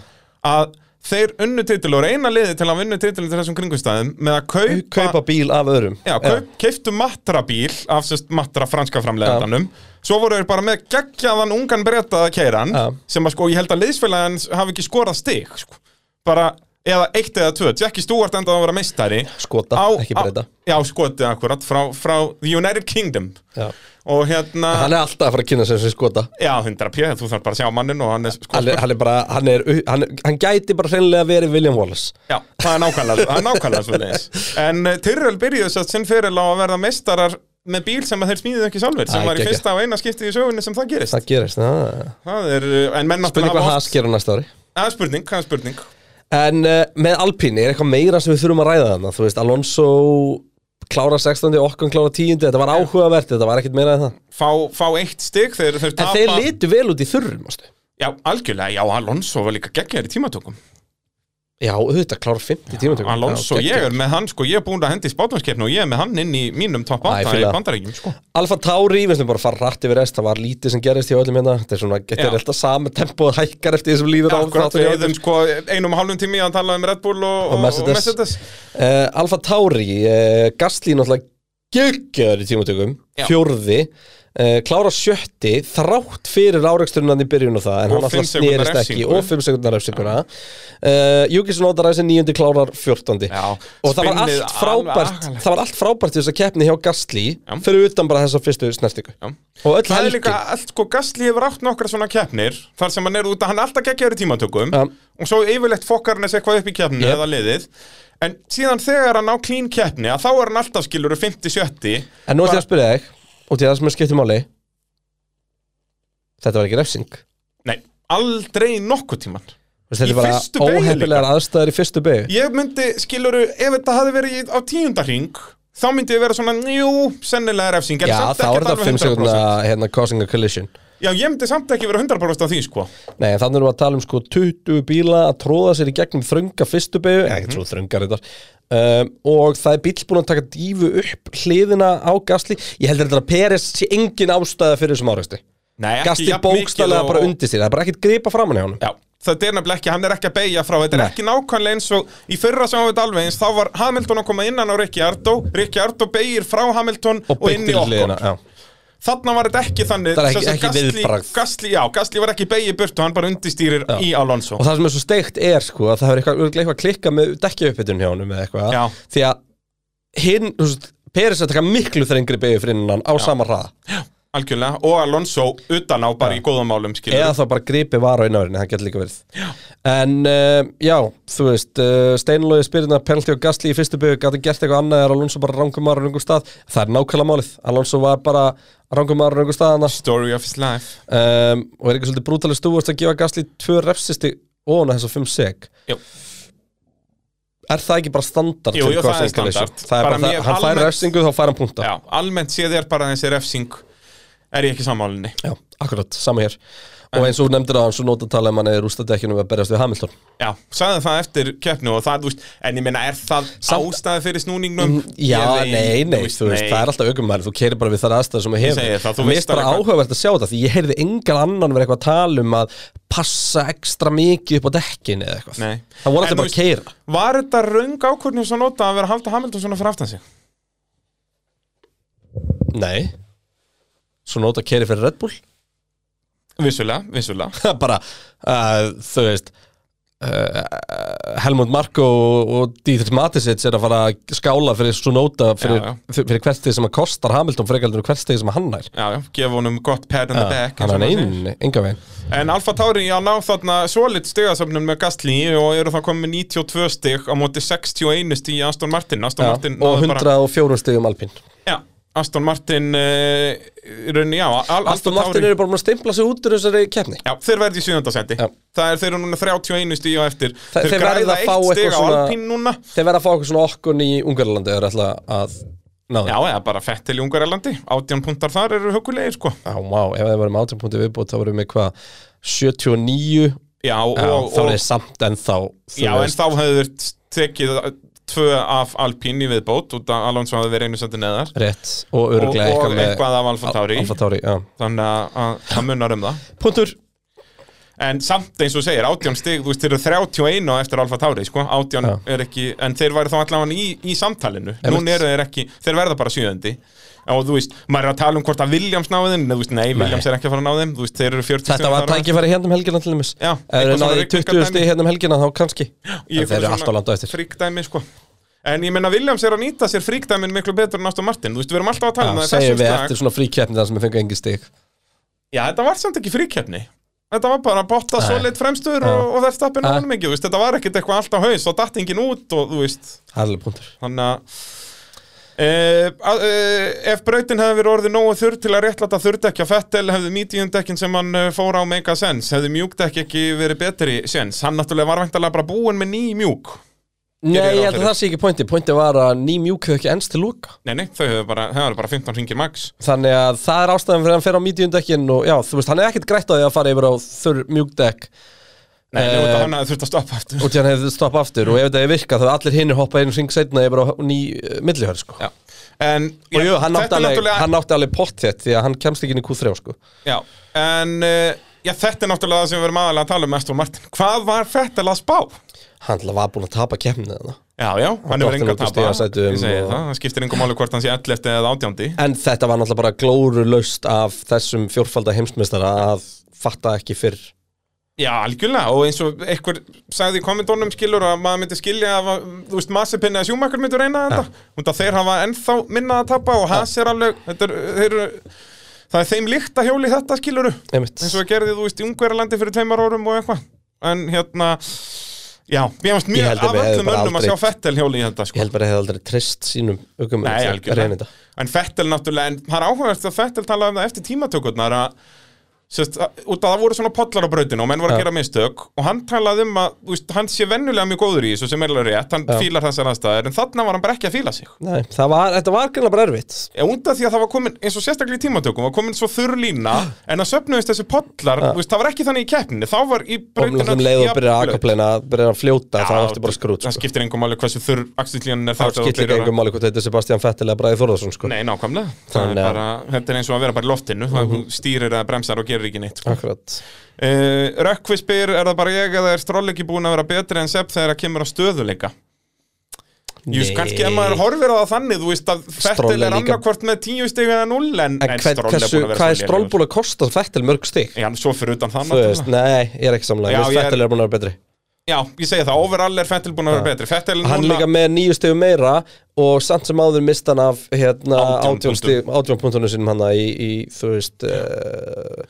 að þeir unnu titil og reyna liðið til að vinna titil til þessum kringumstæðum með að kaupa,
Kaupa bíl af öðrum
Já, kaup, keiftu Matra bíl af sérst Matra franska framleiðanum svo voru þeir bara með geggjaðan ungan breytaða keiran
Já.
sem að sko ég held að liðsfélagin hafi ekki skorað stig sko. bara eða eitt eða tvö Jackie Stewart endaði að vera meistari
Skota,
Á-
ekki
á-
breyta
Já, skotið akkurat frá, frá The United Kingdom
Já.
og hérna
Hann er alltaf að fara að kynna sér sem skota
Já, 100 p, þú þarf bara að sjá mannin og hann er sko
Hann er, hann er bara, hann er, hann, hann gæti bara hreinlega verið William Wallace
Já, það er nákvæmlega, það er nákvæmlega svo leiðis En uh, Tyrrell byrjuði þess að sinn feril á að verða meistarar með bíl sem að þeir smíðið ekki sjálfur
Æ,
sem var í
geggja.
fyrsta og eina skipti í sögunni sem það gerist
Það gerist, það
Það er, uh, en menn
Spurning hvað
hafa
Haas gerir á næsta ári
Það er spurning, hvað er spurning?
En uh, með Alpine er eitthvað meira sem við þurfum að ræða þarna Þú veist, Alonso klára 16. okkan klára 10. Þetta var áhugavert, þetta var ekkert meira en það
Fá, fá eitt stig, þeir, þeir
En
tapa
þeir litu vel út í þurrum, ástu
Já, algjörlega, já, Alonso var líka geggjaður í tímatökum
Já, auðvitað, klára 50 tímatökum
Alonso, ég er með hann, sko, ég er búin að hendi spátumskeppni og ég er með hann inn í mínum top
Æ,
8 í
fíla.
bandarækjum, sko
Alfa Tauri, við slum bara að fara rætt yfir rest Það var lítið sem gerist hjá öllum hérna Þetta er svona, þetta
Já.
er alltaf sama tempóð hækkar eftir því sem líður á
Akkurat,
þáttum
við
hjá
hefðum
öllum.
sko einum og hálfum tími að tala um Red Bull og,
Og Mercedes. Eh, Alfa Tauri, uh, Gasly náttúrulega geggjöður í tímatökum
Já.
Fjórði uh, Klára sjötti, þrátt fyrir áreksturinn hann í byrjun og það En
Og
hann
fimm
alltaf
sekúndna
snerist ekki
refsingu.
Og 5 sekundar refsinguna uh, Júkisson Óta ræsir níundi klárar 14.
Já,
og það var
spinnið
allt frábært
alveg agalegt.
það var allt frábært í þess að keppni hjá Gastli fyrir utan bara þessa fyrstu snertingu
Já.
og öll
Það er
helgi
líka allt sko, Gasly hefur átt nokkra svona keppnir þar sem hann er út að hann er alltaf geggjaður í tímatökum
Ja.
og svo yfirleitt fokkar hann þessi eitthvað upp í keppni
Yep.
eða liðið en síðan þegar hann á clean keppni að þá er hann alltaf skilur 50-70
en nú ætlum ég
bara-
að spyrja þig út í það sem er skipt í máli þetta var ekki refsing
Nei, aldrei nokkuð tíman
Þú veist, þetta
Í
er
fyrstu
bara
beygju
óheppilegar aðstæður í fyrstu beigju
Ég myndi skilur, ef þetta hafi verið í- á tíunda ring þá myndi ég vera svona, jú, sennilega refsing en
já
samt
þá
ekkert
er þetta
alveg
5 sekundna
100%.
hérna causing a collision
Já, ég myndi samt ekki vera 100% af því, sko
Nei, þannig erum við að tala um sko 20 bíla að tróða sér í gegnum þrönga fyrstu beigju, mm
Mhm.
ekki svo þrönga reyndar um, og það er bíl búin að taka dífu upp hliðina á gasli ég heldur þetta að Peres sé engin ástæða fyrir þessum áreiksti
Nei, ekki
Gasli
jafn mikið
bókstælega
og-
bara undir sér, það er bara ekkert gripa framan í honum
Já, þetta er nefnilega ekki, hann er ekki að beigja frá Þetta er
Nei.
ekki nákvæmlega eins og í fyrra sem við alveg eins Þá var Hamilton að koma innan á Ricciardo Ricciardo beigir frá Hamilton og,
beint
inn í
til
okkur
hliðina, já.
Þarna var þetta ekki þannig
Það er ekki-
sem sagt,
ekki
Gasly-
viðbragð.
Gasly, já, Gasly var ekki beigir burt og hann bara undistýrir í Alonso
og það sem er svo steikt er sko að það hefur eitthvað, örugglega eitthvað klikkað með dekkjauppbytun hjá honum eða eitthvað
Já.
því að hinn, þú veist, Peres er að taka miklu þrengri beigju fyrir innan á sama hraða
Algjörlega, og Alonso utan á bara í góðum málum skilur
eða þá bara gripi var á innárinni, það getur líka verið já. en uh, já, þú veist uh, Steinlói spyrirna penalti og gasli í fyrstu byggu gæti gert eitthvað annað er Alonso bara rangum ára rangum stað, það er nákvæmlega málið Alonso var bara rangum ára rangum stað annars
Story of his life
um, og er ekki svolítið brútalið stúfust að gefa gasli tvö refsisti óna þess að fimm seg
Jú.
er það ekki bara standard
Jú,
fyrir
jú,
cross
það er
ankle
standard.
issue? það er
Bara
bara, það,
mér
hann fær
almennt-
refsingu þá fær hann punta
Já, almennt séð er bara þessi refsing Er ég ekki sammálinni
Já, akkurat, sama hér og eins og þú nefndir að hann svo nota að tala um hann er rústadekjunum að berjast við Hamilton
Já, sagði það eftir keppnu og það, þú veist, en ég meina, er það
Samt- Mm,
ástæði fyrir snúningnum?
Já,
Ég veit,
nei, nei, þú veist, það er alltaf aukumæður þú keirir bara við þar aðstæður sem við hefum
segi það, þú
Mér
veist
er bara
alveg hvað-
áhugavert að sjá þetta því ég heyrði engan annan vera eitthvað að tala um að passa ekstra mikið upp á dekkin eða eitthvað
Nei.
Það voru
En
alltaf
þú
bara að keira
Var þetta röng ákvörnum svo nota að vera að halda Hamilton svona fyrir aftan sig?
Nei Svo nota að keira fyrir Red Bull
Vissulega, vissulega.
Það er bara, uh, þú veist uh, Helmut Marko og, og Dietrich Matisits er að fara að skála fyrir Sunota fyrir,
Já,
fyrir, fyrir hvert stegi sem að kostar Hamilton frekaldur og hvert stegi sem að hann nær Uh,
Já, já, gefa honum gott pat in the back. eins
hann
og
er
maður segir.
einn, enga veginn
En Alfa Tauri, já, ná þarna svolit stigasöfnum með Gastli og eru það komið 92 stig á móti 61 stig í Aston Martin. Aston
Já,
Martin
og
náði
104 stegum Alpín
Já, Aston Martin, uh, raunni, já, Al
Aston Martin eru bara búin að stimpla sig út úr þessari keppni
Já, þeir verði í sjöndasæti
Já.
Það er þeir eru núna 31 stíð á eftir
Þe- þeir verða
græða
að fá
eitt stig á
eitthvað svona-
Alpín núna
þeir verða að fá okkur svona okkun í Ungarlandi eða ætla að ná
Já,
þeim
eða bara fettil í Ungarlandi 18 puntar þar eru högulegir sko
Já, vá, ef þeir verðum 18 punkti viðbútt þá verðum við hvað 79 já,
Já, og, og,
þá er þeir samt ennþá þú
já en
veist,
þá hefur tekið tvö af Alpín í viðbót út að Alonso hafði verið einu sendi neðar
rétt og
og,
öruglega
og
með
eitthvað af Alfa Tauri
Alfa Tauri, já
Þannig að- að það munar um það
Puntur
En samt eins og þú segir, 18 stig, þú veist, þeir eru 31 á eftir Alfa Tauri, sko, 18
Já.
er ekki, en þeir væri þá allavega í, í samtalinu,
Einmitt.
núna eru þeir ekki, þeir verða bara sjöðandi og þú veist, maður er að tala um hvort að Williams náði þeim, en þú veist, nei, Williams er ekki að fara að náði þeim, þú veist, þeir eru 40
Þetta
stigum
var
þar á-
tækifæri hérna um helgina til þeimis
Já,
Ef þeir
eitthvað svona
náðu í 20
rigningardæmi.
stig hérna um helgina þá kannski En
í einhverju
þeir eru
svona
alltaf langt á eftir
fríkdæmi, sko. En ég menna Williams er að nýta sér fríkdæmin miklu betur en Aston Martin, þú veist, við erum alltaf að tala um
Já,
það í
Segjum
þessum
við
stag.
eftir svona fríkeppni þar sem við fengum engi stig
Já, þetta var samt ekki fríkeppni Þetta var bara botta
Nei.
solid fremstur
Já.
og, og verðstappin
Já.
á honum ekki, þú veist, þetta var ekkit eitthvað alltaf haus og datt enginn út og þú veist,
Herlega punktur
Þannig að uh, uh, ef brautin hefði verið orðið nógu þurr til að réttlata þurrdekja Fettel hefði mediumdekkin sem hann eh, fór á make a sense, hefði mjúkdekk ekki verið betri sens, hann náttúrulega var væntalega bara búinn með ný mjúk
Nei,
ráð
ég held
fyrir.
að það sé ekki pointi Pointi var að ný mjúk þau ekki ennst til loka
Nei, nei, þau hefur bara, þau hefur bara 15 ringir max
Þannig að það er ástæðan fyrir að hann fer á mediumdekkin og já, þú veist, hann er ekkert grætt á því að fara yfir á þurr mjúkdekk
Nei,
Eh,
uh, nefnir hann hefði þurft að stoppa eftir
og því hann hefði stoppa aftur og ef þetta er virka þá hefði allir hinir hoppa einu ring seinna yfir á ný uh, millihör sko.
Já, en
og jú, hann átti
þetta er
alveg,
náttúrulega-
hann átti alveg pott þett því að hann kemst ekki inn í Q3 sko.
Já, en uh, já, þetta er náttúrulega það sem við erum aðalega að tala um Aston Martin Hvað var Fettel að spá?
hann alltaf var búin að tapa kemnið hana.
Já, já, hann hefur
dottinn
enga
út úr
tapa Ég segi
stigasætum og-
það, það skiptir engum máli hvort hann sé 11 eða 18
en þetta var náttúrulega bara glóru löst af þessum fjórfalda heimsmeistara að fatta ekki fyrr
Já, algjörlega, og eins og einhver sagði í kommentónum skilur að maður myndi skilja að, þú veist, Masipin eða Sjúmakar myndi reyna þetta, og þeir hafa ennþá minna að tapa og hans er alveg, þetta er, þeir eru, það er þeim líkt að hjóli þetta skiluru,
Einmitt.
eins og gerði, þú veist, í Ungverjalandi fyrir tveimar árum og eitthvað, en hérna, já, ég varst
Ég
mjög
held að
af
við hefðum
öllum
bara
önnum að
aldrei-
sjá Fettel hjóli í þetta,
ég
sko.
held bara að hefði aldrei trist sínum aukum
Nei, algjörlega. En Fettel náttúrulega, en það er áhugavert að Fettel talaði um það eftir tímatökurnar að Sest, út að það voru svona pollar á brautinu og menn voru að gera mistök og hann talaði um að þú veist, hann sé vennulega mjög góður í þessu sem er alveg rétt, hann fílar þessar aðstæður en þarna var hann bara ekki að fíla sig
Nei, það var, þetta var greinlega bara erfitt
Já, undan því að það var komin, eins og sérstaklega í tímatökum, var komin svo þurr lína, en að söpnuðist þessi pollar, þú veist, það var ekki þannig í keppninni, þá var í
Komlum þeim leið og byrja að akapleina, byrja að fljóta, það var bara skrút
Það
sko.
skiptir engum máli hversu þurr axillíðan er
Það
það þegar þú
skilir ekki
byrjar að-
engum máli hvort þetta er Sebastian Vettel eða Bræði Þórðarsson sko.
Nei, nákvæmlega, það er
Þannig að- Mhm.
bara, þetta er eins og að vera bara í loftinu, það þú stýrir að bremsar og gerir ekki neitt sko.
Akkurat
uh, Rökkvi spyr, er það bara ég eða er stról ekki búin að vera betri en sepp þegar það kemur á stöðuleika? Jú,
Nei.
kannski ef maður horfir á það þannig, þú veist að
Stroll
Fettil
er
er
líka-
annarkvort með 10 stig eða 0 en,
En hvern-
Stroll
hversu,
búinn að vera
hvað er
svo
Stroll
lélegur.
búin að kosta Vettel mörg stig?
Já, svo fyrir utan það
Þú veist,
náttúrulega.
nei, ég er ekki samlega,
Já,
ég veist
ég er-
Vettel er búin að vera betri
Já, ég segi það, overall er Fettil búin að vera betri Fettil
Hann
núna
líka með nýju stigum meira og samt sem áður mist hann af hérna,
Átján punktum.
átjónpuntunum sínum hann í, í, þú veist, uh,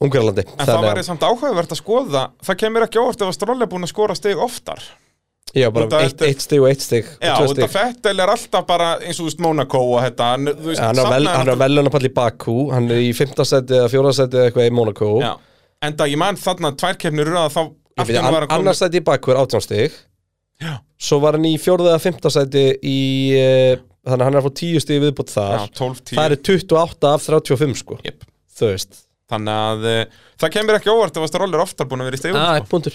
Ungarlandi
En það væri samt áhugavert að skoða Það kemur ekki óvart ef að Stroll er búin að skora stig oftar
Já, bara
Út af
eitt,
þetta-
eitt stig og eitt stig og
Já,
tvö stig.
þetta Fettil er alltaf bara eins og þú veist Monaco og þetta hann, þú veist,
Hann er á vel-
safnaði
hann er
náttúrulega-
á velunapall í Bakú Hann er í 5. seti eða 4. seti eða eitthvað í Monaco
Já, enda ég man þarna tvær kemnir röða þá
Ég
allt í
veit,
einu var
an,
hann komin-
Annars seti í Bakú er 18 stig
Já.
Svo var hann í 4. eða 5. seti í eh, Þannig að hann er að fá 10 stig viðbútt
Já,
þar
12, 10
Það eru 28 af 35 sko
Jep.
Þú veist
Þannig að uh, það kemur ekki óvart ef að Stroll er oftar búin að vera í stigum
ah, punktur.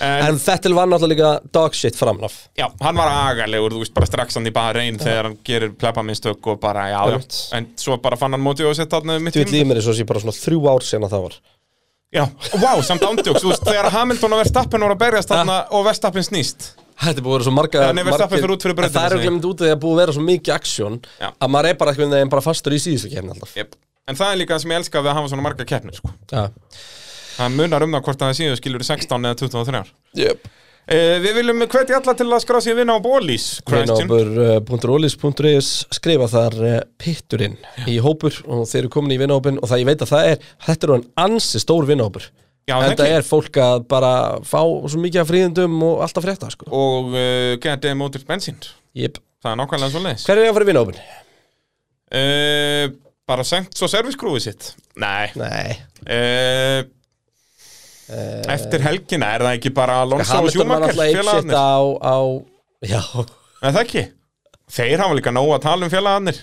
en,
En Fettil var náttúrulega líka dog shit framnaf
já, hann var agalegur, þú veist, bara strax hann í bara reyn þegar hann gerir plepa minnstök og bara, já, já,
Ah. Einmitt.
en svo bara fann hann móti og sett þarna um mitt
Þú veit líf mér eins og sé bara svona þrjú ár sena það var
Já, wow, samt ándjóks, þú veist, þegar Hamilton og Verstappen voru að berjast
Ah.
þarna og Verstappen snýst
Þetta er búið að vera svo marga
Já, nei, Verstappen fer út fyrir
En Það
brautina,
er
segi ég.
auðvitað mynd út af því að búið að vera svo mikið aksjón
Já.
Að maður er bara eitthvað neginn bara fastur í síðustu kemni alltaf
yep. En það er líka það sem ég elska við að hafa svona marga keppnir, sko
Já,
Það munar um það hvort að það séu skilur 16 eða 23
yep.
Uh, við viljum hvetja alla til að skrá sig í vinna á bólís Christian.
eh, Vinnópur.olis.is skrifa þar uh, pitturinn í hópur og þeir eru komin í vinnópin og það ég veit að það er, þetta eru hann ansi stór vinnópur
Já,
En
ekki.
það er fólk að bara fá svo mikið af fríðundum og allt að frétta sko
og uh, GD Motors bensín
yep.
það er nákvæmlega svo leiðis
Hver er að fara í vinnópin?
uh, bara sengt svo serviskrúið sitt nei
Nei,
uh, eftir helgina er það ekki bara Alonso og
Eh, Hamilton var
Schumacher
náttúrulega eitt sitt
félagarnir
á, á Já,
en það ekki þeir hafa líka nóg að tala um félagarnir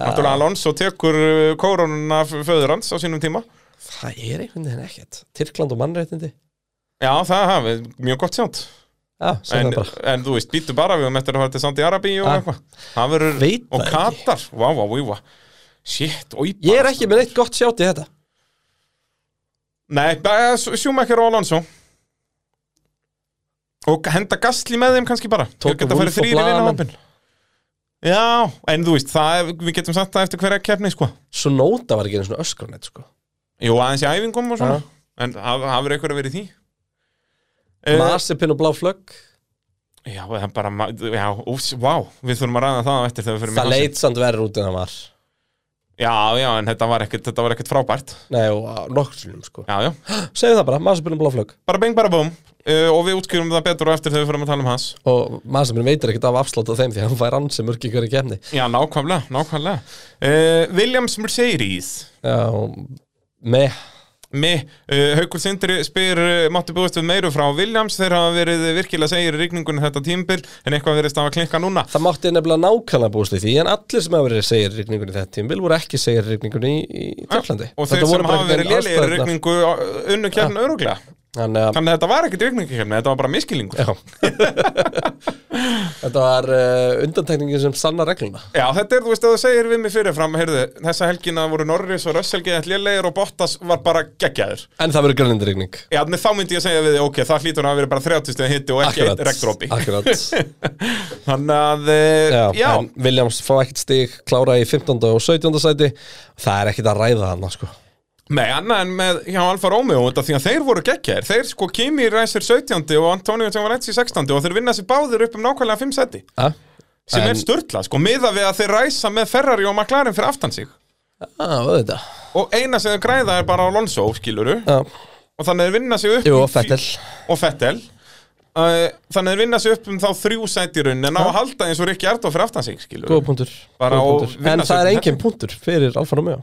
náttúrulega Alonso tekur uh, kórununa föður hans á sínum tíma
það er einhvern veginn ekkert Tyrkland og mannréttindi
já það hafi mjög gott sjátt
Já, segir Ah, það
en,
bara
en þú veist, býtu bara við um eftir að fara til Saudi Arabi og
Ah,
eitthvað Það verður-
veit
og
það ekki.
Katar, vá, vá, vá, vá shit, oi
Ég er ekki með neitt gott sjátt í þetta
Nei, bara Schumacher og Alonso Og henda gasli með þeim kannski bara
Tóku
Þeir geta
Wolff
farið
og
þrír í vinna
Blaðamenn.
hópin Já, en þú veist, það, er- við getum sagt það eftir hverja keppni, sko
Svo nóta var ekki einu svona öskranett sko.
Jú, aðeins í æfingum og svona
Já.
En haf- hafur eitthvað verið í því Eh,
Masipin og blá flögg
Já, það er bara, ma- já, ús, vá Við þurfum að ræða það á eftir þegar við fyrir
Það leit samt verður út en það var
Já, já, en þetta var ekkert, þetta var ekkert frábært
Nei, og nokkursunum sko
Já, já,
Segðu það bara, Masipin og blá flögg
bara beng bara búm uh, Og við útskýrum það betur á eftir þegar við fyrir að tala um hans
Og Masipin veitir ekkert af afslátt af þeim því að hann fær ansi mörg í hverju kemni
Já, nákvæmlega, nákvæmlega uh, Williams Mercedes
Já, og með
Með, uh, Haukur Sindri spyr uh, Máttu búist við meiru frá Williams Þeir hafa verið virkilega segir í rigningunni um þetta tímbil En eitthvað verið stafa klinka núna
Það mátti nefnilega nákvæmlega búist við því en allir sem hafa verið segir rigningunni þetta tímbil voru ekki segir rigningunni í, í Tyrklandi
Og þeir sem hafa verið lélegir í rigningu uh, Unnu kjarnu öruglega
Þannig að
Þannig að þetta var ekkit rigningkjarnu, þetta var bara miskilingur
Já Þetta var uh, undantekningin sem sanna regluna
Já, þetta er, þú veist, að þú segir við mig fyrirfram heyrðu, Þessa helgina voru Norris og Russell geðið lélegir og Bottas var bara geggjaður
En það verður grænindrygning
Já, en þá myndi ég segja við þig, ok, það hlýtur að vera bara 30 stegar hitti og ekki eitt regndrópi
Akkurat
Þannig að, eh,
já,
já,
En Williams fá ekkert stig klára í 15. og 17. sæti Það er ekkert að ræða hann sko.
nei, annað en með hjá Alfa Romeo þetta því að þeir voru geggjær, þeir sko Kimi ræsir 17. og Antonio Giovanetti 16. og þeir vinna sér báðir upp um nákvæmlega 5 seti
ja?
sem
En-
er störtla, sko, miða við að þeir ræsa með Ferrari og McLaren fyrir aftan sig
Já, auðvitað
og eina sem þeir græða er bara Alonso, skiluru
Já.
og þannig að þeir vinna sér upp
Jú,
um
og Fettel
fí- og Fettel Eh, Þannig að þeir vinna sér upp um þá þrjú sæti í raunin en á að halda eins og Rikki Ardó fyrir aftan sig, skilur
Góða punktur,
Bara
Góða
og
punktur.
vinna
En það
sig-
er engin punktur fyrir Alfa Romeo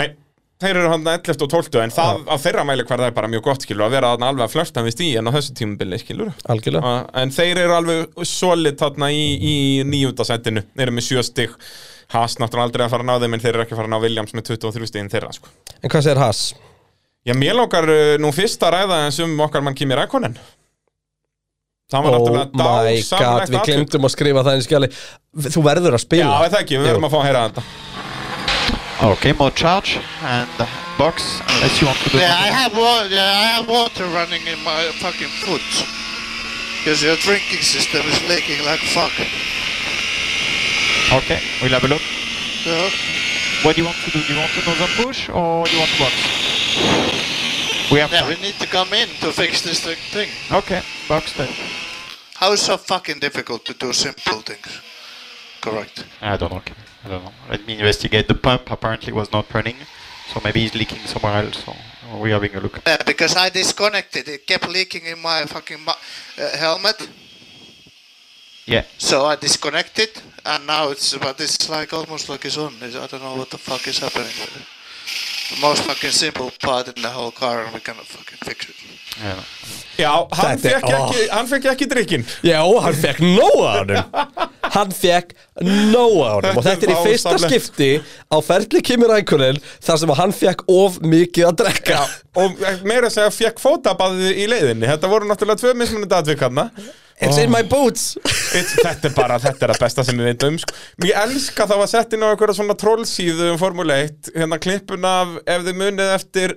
Nei, þeir eru hann 11 og 12 en það á þeirra mæli hvað það er bara mjög gott skilur að vera þarna alveg að flörta við stíðan á þessu tímubili skilur
algjörlega
Ah, en þeir eru alveg solid þarna í, í nýjúndasættinu þeir eru með sjö stig Haas náttúrulega aldrei að fara að ná þeim en þeir eru ekki að fara að ná Williams með 23 stigin þeirra sko.
En hvað segir Haas?
Já, mér langar uh, nú fyrst að ræða eins um okkar mann Kimi Rækonen Það
Oh
var náttúrulega
my god,
dásamlegt
við
atvik.
glemdum að skrifa það inn í skjali Þú verður að
Já,
spila
er það ekki, við verðum að fá að heyra þetta
Okay, more charge and box unless you want to do
Yeah, I
something.
have water. Yeah, I have water running in my fucking foot. Because your drinking system is leaking like fuck.
Okay, we'll have a look.
Yeah.
What do you want to do? Do you want another push or do you want to box? We have
yeah,
time.
we need to come in to fix this thing.
Okay, box then.
How is so fucking difficult to do simple things? Correct.
I don't know. okay. I don't know. Let me investigate. The pump apparently was not running, so maybe he's leaking somewhere else. So we're having a look.
Yeah, because I disconnected. It kept leaking in my fucking mu- uh, helmet.
Yeah.
So I disconnected, and now it's but it's like almost like it's on. It's, I don't know what the fuck is happening. with it. The most fucking simple part in the whole car, and we cannot fucking fix it.
yeah.
Já, hann
Þetta er-
fekk ekki, hann fekk ekki drikkin
Já, hann fekk nóa á honum Hann fekk nóa á honum Og þetta er í
Þetta er
fyrsta
dásamlegt.
skipti á ferli Kimi Rækunin þar sem að hann fekk of mikið að drekka
og meira að segja fekk fótabað í leiðinni Þetta voru náttúrulega tvö mismunandi atvikarna
It's in my boots
It's, þetta er bara, þetta er að besta sem við veitum um sko. Ég elska það var sett inn á einhverja svona trollsíðu um Formule 1 hérna klippun af, ef þið munið eftir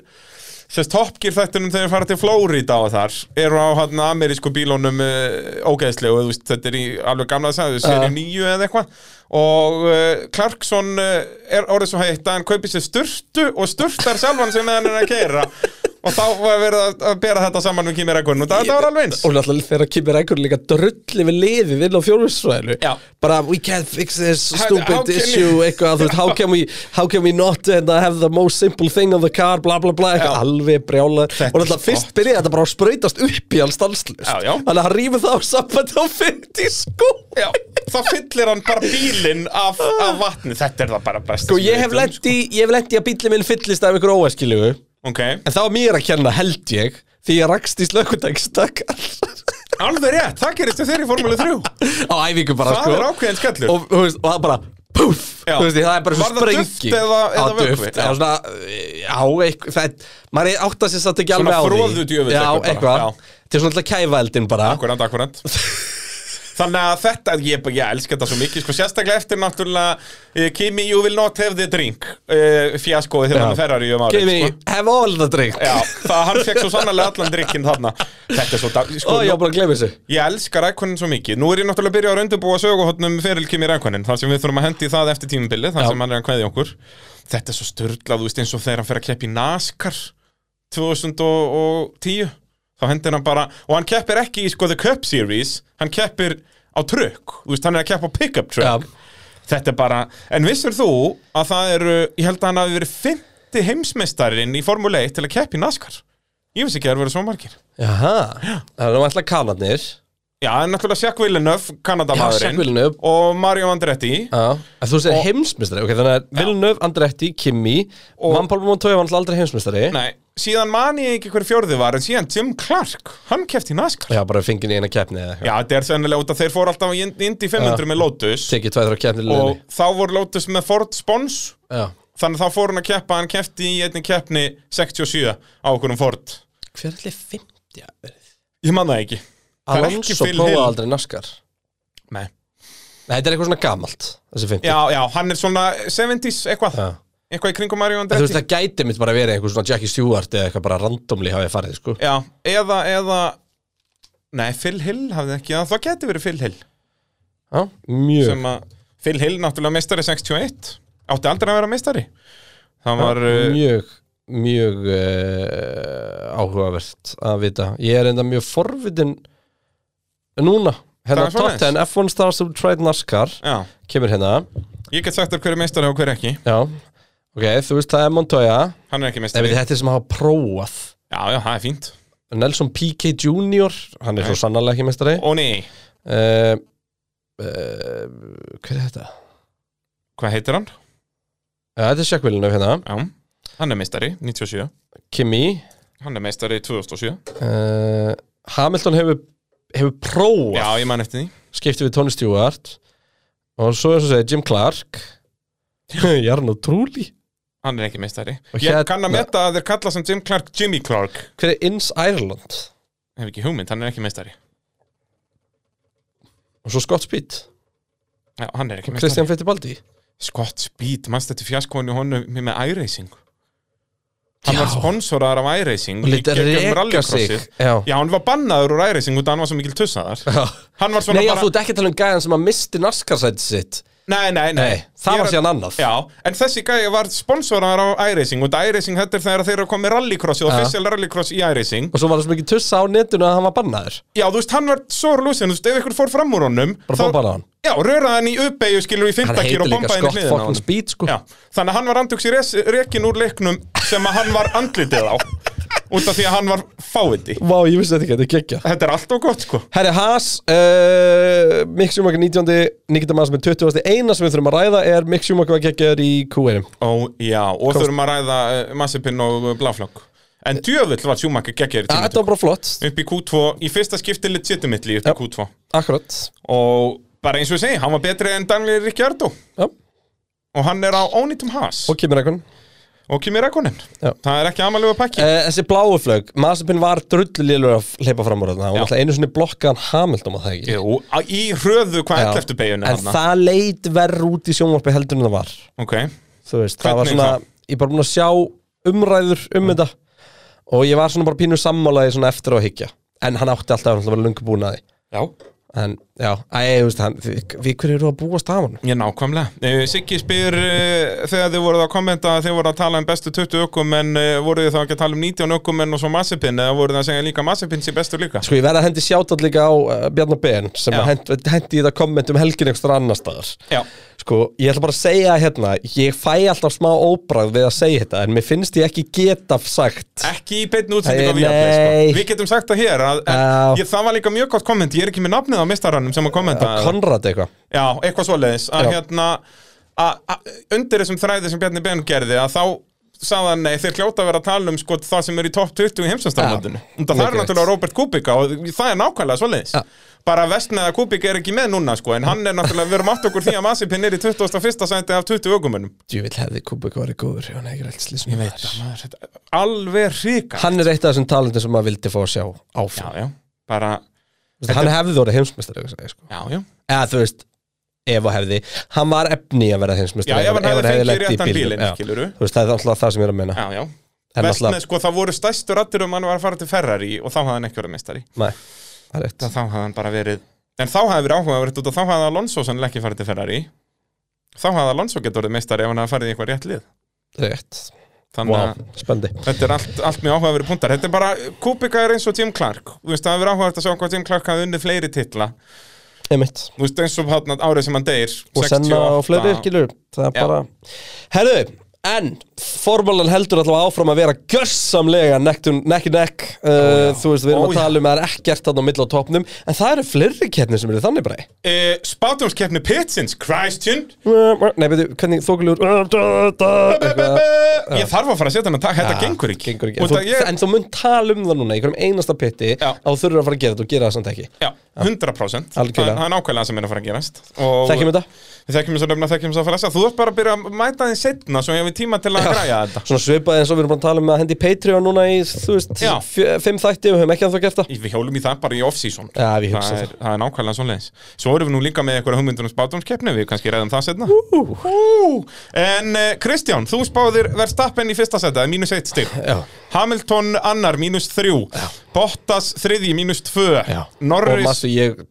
sérst toppgir þættunum þegar þið fara til Flórida og þar eru á hann amerísku bílónum uh, ógeðslegu, þú veist, þetta er í alveg gamla að segja,
Ja.
seri nýju eða eitthvað og uh, Clarkson uh, er orðið svo heitt að hann kaupir sér sturtu og sturtar sjálfan sem hann er að keira og þá var verið að, að bera þetta saman við Kimi Rækun og þetta var alveg eins
Og náttúrulega fyrir að Kimi Rækunin líka drulli við liðið inn á fjórfjörnsvæðinu
Já.
Bara we can't fix this
How-
stupid
how can
issue
you-
eitthvað, þú veist, how can we how can we not and have the most simple thing on the car bla bla bla, eitthvað
Já.
alveg brjála
Þetta
og náttúrulega
er
fyrst byrjaði þetta bara að sprautast upp í alls stanslust
Já, já.
Þannig að hann rífur það á sambandi á 50 skó
Já, þá fyllir hann bara bílinn af, af vatni Þetta er það bara best
Sko ég hef lent í, ég hef lent í að bíli minn fyllist af ykkur óæskilugu En
Ok,
það var mér að kenna held ég Því ég rakst í slökkutækstakkar
alveg rétt, það gerist þér í Formule 3
Á æfingu bara
Það
sko
er ákveðin skellur
og, þú veist, og það bara Puff,
Já.
þú veist, það er bara svo
Var það
sprengi
duft eða- eða
Já,
vökvi?
duft,
Já.
já, svona, já, eitthvað það er, maður áttar sér satt ekki
Svona
alveg á því
froðudjöfull
Já,
eitthvað bara,
eitthvað,
já.
þetta er svona alltaf kæfaeldin bara
Akkurant, akkurant Þannig að þetta, ég, bara- ég elska þetta svo mikið sko, Sérstaklega eftir náttúrulega eh, Kimi, you will not have the drink uh, Fjaskoði þegar
Já.
hann ferrar í um árið
Kimi,
sko.
have all the drink
Já, það hann fekk svo sannarlega allan drikkinn þarna Þetta er svo dag sko,
Ó, ég var bara að gleyma þessu
Ég elska rækonin svo mikið. Nú er ég náttúrulega að byrja að röndubúa söguhotnum fyrir Kimi rækonin, þar sem við þurfum að hendi í það eftir tímabilið, þar
Já.
sem hann er að kveðja okkur. Þetta er svo störlað, þú veist, eins og þegar hann fer að keppa í NASCAR 2010. Þá hendir hann bara, og hann keppir ekki í sko The Cup Series, hann keppir á trökk, þú veist, hann er að keppa á pickup
Já,
trökk. Þetta er bara, en vissur þú að það eru, ég held að hann hafi verið 50 heimsmeistarinn í Formule 1 til að keppa í NASCAR. Ég vissi ekki að það eru verið svo margir.
jaha, það er nú alltaf kanadnir
Já, en náttúrulega Jack Villeneuve, Kanadamaðurinn
Já, Jacques Villeneuve.
Og Mario Andretti
Já, en þú segir heimsmyndstari, ok, þannig að Villeneuve, Andretti, Kimi
Og-
Van Pálmum og Tói var alltaf aldrei heimsmyndstari
Nei, síðan man ég ekki hver fjórði var En síðan Jim Clark, hann kefti í NASCAR
Já, bara fingin í eina keppni eða eitthvað
Já, þetta er sennilega út að þeir fóru alltaf í Indy 500
Já.
með Lotus
Tekið tvæð þrjá keppni í
Og
liðinni
þá voru Lotus með Ford Spons
Já,
Þannig að þá fóru hann að keppa Hann kefti í einni keppni 67 á okkur um Ford
hver er allir 50 að verið?
Ég man það ekki Það er ekki
Alonso
Phil
prófaði
Hill.
aldrei naskar
Nei.
Nei, þetta er eitthvað svona gamalt Þessi 50
Já, já, hann er svona 70s eitthvað
Já.
Eitthvað í kringum Mario
En Þú veist,
Andretti
það gæti mitt bara verið einhver svona Jackie Stewart eða eitthvað bara randomli hafið farið, sko
Já, eða, eða Nei, Phil Hill hafði ekki Já, það geti verið Phil Hill
Já, mjög
sem að Phil Hill náttúrulega meistari 61 átti aldrei að vera meistari það var uh,
Mjög, mjög uh, áhugavert að vita Ég er enda mjög forvitin núna Hérna
Það er
top
svoleiðis.
10 F1 Stars of Tried NASCAR
já,
kemur hérna
ég get sagt þér hver er meistari og hver ekki
Já, ok, þú veist það er Montoya
hann er ekki
Nei,
meistari
við þetta er sem hafa prófað
já, já, það er fínt
Nelson P.K. Jr. Hann er svo sannarlega ekki mestari
og nei,
uh, uh, Hver er þetta? Eh,
hvað heitir hann?
Ja, þetta er sjekkvilinu hérna
já, Hann er meistari, 97
Kimi
Hann er meistari
uh,
2007
Hamilton hefur, hefur prófað
Já, ég man eftir því
skipti við Tony Stewart og svo eins og segja Jim Clark Jarno Trulli
Hann er ekki meistari
Og
Ég
hérna-
kann að metta að þeir kalla sem Jim Clark Jimmy Clark
hver er Inns Ireland
Hef ekki hugmynd, hann er ekki meistari
og svo Scott Speed
Já, hann er ekki meistari
Christian Fittibaldi
Scott Speed, mannst þetta fjaskóinu honum með iRacing Hann
Já.
var sponsorar af iRacing
og
í
lítið að
gegnum
reka sig
rallycrossið.
Já.
Já, hann var bannaður úr iRacing út að hann var svo mikil tussaðar Hann var svona
Nei, já,
bara
þú ert ekki að tala um gæðan sem að misti narskarsæti sitt
Nei, nei, nei,
Nei, það
Ég
var
er-
síðan annað.
Já, en þessi gæja var sponsorar á iRacing út að iRacing þetta er þegar þeir eru að koma með rallycrossi og
Já.
official rallycross í iRacing
og svo var það svo mikið tussa á netinu að hann var bannaður
Já, þú veist, hann var svo lúsin, þú veist, ef ykkur fór fram úr honum
bara
þá-
bombaði á hann
Já, röraði hann í uppeyju skilur í
hann
fymtakir
heitir
og
líka
bombaði hann
Scott
í hliðina á
fucking
honum
Speed sko.
Já, þannig að hann var andugs í res, rekin úr leiknum sem að hann var andlitið á út af því að hann var fáviti
Vá, ég vissi þetta ekki, þetta er geggja
Þetta er allt og gott sko
Herri Haas, uh, Mick Schumacher 19. Nikita Maas með 20. Eina sem við þurfum að ræða er Mick Schumacher var geggjaður í Q1
Ó, já, og þurfum að ræða uh, Massipinn og Blaflokk En djöfull var Sjúmakka geggir
Ja, Þetta var bara flott,
upp í Q2, í fyrsta skipti legitimately upp í
Já.
Q2
akkurat
og bara eins og ég segi, hann var betri en Daniel Ricciardo
Já,
og hann er á ónýtum has
og kemur eitthvað
og Kimi Rækonin,
Já.
það er ekki amalega pakki
Eh, Þessi bláu flög, Mazepin var drullililur að hleypa fram úr þarna og
Já.
náttúrulega einu sinni blokkaðan Hamilton að það ekki
Jú, á- í hröðu
Já.
hvað ell eftir beiguna
En það leit verð út í sjónvarpi heldur en það var
Ok,
Þú veist, það var
Hvernig
svona,
þá?
ég er bara búin að sjá umræður um þetta og ég var svona bara pínu sammálaði svona eftir á að higgja en hann átti alltaf að vera lungu búin að því
já
en já, æ, þú veist, hann, við, við hverju eru að búast af hann
Ég nákvæmlega. Eh, Siggi spyr eh, þegar þið voruð að kommenta að þið voruð að tala um bestu 20 ökumenn, eh, voruð þið þá ekki að tala um 19 ökumenn og svo Massipinn eða voruð þið að segja líka Massipinn sé bestu líka?
Sko, ég verði að hendi sjátt líka á uh, Bjarnar Ben sem
Já.
hend, hendi í þetta komment um helgin einhverstur annar staðar
Já.
Sko, ég ætla bara að segja hérna, ég fæ alltaf smá óbræð við að segja þetta en mér finnst ég ekki geta sagt
Ekki í beinni útsending
Nei.
á Viaplay, sko. Við getum sagt það hér að,
Já.
að ég, það var líka mjög gott komment, ég er ekki með nafnið á mistarannum sem að kommenta.
að Konrad eitthvað
Já, eitthvað svoleiðis að
Já.
hérna, að, að, undir þessum þræði sem Bjarni Ben gerði að þá sagðan, nei, þeir hljóta að vera að tala um sko, það sem er í topp 20 í heimsumstarfmótinu
Já,
og það
mikið
er náttúrulega Robert Kubica og það er nákvæmlega svoleiðis
Já.
bara vestnaða Kubica er ekki með núna sko, en hann er náttúrulega, við erum átt okkur því að Masipin er í 21. sæti af 20 ögumunum
Djúvill hefði Kubik verið góður, hann er ekki alltaf slísum
alveg hríka
Hann er eitt af þessum talendum sem maður vildi fá að sjá áfram
já, já, bara,
Þú veist, Hann hefði orðið heimsmeistar sko.
já, já
eða þú veist, ef og hefði hann var efni í að vera
Já,
heimsmeistar
ef hann hefði fengið
lent í
réttan
bílnum,
bílinn,
já.
skilur
Þú veist, það er alltaf það sem ég er að meina
Já, já
En
Vestnað,
náttúrulega-
sko, það voru stæstu rættur um hann var að fara til Ferrari og þá hafði hann ekki verið mistari
Nei, það er rétt
þá hafði hann bara verið en þá hafði verið áhugavert út og þá hafði Alonso sannlega ekki farið til Ferrari þá hafði Alonso getur orðið meistari ef hann hafði farið í eitthvað rétt lið
Rétt,
þannig
wow,
að
spöndi
þetta er allt, allt mjög áhugaveri punktar þetta er bara, Kubica er eins og Jim Clark þú veist, það hafði verið áhugavert að sjá hvað Jim Clark hafði unnið fleiri titla,
Einmitt.
þú veist, eins og hann árið sem hann deyr
Og senna og fleiri, skilur Það er
Já.
bara Herðu, en formúlan heldur allavega áfram að vera gjörsamlega nekk nekk, nekk uh, Þú veist, við erum
Ó,
að
já.
tala um að það er ekkert þarna á mill á topnum En það eru fleiri keppnir sem eru þannig bara
e, spátumskeppni Pitsins, Christian
Nei, veitu, hvernig þókulegur Eitthvað
ég þarf að fara að setja hann að taka, þetta gengur ekki,
gengur ekki. En,
Út
þú,
að ég,
en þú mun tala um það núna í hverjum einasta pitti
Já.
að þú þurfur að fara að gera þetta og gera það samt ekki
já, 100% það,
Algjörlega.
það er nákvæmlega sem er að fara að gerast og,
Þekkjum þetta?
Við þekkjum þess að nefna, þekkjum þess að fara að segja Þú ert bara að byrja að mæta þín setna Svo ég hef tíma til að græja þetta
Svona svipaði eins og við erum bara að tala um að hendi í Patreon núna í, þú veist,
Já.
fjö- fimm þætti og við höfum ekki að það gert það
Í- Við hjólum í það bara í off-season
Já, við
það,
hugsaðum
er- það er nákvæmlega svo leiðis Svo erum við nú líka með eitthvað hugmyndunum spátumskeppni Við kannski reyðum það setna Ú. En uh, Kristján, þú spáðir Verstappen í fyrsta seta, mínus eitt stig
Já.
Hamilton annar, mínus þrjú Bottas þriði, mínus tvö
Já. Og
Norris
maður ég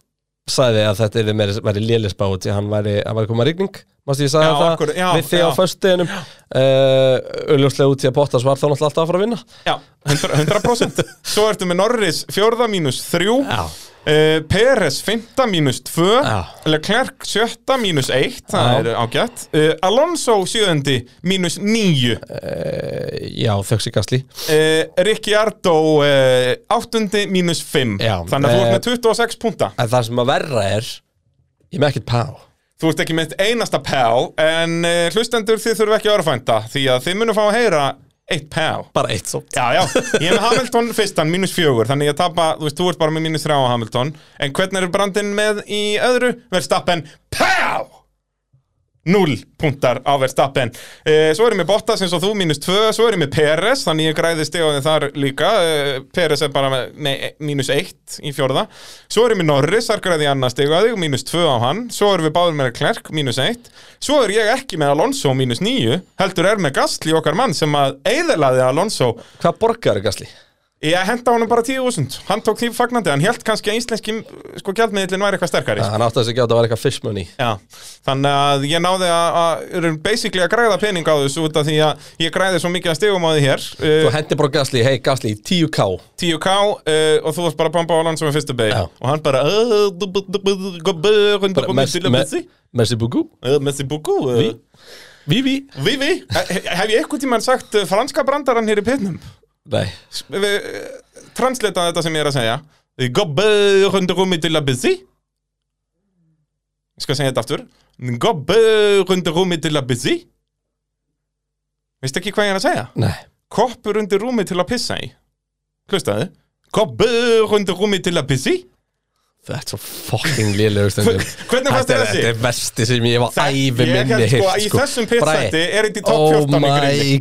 sagði að þetta yrði meiri, væri lélisbá því að hann væri, hann væri koma rigning maður ég sagði
Já,
það
akkur- já,
við þig á
já.
föstuðinum uh, auðljóslega út í að Bottas var þá náttúrulega alltaf að fara að vinna
Já, 100%, 100%. Svo ertu með Norris fjórða mínus þrjú
Já.
Eh, Peres fymta mínus tvö
Já.
Leclerc sjötta mínus eitt
Já.
Það er ágætt uh, Alonso sjöndi mínus níu uh,
uh, Já, þöggs í gasli
Ricciardo uh, áttundi mínus fimm
Já.
Þannig að þú
Eh,
ert með 26 punta
En það sem að verra er ég með ekkert pá
Þú ert ekki mitt einasta pal En uh, hlustendur þið þurfa ekki að vera að fænda Því að þið munu fá að heyra eitt pal
bara eitt svo
Já, já, ég er með Hamilton fyrstan, mínus fjögur Þannig ég tapa, þú veist, þú ert bara með mínus þrjá á Hamilton En hvernig er brandin með í öðru? Verstappen, pal! 0 puntar á Verstappen eh, Svo erum við Bottas eins og þú, mínus 2 Svo erum við Peres, þannig ég græði stegaði þar líka eh, Peres er bara með, með mínus 1 í fjórða Svo erum við Norris, þar græði ég annað stegaði Mínus 2 á hann, svo erum við báður með Klerk Mínus 1, svo er ég ekki með Alonso Mínus 9, heldur er með Gastli Okkar mann sem að eiðelaði Alonso
Hvað borgar er gasli?
Ég henda honum bara 10.000 Hann tók því fagnandi, hann held kannski að íslenski sko gjaldmiðlinn væri eitthvað sterkari
Hann átti þessi ekki á að það var eitthvað fish money
Já, þannig að ég náði að, að erum basically að græða pening á þessu út af því að ég græði svo mikið að stigum á því hér
Þú
uh,
hendi bara gasli, hei gasli, 10k
10k uh, og þú varst bara að pampa á land sem er fyrstu beig
Já.
og hann bara "Ah, du- bu- du- bu- du- go- bu- hundu-
Bara
bu-
merci-
du-
me-
merci."
Merci beaucoup
Eh, Merci beaucoup
Oui.
eh.
Vivi
Vivi, Eh, hef ég eitthvað tímann sagt eh, franska brandarann hér í pinnum?
Nei,
Transleta þetta sem ég er að segja Gobbe hundur um í til að busy Ég skal segja þetta aftur Gobbe hundur um í til að busy Veistu ekki hvað ég er að segja?
nei
Koppur undir rúmi til að pissa í Hlustaðu Koppur undir rúmi til að pissa í
Þetta er svo fucking lélegur stundum
Hvernig fannst þér
er-
þessi?
Þetta er vesti sem ég var
Þetta-
ævi
ég
minni
held sko að í þessum pitsætti er þetta í topp 14 í
Oh my
grilli.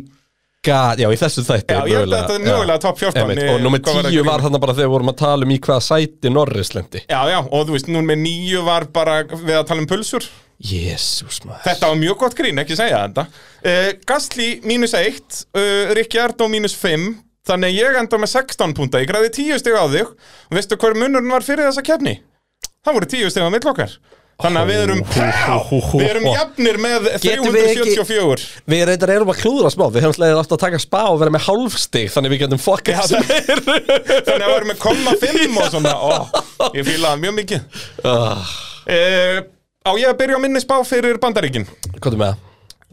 god, já í þessum þætti
Já, ég held að þetta er mögulega topp 14
Einmitt,
í-
Og nummer
hvað var
10
það
var þarna bara þegar við vorum að tala um í hvaða sæti Norris lendi
Já, já, og þú veist, núna með nýju var bara við að tala um pulsur
Jésús maður
Þetta var mjög gott grín, ekki segja þetta uh, Gastli mínus 1 uh, Ricciardo mínus 5 Þannig að ég enda með 16 púnta Ég græði 10 stig á þig og veistu hver munurinn var fyrir þessa keppni? Það voru 10 stig á mill okkar Þannig að við erum, um- við erum jafnir með
Getum við ekki-
374
Við reyndar erum að klúðra smá Við hefum slegðið aftur að taka spa og vera með hálfstig Þannig við getum
Já,
fokkað sem
það- Þannig að við erum með komma 5 og svona ó, Ég fíla það mjög mikið
Ah.
uh, Á ég að byrja á minni spá fyrir Bandaríkin
Hvað er með það?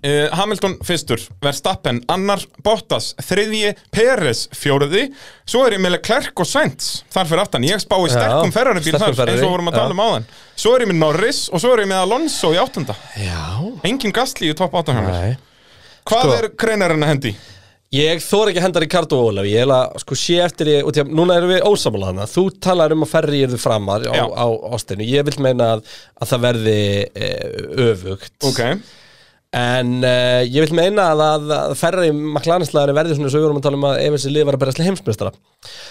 Uh, Hamilton fyrstur, Verstappen annar, Bottas þriðji, Peres fjóruði, svo er ég með Klerk og Sainz þar fyrir aftan, ég spái sterkum ferrari bíl
sterkum
þar,
Ferrari,
eins og vorum að
já.
tala um áðan svo er ég með Norris og svo er ég með Alonso í áttunda,
Já
engin Gasly í topp áttan hjá mér,
Nei
hvað
Sko.
er kreinarinn að hendi?
Ég þor ekki að henda Ricardo og Ólaf, ég hef að sko sé eftir ég, út í að núna erum við ósamála hana, þú talar um að ferri ég þið framar á,
Já.
á ástinu, ég vil meina að, að það verði e, öfugt,
Ok,
en e, ég vil meina að, að, að ferri maklanislæðari verði svona svo við vorum að tala um að ef þessi lið var að berast heimsmeistara,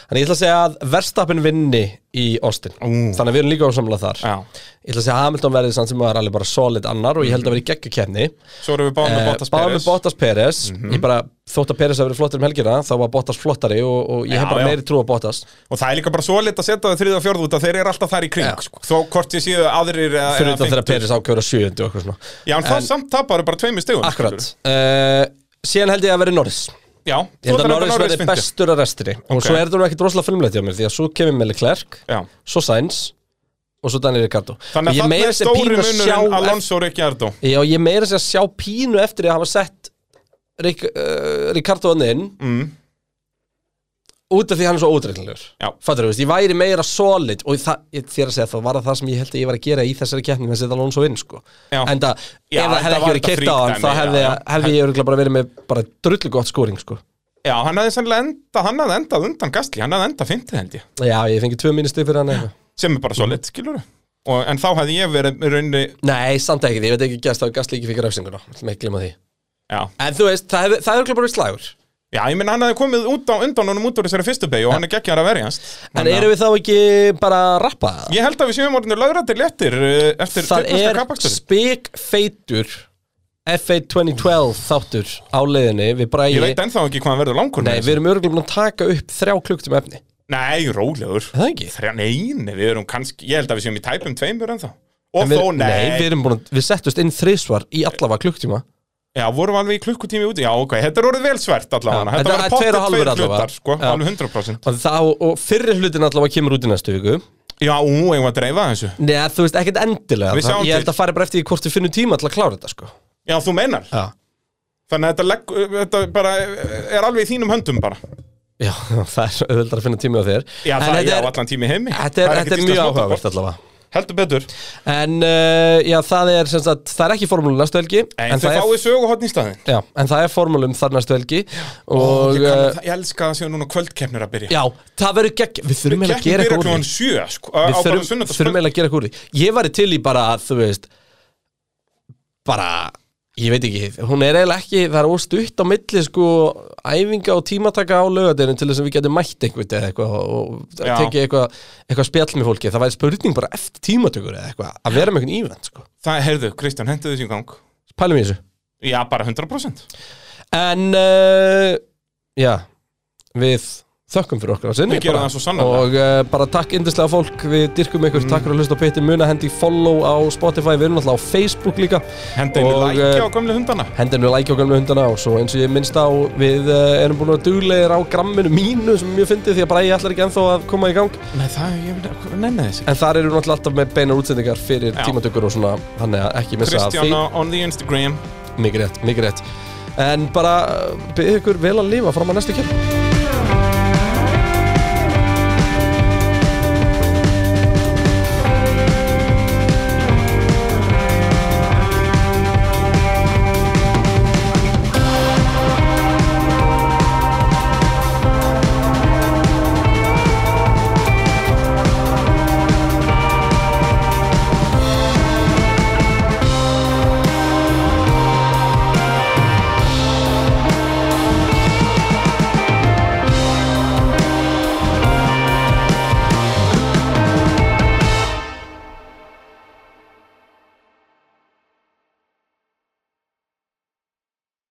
þannig ég ætla að segja að verstapin vinni í ástin,
Ú.
þannig að við erum líka ósamála þar,
já, Mhm.
ég ætla að segja að Hamilton verði samt sem var alveg bara solid annar og ég held að verði geggjukefni,
svo erum við báðum með
Eh,
Bottas Mhm.
Báðum
Peres
með Bottas Peres Ég bara þótt að Peres hafi verið flottir um helgina Þá var Bottas flottari og, og ég
Já,
hef bara
já.
meiri trú á Bottas
og það er líka bara svo lit að setja það þriða og fjórða út að þeir eru alltaf þar í
Já.
kring, sko. þó hvort ég séu aðrir eða-
Fyrir
eða
utan þegar
fimmtu.
Peres ákjöra sjöundu og eitthvað svona
Já, en það samt tapar bara tveimur stegum
Akkurat uh, Síðan held ég að verið Norris
Já,
Ég held að Norris verði
fyndi.
bestur að restinni Og
Ok.
svo er það nú ekkit rosalega filmleiti á mér Því að svo kemur með Leclerc,
Já.
svo Sainz Og svo Daniel Ricardo
Þannig
Ég
að
meira
þarna er
að segja
stóri
pínu að sjá eft-
munurinn Alonso og Ricciardo
Já, ég meira að segja sjá pínu eftir að hafa sett Rik, uh, Ricardo hann inn
mm.
út af því hann er svo ódreiknilegur
Já.
Fattur, veist, ég væri meira solid og það, ég, þér að segja það var það sem ég held að ég var að gera í þessari keppni með að setja Alonso inn sko.
Já.
en það,
Já,
ef það
þetta
hefði ekki
var
verið
þetta
keitt á hann
fríkdæmi,
þá hefði,
já, já.
hefði ég örugglega bara verið með bara drullu gott skóring sko.
Já, hann hafði sennilega enda, hann hafði endað undan Gastli Hann hafði endað fintið held ég
já, ég fengi tvö mínusti fyrir hann eitthvað
Sem er bara svo lit, skilur og, En þá hefði ég verið í rauninni
nei, samt ekki því, ég veit ekki gæst að Gasly ekki fyrir refsinguna með glima því
Já,
en þú veist, það hefði örugglega bara verið slagur
Já ég meina hann hafði komið út á undan honum út úr þessari fyrstu beig Og hann er geggjara verjast
en erum við þá ekki bara að rappa það?
Ég held að við séum orðinu lögrættir léttir eh, Eftir
það
tyrkneska
er
kappaksturinn.
spikfeitur F1 2012 þáttur á leiðinni við bræði
Ég veit ennþá ekki hvað hann verður langur
Nei,
með
við erum örgulega búin að taka upp þrjá klukktum efni
þessu. Nei, rólegur
Er Það ekki?
Þrjá, nei, nei, við erum kannski Ég held að við séum í tæpum tveimur ennþá Og
En við,
þó, nei,
við, erum búin að, við settust inn þrisvar í allavega klukktíma
Já, vorum við alveg í klukkutími úti, já ok, þetta er orðið vel svært allavega,
Já,
þetta
þetta
var
er tveir og
pottet
hálfur
tveir
allavega.
hlutar, sko,
Já.
alveg 100%.
og, þá, og fyrri hlutin allavega kemur út í næstu viku
Já, ú, eigum við að dreifa þessu.
Nei, þú veist, ekkert endilega
Við
Það-
sjáum
Ég held
til.
að fara bara eftir því hvort við finnum tíma til að klára þetta sko.
Já, þú meinar,
Já,
þannig að þetta, legg, þetta bara er alveg í þínum höndum bara.
já það er auðvöldar að finna tíma á þér
Já,
En
það
þetta
já,
er,
allan tími heimi.
þetta er, þetta
Það ekkert
er mjög
íslenskt
áhugavert
fótbolta.
allavega
heldur betur
En uh, já, það er sem sagt, það er ekki formúlu næstu helgi
En, þau
það er,
fáið söguhotn í staðinn
já, en það er formúlum þar næstu helgi
Ó,
Og
ég, kann,
uh,
ég elska að séu núna kvöldkeppnir að byrja
já, það verður gegn Við þurfum eiginlega að
Keppnir
gera
byrja
eitthvað úr
klúan
því
sjö sko, á
Við
bara
þurfum þurfum
sunnudagskvöld
eiginlega að gera eitthvað úr því Ég væri til í bara, að, þú veist Bara, ég veit ekki Hún er eiginlega ekki, það er úr stutt á milli sko, Æfinga og tímataka á lögadeginu Til þess að við getum mætt einhvern eða eitthvað Og, og
Já.
tekið eitthvað, eitthvað spjall með fólki Það væri spurning bara eftir tímatökur eða eitthvað Að vera með einhvern ívend, sko
Það, heyrðu, Kristján, hendu þessu í gang
Pælum í þessu
Já, bara 100%
En uh, já, við þökkum fyrir okkur á sinni
Við gerum
bara.
það svo sannarlega. Mm.
Og uh, bara takk yndislega fólk, við dyrkum ykkur Takk fyrir að hlusta á Petti, muna hendi follow á Spotify Við erum alltaf á Facebook líka
Hendu einu
Og,
lækja
eh,
á gömlu hundana
Hendinu like á gamlu hundana og svo eins og ég minnst á Við uh, erum búin að vera duglegir á gramminu mínu Sem ég fyndi því að bara ég ætlar ekki ennþá að koma í gang
Nei, það, ég nenni þessi
En þar eru náttúrulega alltaf með beinar útsendingar fyrir
Já.
tímatökur og svona Þannig að ekki missa af
Kristján á- on the Instagram
eh, því Mikið rétt, mikið rétt En bara uh, bið ykkur vel að lifa fram að næstu kjörn